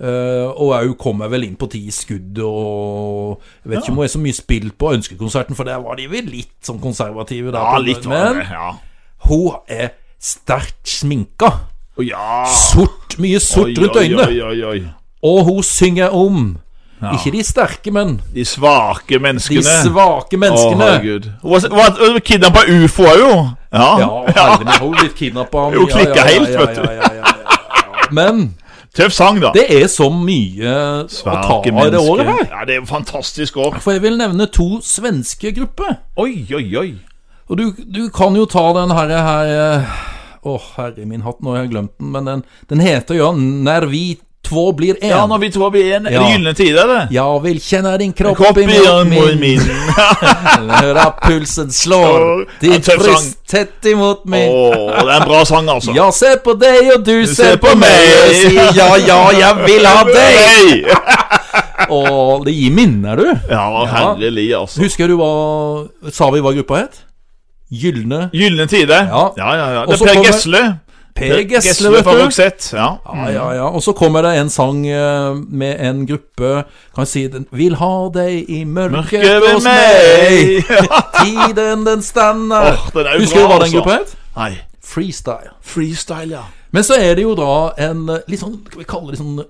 Speaker 1: eh, og òg kommer vel inn på ti skudd og Jeg vet ikke om hun er så mye spilt på Ønskekonserten, for der var de vel litt sånn konservative. Der,
Speaker 2: ja,
Speaker 1: på-
Speaker 2: litt var
Speaker 1: men
Speaker 2: det, ja.
Speaker 1: hun er sterkt sminka.
Speaker 2: Å, ja.
Speaker 1: Sort, mye sort rundt øynene.
Speaker 2: Oi, oi, oi.
Speaker 1: Og hun synger om Ikke de sterke, men
Speaker 2: De svake
Speaker 1: de
Speaker 2: menneskene.
Speaker 1: svake menneskene.
Speaker 2: herregud. Hun var kidnappa ufoer, jo. Ja. (laughs)
Speaker 1: ja, herlig, men hun er litt kidnappa.
Speaker 2: Hun klikket helt, vet du.
Speaker 1: du. Men
Speaker 2: Tøff sang, da.
Speaker 1: Det er så mye å ta av det året her.
Speaker 2: Ja, det er et fantastisk år.
Speaker 1: For jeg vil nevne to svenske grupper.
Speaker 2: Oi, oi, oi.
Speaker 1: Og du, du kan jo ta den her, her eh, Å, herre min hatt, nå har jeg glemt den. Men den, den heter jo 'Når vi två blir én'.
Speaker 2: Ja, når vi to blir en, er det
Speaker 1: Ja.
Speaker 2: gylne tider, det?
Speaker 1: Jeg vil kjenne din kropp,
Speaker 2: Kropp i
Speaker 1: i min,
Speaker 2: min,
Speaker 1: min.
Speaker 2: min.
Speaker 1: Høre pulsen slår,
Speaker 2: Slår.
Speaker 1: ditt
Speaker 2: Ja, tøff sang.
Speaker 1: bryst tett imot
Speaker 2: Å,
Speaker 1: meg.
Speaker 2: det er en bra sang, altså.
Speaker 1: Jeg ser på deg, og du,
Speaker 2: ser
Speaker 1: ser på
Speaker 2: på
Speaker 1: meg. Jeg
Speaker 2: meg.
Speaker 1: sier ja, ja, jeg vil
Speaker 2: (laughs)
Speaker 1: ha deg.
Speaker 2: Hey!
Speaker 1: Og det gir minner, du.
Speaker 2: Ja, herlig, altså.
Speaker 1: Husker du hva Sa vi hva gruppa het? Gylne
Speaker 2: Gylne tider. Ja,
Speaker 1: Ja.
Speaker 2: ja, ja.
Speaker 1: Og
Speaker 2: Det
Speaker 1: så
Speaker 2: er Per
Speaker 1: kommer-
Speaker 2: Gessle.
Speaker 1: Per Gessle,
Speaker 2: fra
Speaker 1: vet du.
Speaker 2: Roxette. Ja.
Speaker 1: Ja, ja, ja. Og så kommer det en sang eh, med en gruppe Kan jeg si den Vil ha deg i mørket
Speaker 2: Mørket ved
Speaker 1: hos meg.
Speaker 2: meg. (laughs) Ja.
Speaker 1: Tiden den stander.
Speaker 2: Åh, den er jo
Speaker 1: Husker du
Speaker 2: bra,
Speaker 1: hva den
Speaker 2: altså.
Speaker 1: gruppa het?
Speaker 2: Nei.
Speaker 1: Freestyle.
Speaker 2: Freestyle, ja.
Speaker 1: Men så er det jo da en eh, litt sånn Skal vi kalle det sånn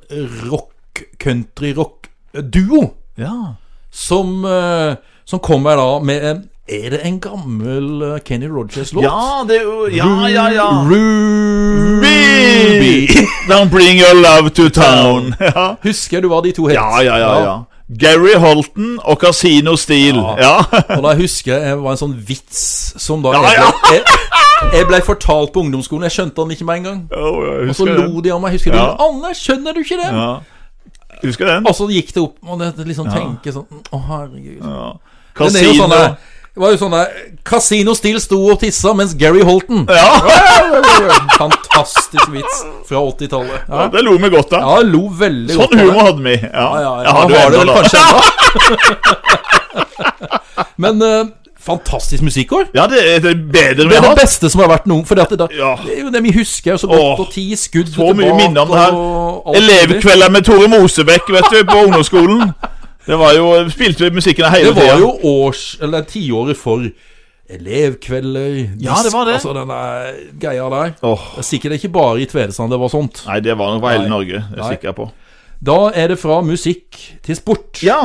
Speaker 1: rock, country-rock-duo
Speaker 2: Ja.
Speaker 1: som, eh, som kommer da med en Er det en gammel eh, Kenny Rogers-låt?
Speaker 2: ja, det er jo Ja, ja, ja.
Speaker 1: Ruby.
Speaker 2: Ruby. Don't bring your love to town. Ja,
Speaker 1: Husker du hva de to het?
Speaker 2: (laughs) ja, ja. ja, ja. Gary Holton og Casino Steel. Ja. (laughs)
Speaker 1: Og da husker jeg det var en sånn vits som da
Speaker 2: Ja,
Speaker 1: (laughs) jeg,
Speaker 2: ja.
Speaker 1: ble, jeg, jeg ble fortalt på ungdomsskolen. Jeg skjønte den ikke med en gang.
Speaker 2: Oh, jeg
Speaker 1: Og så
Speaker 2: husker den.
Speaker 1: lo de av meg. Husker
Speaker 2: Ja.
Speaker 1: du Anders, skjønner du ikke det?
Speaker 2: Ja. Husker den?
Speaker 1: Og så gikk det opp. Og det, det liksom tenke sånn Å, herregud.
Speaker 2: Ja.
Speaker 1: Men det er jo
Speaker 2: Casino
Speaker 1: sånn der- det var jo sånn der Casino Steel sto og tissa, mens Gary Holton
Speaker 2: Ja,
Speaker 1: Fantastisk vits fra 80-tallet. Ja.
Speaker 2: (laughs) det lo vi godt av.
Speaker 1: ja, jeg lo veldig godt. av
Speaker 2: Sånn
Speaker 1: det.
Speaker 2: humor hadde vi. Ja,
Speaker 1: Ja, ja,
Speaker 2: Jeg
Speaker 1: ja.
Speaker 2: hadde
Speaker 1: Nå
Speaker 2: jo
Speaker 1: har det vel
Speaker 2: ennå, da.
Speaker 1: kanskje ennå. Men eh, fantastisk musikkår.
Speaker 2: Ja, det er det er bedre vi
Speaker 1: Det er
Speaker 2: har
Speaker 1: det
Speaker 2: hatt.
Speaker 1: beste som har vært noen. For det, at det, da,
Speaker 2: Ja.
Speaker 1: det er jo det vi husker så godt.
Speaker 2: Åh,
Speaker 1: og ti skudd
Speaker 2: Så mye minner om det her.
Speaker 1: og alt mulig.
Speaker 2: Elevkvelder med Tore Mosebekk, vet du, på ungdomsskolen. Det var jo Spilte vi musikken hele
Speaker 1: Det
Speaker 2: tiden
Speaker 1: var jo års, eller tiåret for elevkvelder
Speaker 2: Ja, det var det.
Speaker 1: Altså den der greia der.
Speaker 2: Åh,
Speaker 1: Det er sikkert ikke bare i Tvedestrand det var sånt.
Speaker 2: Nei, det var nok for hele Norge, det er
Speaker 1: Nei.
Speaker 2: jeg sikker på.
Speaker 1: Da er det fra musikk til sport.
Speaker 2: Ja.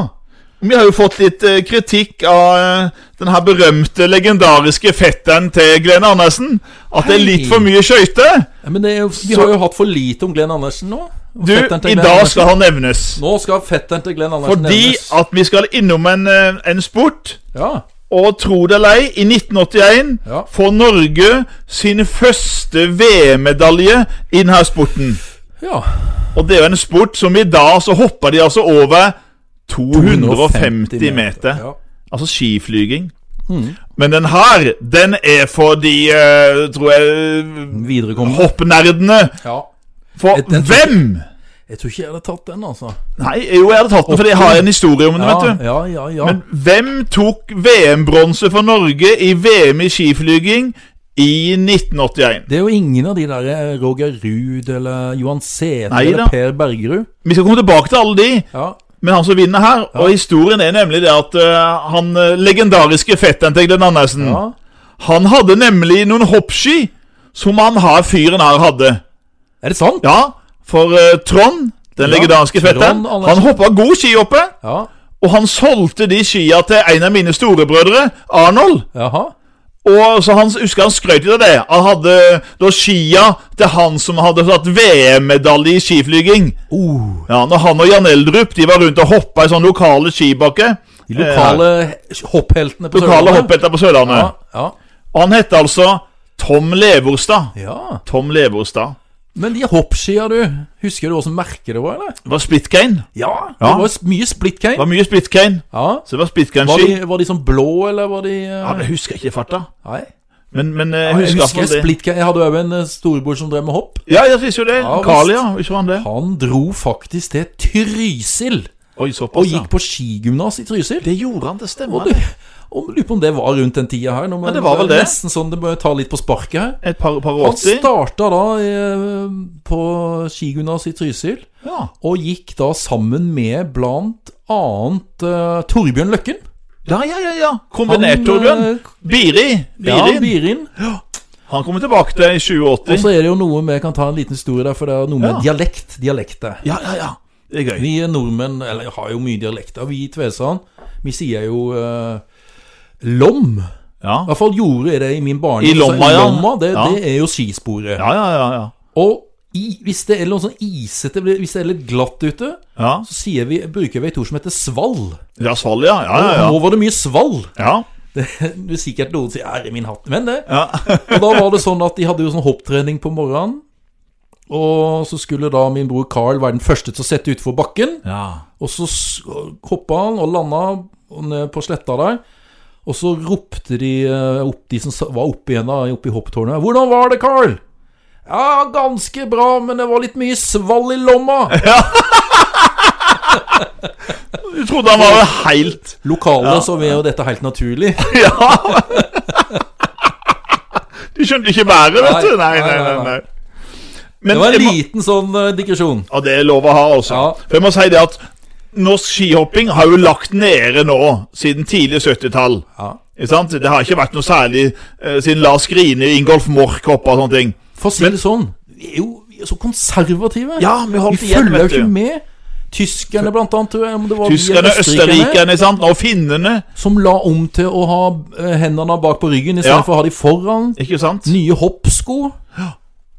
Speaker 2: Vi har jo fått litt eh, kritikk av eh, den her berømte, legendariske fetteren til Glenn Andersen. At det er litt
Speaker 1: Hei.
Speaker 2: for mye skøyter.
Speaker 1: Men det er jo, vi
Speaker 2: Så-
Speaker 1: har jo hatt for lite om Glenn Andersen nå.
Speaker 2: Du,
Speaker 1: Fetteren til
Speaker 2: i
Speaker 1: Glenn
Speaker 2: dag
Speaker 1: Andersen.
Speaker 2: skal han nevnes.
Speaker 1: Nå skal fetteren til Glenn Andersen
Speaker 2: Fordi
Speaker 1: nevnes.
Speaker 2: at vi skal innom en, eh, en sport.
Speaker 1: Ja.
Speaker 2: Og tro det eller ei, i 1981
Speaker 1: Ja.
Speaker 2: får Norge sin første VM-medalje i denne sporten.
Speaker 1: ja.
Speaker 2: Og det er jo en sport som i dag så hopper de altså over 250 meter.
Speaker 1: Ja. Mm.
Speaker 2: Altså skiflyging. Men den her, den er for de, eh, tror jeg,
Speaker 1: Viderekommende.
Speaker 2: hoppnerdene.
Speaker 1: Ja.
Speaker 2: For
Speaker 1: Jeg- den tror
Speaker 2: hvem?
Speaker 1: Jeg tror ikke jeg hadde tatt den, altså.
Speaker 2: Nei, jo, jeg hadde tatt den, for jeg har en historie om det,
Speaker 1: Ja,
Speaker 2: vet du.
Speaker 1: ja, ja, ja.
Speaker 2: Men hvem tok VM-bronse for Norge i VM i skiflyging i 1981?
Speaker 1: Det er jo ingen av de der eh, Roger Ruud eller Johan Sæther
Speaker 2: Nei da.
Speaker 1: eller Per Bergerud.
Speaker 2: Vi skal komme tilbake til alle de,
Speaker 1: Ja.
Speaker 2: men han som vinner her Og historien er nemlig det at eh, han eh, legendariske fetteren til Glenn Andersen
Speaker 1: ja.
Speaker 2: Han hadde nemlig noen hoppski som han her fyren her hadde.
Speaker 1: Er det sant?
Speaker 2: Ja, for eh, Trond, den
Speaker 1: Ja,
Speaker 2: legendariske
Speaker 1: Trond
Speaker 2: fetteren,
Speaker 1: Andersen.
Speaker 2: han hoppa god ski oppe,
Speaker 1: Ja.
Speaker 2: og han solgte de skia til en av mine storebrødre, Arnold.
Speaker 1: Jaha.
Speaker 2: Og så han, husker han skrøt litt av det. Han hadde da skia til han som hadde tatt VM-medalje i skiflyging.
Speaker 1: Oh,
Speaker 2: Ja, når han og Jan Eldrup de var rundt og hoppa i sånne lokale skibakke.
Speaker 1: de lokale hoppheltene på
Speaker 2: eh, lokale hopphelter på Sørlandet.
Speaker 1: Ja, ja.
Speaker 2: Og han het altså Tom Leverstad.
Speaker 1: ja.
Speaker 2: Tom Leverstad.
Speaker 1: Men de hoppskia, du. Husker du hvilket merke det var, eller?
Speaker 2: Det var splitcane.
Speaker 1: Ja,
Speaker 2: Ja.
Speaker 1: Det var s- mye
Speaker 2: Det
Speaker 1: splitcane.
Speaker 2: var mye splitcane.
Speaker 1: Ja.
Speaker 2: Så det var
Speaker 1: Var
Speaker 2: splitcane-ski.
Speaker 1: de, var de sånn blå, eller var de eh,
Speaker 2: Ja, det husker jeg ikke i farta.
Speaker 1: Nei.
Speaker 2: Men, men eh, jeg
Speaker 1: Jeg
Speaker 2: husker, i hvert
Speaker 1: husker
Speaker 2: fall det.
Speaker 1: splitcane. Jeg hadde òg en eh, storebror som drev med hopp.
Speaker 2: Ja, jeg synes jo det.
Speaker 1: Ja,
Speaker 2: Carl,
Speaker 1: visst.
Speaker 2: ja. Ikke var han det?
Speaker 1: Han dro faktisk til Trysil
Speaker 2: Oi,
Speaker 1: og
Speaker 2: såpass, ja.
Speaker 1: gikk på skigymnas i Trysil.
Speaker 2: Altså. Det gjorde han, det
Speaker 1: Og
Speaker 2: stemmer.
Speaker 1: du, og lurer på om det var rundt den tida her. Når man,
Speaker 2: Ja, det var vel det.
Speaker 1: Nesten sånn det bør ta litt på sparket her.
Speaker 2: Et par, par
Speaker 1: Han
Speaker 2: 80.
Speaker 1: starta da eh, på skigymnas i Trysil,
Speaker 2: Ja.
Speaker 1: og gikk da sammen med blant annet eh, Torbjørn Løkken.
Speaker 2: ja, ja, ja. ja. Kombinert, Torbjørn.
Speaker 1: Han, eh,
Speaker 2: Biri.
Speaker 1: Ja,
Speaker 2: Birin.
Speaker 1: Birin.
Speaker 2: Han kommer tilbake til i
Speaker 1: Og
Speaker 2: 2080.
Speaker 1: så er det jo noe med Jeg kan ta en liten historie der, for det er noe med
Speaker 2: Ja.
Speaker 1: dialekt. Dialekter.
Speaker 2: Ja, ja, ja. Det er gøy.
Speaker 1: Vi nordmenn eller, har jo mye dialekter. Vi i Tvedestrand, vi sier jo eh, lom.
Speaker 2: Ja,
Speaker 1: I hvert fall gjorde jeg det i min barndom.
Speaker 2: I lomma, ja.
Speaker 1: Lomma, det,
Speaker 2: Ja.
Speaker 1: det er jo skisporet.
Speaker 2: ja, ja. ja, ja.
Speaker 1: Og i, hvis det er noe sånn isete, hvis det er litt glatt ute,
Speaker 2: Ja,
Speaker 1: så sier vi, bruker vi et ord som heter svall.
Speaker 2: ja Svalja. Ja, ja, ja.
Speaker 1: Nå var det mye svall. (laughs)
Speaker 2: ja.
Speaker 1: Det er sikkert noen som sier 'ære min hatt', men det
Speaker 2: Ja. (laughs)
Speaker 1: Og da var det sånn at de hadde jo sånn hopptrening på morgenen. Og så skulle da min bror Carl være den første til å sette utfor bakken.
Speaker 2: ja.
Speaker 1: Og så s- hoppa han og landa ned på sletta der. Og så ropte de eh, opp, de som sa- var oppe igjen da, oppe i hopptårnet 'Hvordan var det, Carl?' 'Ja, ganske bra, men det var litt mye svall i lomma'. (laughs)
Speaker 2: Du trodde han var helt
Speaker 1: Lokale så er jo dette helt naturlig. (laughs)
Speaker 2: Ja! De skjønte ikke bæret, vet du.
Speaker 1: Nei,
Speaker 2: Nei, nei, nei.
Speaker 1: nei, nei.
Speaker 2: nei.
Speaker 1: Det
Speaker 2: Men
Speaker 1: var
Speaker 2: jeg
Speaker 1: en
Speaker 2: må-
Speaker 1: liten sånn eh, digresjon.
Speaker 2: Ja, det er lov å ha, altså.
Speaker 1: Ja.
Speaker 2: For jeg må si det at norsk skihopping har jo lagt nede nå, siden tidlig 70-tall.
Speaker 1: Ja.
Speaker 2: Ikke sant? Det har ikke vært noe særlig eh, siden Lars Grine, Ingolf Mork hoppa og sånne ting.
Speaker 1: For å si det sånn, vi er jo vi er så konservative.
Speaker 2: Ja, vi holdt
Speaker 1: Vi
Speaker 2: igjen,
Speaker 1: følger jo
Speaker 2: vet du.
Speaker 1: ikke med. Tyskerne, blant annet, tror jeg, om det var de
Speaker 2: Tyskerne,
Speaker 1: eller østerrikerne,
Speaker 2: østerrikerne, ikke sant? og finnene.
Speaker 1: som la om til å ha eh, hendene bak på ryggen istedenfor
Speaker 2: Ja.
Speaker 1: for å ha de foran.
Speaker 2: Ikke sant?
Speaker 1: Nye hoppsko.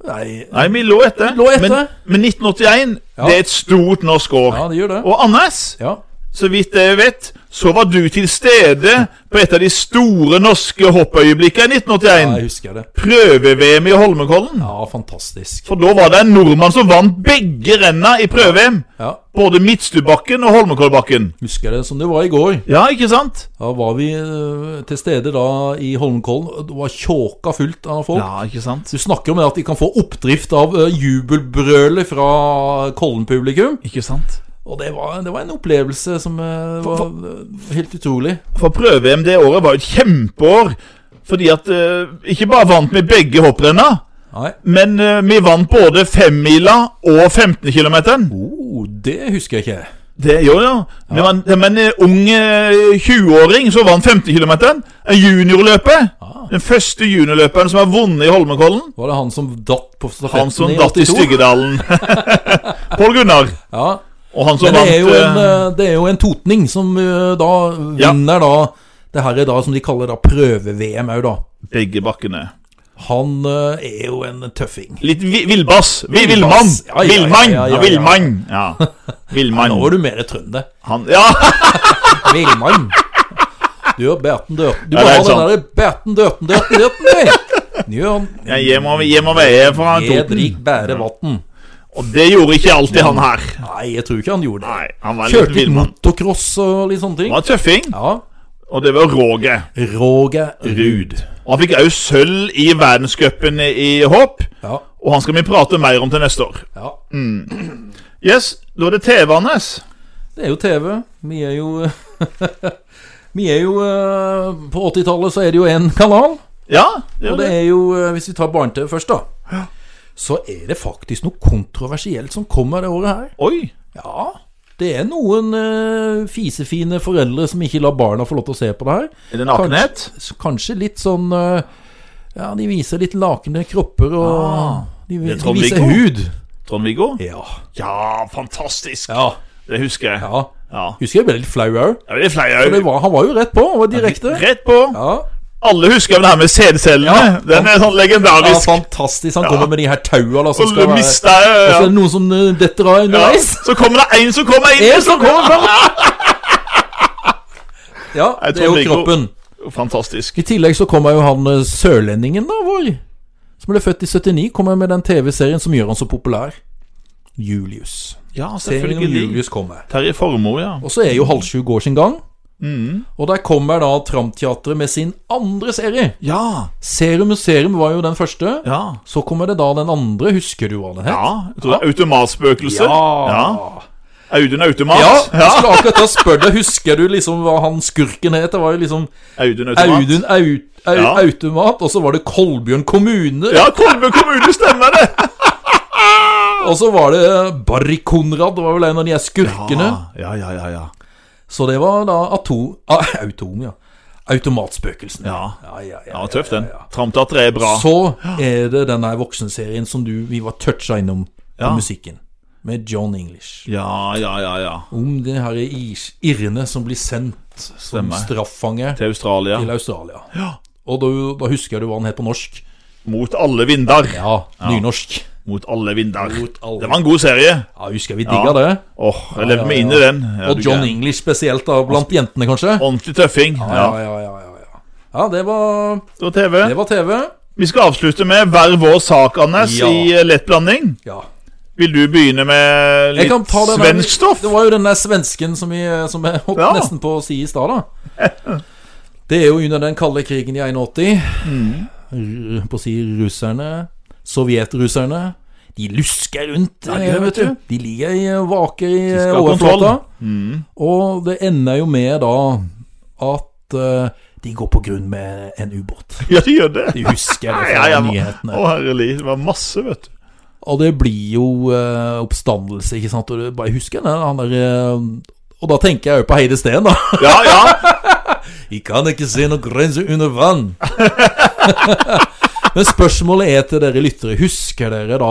Speaker 1: Nei
Speaker 2: Nei, vi lå etter.
Speaker 1: Lå etter.
Speaker 2: Men, men 1981,
Speaker 1: Ja.
Speaker 2: det er et stort norsk år.
Speaker 1: Ja, det gjør det.
Speaker 2: Og Anders,
Speaker 1: Ja.
Speaker 2: Så vidt jeg vet, så var du til stede på et av de store norske hoppøyeblikkene i
Speaker 1: ja,
Speaker 2: 1981.
Speaker 1: jeg husker det.
Speaker 2: Prøve-VM i Holmenkollen.
Speaker 1: Ja, fantastisk.
Speaker 2: For da var det en nordmann som vant begge renna i prøve-VM.
Speaker 1: Ja,
Speaker 2: Både Midtstubakken og Holmenkollbakken.
Speaker 1: Husker det som det var i går.
Speaker 2: Ja, ikke sant?
Speaker 1: Da var vi eh, til stede da i Holmenkollen. og Det var tjåka fullt av folk.
Speaker 2: Ja, ikke sant?
Speaker 1: Du snakker om det at de kan få oppdrift av eh, jubelbrølet fra Kollen-publikum.
Speaker 2: Ikke sant?
Speaker 1: Og det var, det var en opplevelse som eh, var eh, helt utrolig.
Speaker 2: For prøve-VM det året var jo et kjempeår. Fordi at eh, Ikke bare vant vi begge hopprenna,
Speaker 1: Nei.
Speaker 2: men eh, vi vant både femmila og 15 km.
Speaker 1: Oh, det husker jeg ikke.
Speaker 2: Det gjør ja. Men, man- det var en eh, ung eh, 20-åring som vant 50 km. Juniorløpet.
Speaker 1: Ah.
Speaker 2: Den første juniorløperen som har vunnet i Holmenkollen.
Speaker 1: Var det han som datt på stafetten
Speaker 2: Han som
Speaker 1: i
Speaker 2: datt i
Speaker 1: 82?
Speaker 2: Styggedalen. (laughs) Pål Gunnar.
Speaker 1: Ja.
Speaker 2: Og han som
Speaker 1: Men det
Speaker 2: vant
Speaker 1: er, jo en,
Speaker 2: eh,
Speaker 1: eh, det er jo en totning som eh, da
Speaker 2: Ja.
Speaker 1: vinner da det her er da som de kaller da prøve-VM òg, da.
Speaker 2: begge bakkene.
Speaker 1: Han eh, er jo en tøffing.
Speaker 2: Litt vi, villbass. Vi, villmann.
Speaker 1: Villbass. Ja, ja, ja,
Speaker 2: Villmann.
Speaker 1: ja, ja,
Speaker 2: Ja,
Speaker 1: ja.
Speaker 2: villmann. Ja.
Speaker 1: (laughs)
Speaker 2: Villmann.
Speaker 1: Nå var du mer trønder.
Speaker 2: Han Ja!
Speaker 1: Villmann. Du og Berten Dørten. Du
Speaker 2: Ja,
Speaker 1: må
Speaker 2: det
Speaker 1: ha
Speaker 2: er
Speaker 1: den
Speaker 2: sant.
Speaker 1: derre Berten Dørten Dørten
Speaker 2: (laughs)
Speaker 1: Dørten, du! Njø,
Speaker 2: Jeg hjem og, hjem og veie fra
Speaker 1: Edrik
Speaker 2: Toten.
Speaker 1: Bære Vatn.
Speaker 2: Og det gjorde ikke alltid han her.
Speaker 1: Nei, jeg tror ikke han gjorde det.
Speaker 2: Nei, han var litt
Speaker 1: Kjørte litt
Speaker 2: villmann.
Speaker 1: motocross og litt sånne ting.
Speaker 2: Han var tøffing,
Speaker 1: Ja.
Speaker 2: og det var Roger.
Speaker 1: Roger Ruud.
Speaker 2: Og han fikk òg sølv i verdenscupen i i hopp,
Speaker 1: Ja.
Speaker 2: og han skal vi prate mer om til neste år.
Speaker 1: ja.
Speaker 2: Yes, da er det TV-Anders.
Speaker 1: Det er jo TV. Vi er jo (laughs) Vi er jo eh, På 80-tallet så er det jo én kanal.
Speaker 2: Ja, det
Speaker 1: Og
Speaker 2: er
Speaker 1: det
Speaker 2: det.
Speaker 1: er jo eh, Hvis vi tar barne-TV først, da. Så er det faktisk noe kontroversielt som kommer det året her.
Speaker 2: Oi.
Speaker 1: Ja. Det er noen eh, fisefine foreldre som ikke lar barna få lov til å se på det her.
Speaker 2: Er det nakenhet?
Speaker 1: Kanskje, kanskje litt sånn eh, Ja, de viser litt nakne kropper, og de,
Speaker 2: Ah, det er
Speaker 1: de
Speaker 2: Trond
Speaker 1: viser
Speaker 2: Viggo.
Speaker 1: hud.
Speaker 2: Trond-Viggo?
Speaker 1: Ja.
Speaker 2: Ja, fantastisk.
Speaker 1: ja.
Speaker 2: Det husker jeg.
Speaker 1: Ja.
Speaker 2: Ja.
Speaker 1: Husker jeg ble litt flau òg.
Speaker 2: Ja, men det er flere
Speaker 1: Han var jo rett på, han var direkte.
Speaker 2: Rett på.
Speaker 1: Ja.
Speaker 2: Alle husker vel det her med sædcellene.
Speaker 1: Ja.
Speaker 2: Den er sånn
Speaker 1: Ja,
Speaker 2: legendarisk.
Speaker 1: fantastisk. Han kommer med de her taua. da, som
Speaker 2: Og
Speaker 1: skal være-
Speaker 2: mista jeg,
Speaker 1: Og så
Speaker 2: ja.
Speaker 1: er det noen som eh, detter av
Speaker 2: Ja.
Speaker 1: underveis.
Speaker 2: Så kommer det en som kommer inn.
Speaker 1: En som kommer fram. Ja,
Speaker 2: Jeg
Speaker 1: det er
Speaker 2: tror
Speaker 1: jo
Speaker 2: Viggo-
Speaker 1: kroppen.
Speaker 2: Fantastisk.
Speaker 1: I tillegg så kommer jo han eh, sørlendingen, da, vår. Som ble født i 79, kommer med den TV-serien som gjør han så populær. Julius.
Speaker 2: Ja,
Speaker 1: Serien om Julius kommer.
Speaker 2: Terje Formoe, ja.
Speaker 1: Og så er jo halv sju går sin gang. Og der kommer da Tramteatret med sin andre serie.
Speaker 2: Ja.
Speaker 1: Serum Museum var jo den første.
Speaker 2: Ja.
Speaker 1: Så kommer det da den andre. Husker du hva den het?
Speaker 2: ja. Jeg tror det er automatspøkelse.
Speaker 1: Ja.
Speaker 2: Audun Automat.
Speaker 1: Ja, jeg skulle akkurat da spørre deg Husker du liksom hva han skurken het? Det var jo liksom
Speaker 2: Audun Automat.
Speaker 1: Audun Au- Au-
Speaker 2: Ja.
Speaker 1: Automat, og så var det Kolbjørn kommune.
Speaker 2: Ja, Kolbø kommune stemmer
Speaker 1: (laughs)
Speaker 2: det!
Speaker 1: Og så var det Barry Konrad, det var vel en av de her skurkene.
Speaker 2: Ah, Ja, ja, ja, ja.
Speaker 1: Så det var da atom... Ah, (laughs) autom, ja. Automatspøkelsen.
Speaker 2: Ja.
Speaker 1: Ja, ja, ja,
Speaker 2: Ja, tøff den. Tramteater er bra.
Speaker 1: Så er det den der voksenserien som du, vi var toucha innom på
Speaker 2: Ja.
Speaker 1: musikken. Med John English.
Speaker 2: Ja, ja, ja, ja.
Speaker 1: Om det her is- irrene som blir sendt som
Speaker 2: Stemmer.
Speaker 1: straffange
Speaker 2: Til Australia.
Speaker 1: til Australia. Og da, da husker du hva han het på norsk.
Speaker 2: Mot alle vinder.
Speaker 1: Ja, nynorsk.
Speaker 2: Mot alle vinder.
Speaker 1: Mot alle.
Speaker 2: Det var en god serie.
Speaker 1: Ja, husker vi digga det.
Speaker 2: Åh, jeg levde meg inn i den. Ja,
Speaker 1: Og
Speaker 2: du
Speaker 1: John
Speaker 2: gæren.
Speaker 1: English spesielt, da, blant jentene kanskje?
Speaker 2: Ordentlig tøffing. Ja,
Speaker 1: Ja, ja, ja. ja, ja. ja det, var,
Speaker 2: Det var TV.
Speaker 1: det var TV.
Speaker 2: Vi skal avslutte med hver vår sak, Anders,
Speaker 1: Ja.
Speaker 2: i eh, lettblanding.
Speaker 1: Ja.
Speaker 2: Vil du begynne med
Speaker 1: Jeg kan
Speaker 2: litt
Speaker 1: ta den
Speaker 2: svensk stoff?
Speaker 1: Det var jo den der svensken som, vi, eh, som jeg holdt
Speaker 2: Ja.
Speaker 1: nesten på å si i stad, da. Det er jo under den kalde krigen i 81.
Speaker 2: Mm.
Speaker 1: R- På å si russerne. Sovjetrusserne. De lusker rundt,
Speaker 2: Ja, de gjør,
Speaker 1: eh, vet
Speaker 2: vet
Speaker 1: du. De ligger i vaker i
Speaker 2: De
Speaker 1: eh,
Speaker 2: skal ha
Speaker 1: overflata.
Speaker 2: kontroll. Mm. (laughs)
Speaker 1: Og det ender jo med da at eh, de går på grunn med en ubåt.
Speaker 2: Ja, de gjør det.
Speaker 1: De husker det
Speaker 2: (laughs) Ja,
Speaker 1: fra
Speaker 2: ja,
Speaker 1: nyhetene.
Speaker 2: Å, herrelig. Det var masse, vet du.
Speaker 1: Og det blir jo eh, oppstandelse, ikke sant. Og det, bare husker jeg det, han der eh, Og da tenker jeg jo på Heide Steen, da. (laughs)
Speaker 2: Ja, ja.
Speaker 1: Vi kan ikke se noen grense under vann. (laughs) Men spørsmålet er til dere lyttere. Husker dere da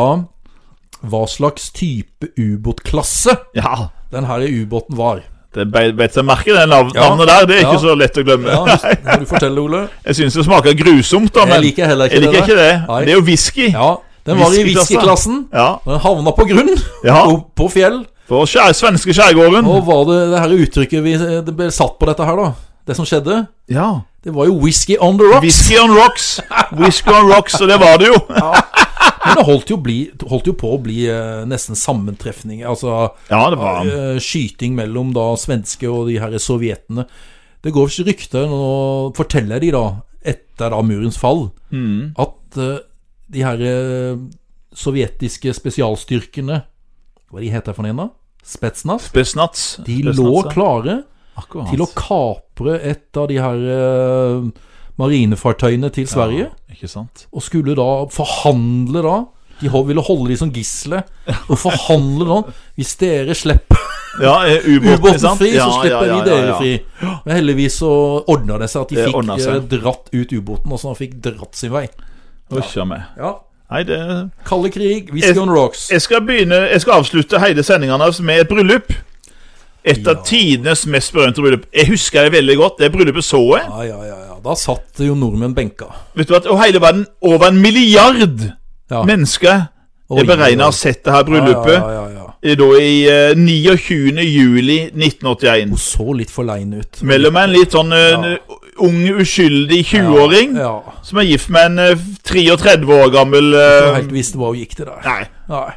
Speaker 1: hva slags type ubåtklasse
Speaker 2: (laughs) ja.
Speaker 1: den her ubåten var?
Speaker 2: Det be- bet seg merke, det nav-
Speaker 1: Ja.
Speaker 2: navnet der. Det er
Speaker 1: Ja.
Speaker 2: ikke så lett å glemme.
Speaker 1: Ja,
Speaker 2: (laughs)
Speaker 1: hus- må du fortelle, Ole?
Speaker 2: Jeg syns det smaker grusomt, da, men
Speaker 1: Jeg liker heller ikke
Speaker 2: jeg liker
Speaker 1: det.
Speaker 2: ikke det.
Speaker 1: Nei.
Speaker 2: Det er jo whisky.
Speaker 1: Ja, Den var i
Speaker 2: Whiskyklasse.
Speaker 1: whiskyklassen.
Speaker 2: Ja.
Speaker 1: Den havna på grunn,
Speaker 2: Ja.
Speaker 1: opp på fjell.
Speaker 2: For skjær, svenske skjærgården.
Speaker 1: Og var det det her uttrykket vi det ble satt på dette her, da? Det som skjedde?
Speaker 2: Ja.
Speaker 1: Det var jo whisky on the rocks.
Speaker 2: Whisky on rocks. Whisky on rocks, og det var det jo.
Speaker 1: Men det holdt jo, bli, holdt jo på å bli eh, nesten sammentrefning. Altså
Speaker 2: Ja, det var han.
Speaker 1: eh, skyting mellom da svenske og de her sovjetene. Det går ikke rykter, nå forteller de da, etter da murens fall,
Speaker 2: mm.
Speaker 1: at eh, de her eh, sovjetiske spesialstyrkene Hva de heter for noen da? Spetsnaz?
Speaker 2: Spesnats.
Speaker 1: De lå klare til å kapre et av de her eh, marinefartøyene til Sverige.
Speaker 2: Ikke sant?
Speaker 1: Og skulle da forhandle da De ho- ville holde de som gisle Og forhandle da Hvis dere slipper
Speaker 2: (laughs) Ja, eh, ubåten,
Speaker 1: ubåten
Speaker 2: sant?
Speaker 1: fri
Speaker 2: ja,
Speaker 1: Så slipper
Speaker 2: ja,
Speaker 1: vi
Speaker 2: ja, ja,
Speaker 1: dere
Speaker 2: ja.
Speaker 1: fri Men heldigvis så ordnet det seg At de
Speaker 2: Det
Speaker 1: fikk
Speaker 2: ordnet
Speaker 1: eh,
Speaker 2: seg.
Speaker 1: dratt ut ubåten Og så han fikk dratt sin vei
Speaker 2: Uff, ja, meg.
Speaker 1: Ja
Speaker 2: Nei, det
Speaker 1: Kalle krig, whisky on rocks
Speaker 2: Jeg skal begynne Jeg skal avslutte hele sendingen hans med et bryllup. Et av
Speaker 1: Ja.
Speaker 2: tidenes mest berømte bryllup. Jeg husker det veldig godt. Det bryllupet så jeg.
Speaker 1: Ja, ja, ja, ja Da satt jo nordmenn benka
Speaker 2: Vet du hva, Og hele verden, over en milliard
Speaker 1: Ja
Speaker 2: mennesker
Speaker 1: Oi,
Speaker 2: er
Speaker 1: oi.
Speaker 2: beregna å ha sett det her
Speaker 1: Ja,
Speaker 2: bryllupet.
Speaker 1: Ja, ja, ja, ja
Speaker 2: eh, Da i eh, 29. juli 1981.
Speaker 1: Hun så litt forlein ut
Speaker 2: Mellom en litt sånn eh,
Speaker 1: Ja.
Speaker 2: ung, uskyldig 20-åring
Speaker 1: Ja
Speaker 2: som er gift med en eh, 33 år gammel
Speaker 1: Hun
Speaker 2: eh,
Speaker 1: helt visste hva hun gikk til der
Speaker 2: Nei.
Speaker 1: Nei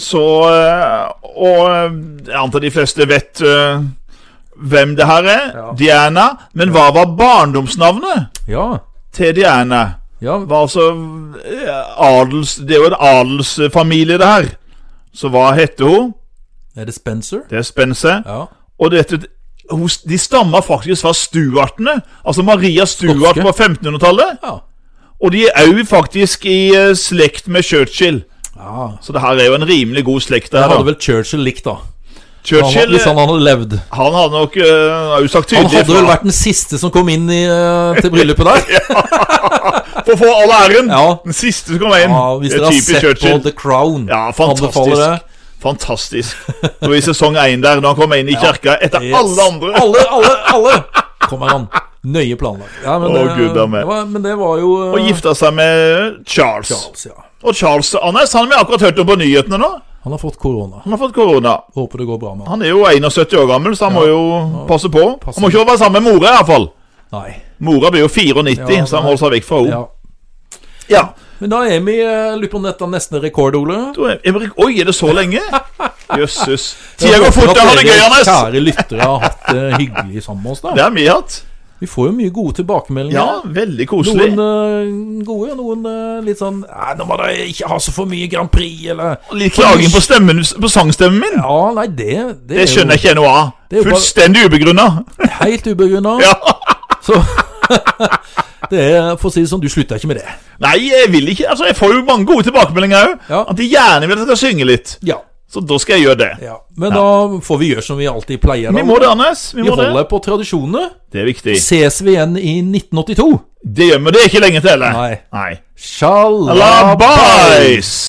Speaker 2: Så eh, Og eh, jeg antar de fleste vet eh, hvem det her er.
Speaker 1: Ja.
Speaker 2: Diana. Men hva var barndomsnavnet
Speaker 1: Ja
Speaker 2: til Diana?
Speaker 1: Ja
Speaker 2: Var altså eh, adels... Det er jo en adelsfamilie, det her. Så hva heter hun?
Speaker 1: Er det Spencer?
Speaker 2: Det er Spencer.
Speaker 1: Ja
Speaker 2: Og dette hun- de stammer faktisk fra stuartene. Altså Maria Stuart
Speaker 1: Skotske.
Speaker 2: på 1500-tallet.
Speaker 1: Ja
Speaker 2: Og de er òg faktisk i eh, slekt med Churchill.
Speaker 1: Ja
Speaker 2: Så det her er jo en rimelig god slekt. Det
Speaker 1: Ah. Det
Speaker 2: her,
Speaker 1: hadde
Speaker 2: da.
Speaker 1: vel Churchill likt, da. Han,
Speaker 2: Churchill
Speaker 1: hvis han hadde levd.
Speaker 2: Han hadde nok eh, har jo sagt
Speaker 1: Han
Speaker 2: tydelig
Speaker 1: hadde vel
Speaker 2: fra
Speaker 1: vært den siste som kom inn i, eh, til bryllupet
Speaker 2: (laughs)
Speaker 1: der.
Speaker 2: For å få all æren!
Speaker 1: Ja.
Speaker 2: Den siste som kom inn.
Speaker 1: Ja, hvis
Speaker 2: Det
Speaker 1: dere
Speaker 2: er
Speaker 1: har
Speaker 2: typisk
Speaker 1: sett
Speaker 2: Churchill.
Speaker 1: på The Crown,
Speaker 2: Ja,
Speaker 1: anbefaler det.
Speaker 2: fantastisk. Fantastisk. Det var i sesong én der, da han kom inn i kirka etter
Speaker 1: Yes.
Speaker 2: alle andre.
Speaker 1: Alle, alle, alle! Kommer han. Nøye planlagt. Ja, men,
Speaker 2: Å,
Speaker 1: det,
Speaker 2: Gud, da meg.
Speaker 1: det var, men det var jo eh,
Speaker 2: Og gifta seg med Charles.
Speaker 1: Charles, ja.
Speaker 2: Og Charles Anders han har vi akkurat hørt om på nyhetene nå.
Speaker 1: Han har fått korona.
Speaker 2: Han har fått korona.
Speaker 1: Håper det går bra med han.
Speaker 2: Han er jo 71 år gammel, så han må jo passe på.
Speaker 1: passe
Speaker 2: Han må ikke være sammen med mora, iallfall.
Speaker 1: Nei.
Speaker 2: Mora blir jo 94,
Speaker 1: Ja,
Speaker 2: så han
Speaker 1: nei.
Speaker 2: holder seg vekk fra henne.
Speaker 1: Ja.
Speaker 2: Ja.
Speaker 1: Men da er vi eh, lurer på om dette er nesten rekord, Ole.
Speaker 2: Da er- er det- Oi, er det så
Speaker 1: (laughs)
Speaker 2: lenge? Jøsses. Tida går fort, jeg har det gøy, Anders.
Speaker 1: Kjære lyttere har hatt det hyggelig sammen med oss.
Speaker 2: Det
Speaker 1: da
Speaker 2: har vi hatt.
Speaker 1: Vi får jo mye gode tilbakemeldinger.
Speaker 2: Ja, veldig
Speaker 1: Noen
Speaker 2: koselig.
Speaker 1: eh, gode, og noen eh, litt sånn Nei, nå må dere ikke ha så for mye Grand Prix, eller
Speaker 2: Litt klaging på, stemmen, på sangstemmen min.
Speaker 1: Ja, nei, det Det,
Speaker 2: Det skjønner jeg ikke noe av.
Speaker 1: Det er jo bare-
Speaker 2: Fullstendig ubegrunna.
Speaker 1: ikke. Helt ubegrunna.
Speaker 2: (laughs) Ja.
Speaker 1: Så (laughs) det er, For å si det sånn, du slutter ikke med det.
Speaker 2: Nei, jeg vil ikke. Altså, Jeg får jo mange gode tilbakemeldinger òg.
Speaker 1: Ja.
Speaker 2: At de gjerne vil at jeg skal synge litt.
Speaker 1: Ja.
Speaker 2: Så da skal jeg gjøre det.
Speaker 1: ja. Men da får vi gjøre som vi alltid pleier. da.
Speaker 2: Vi må det, Anders. Vi
Speaker 1: Vi
Speaker 2: må det.
Speaker 1: holder på tradisjonene.
Speaker 2: Det er viktig.
Speaker 1: Ses vi igjen i 1982?
Speaker 2: Det gjør vi. Det er ikke lenge til heller.
Speaker 1: Nei.
Speaker 2: Nei.
Speaker 1: Shalabais!
Speaker 2: Alabais!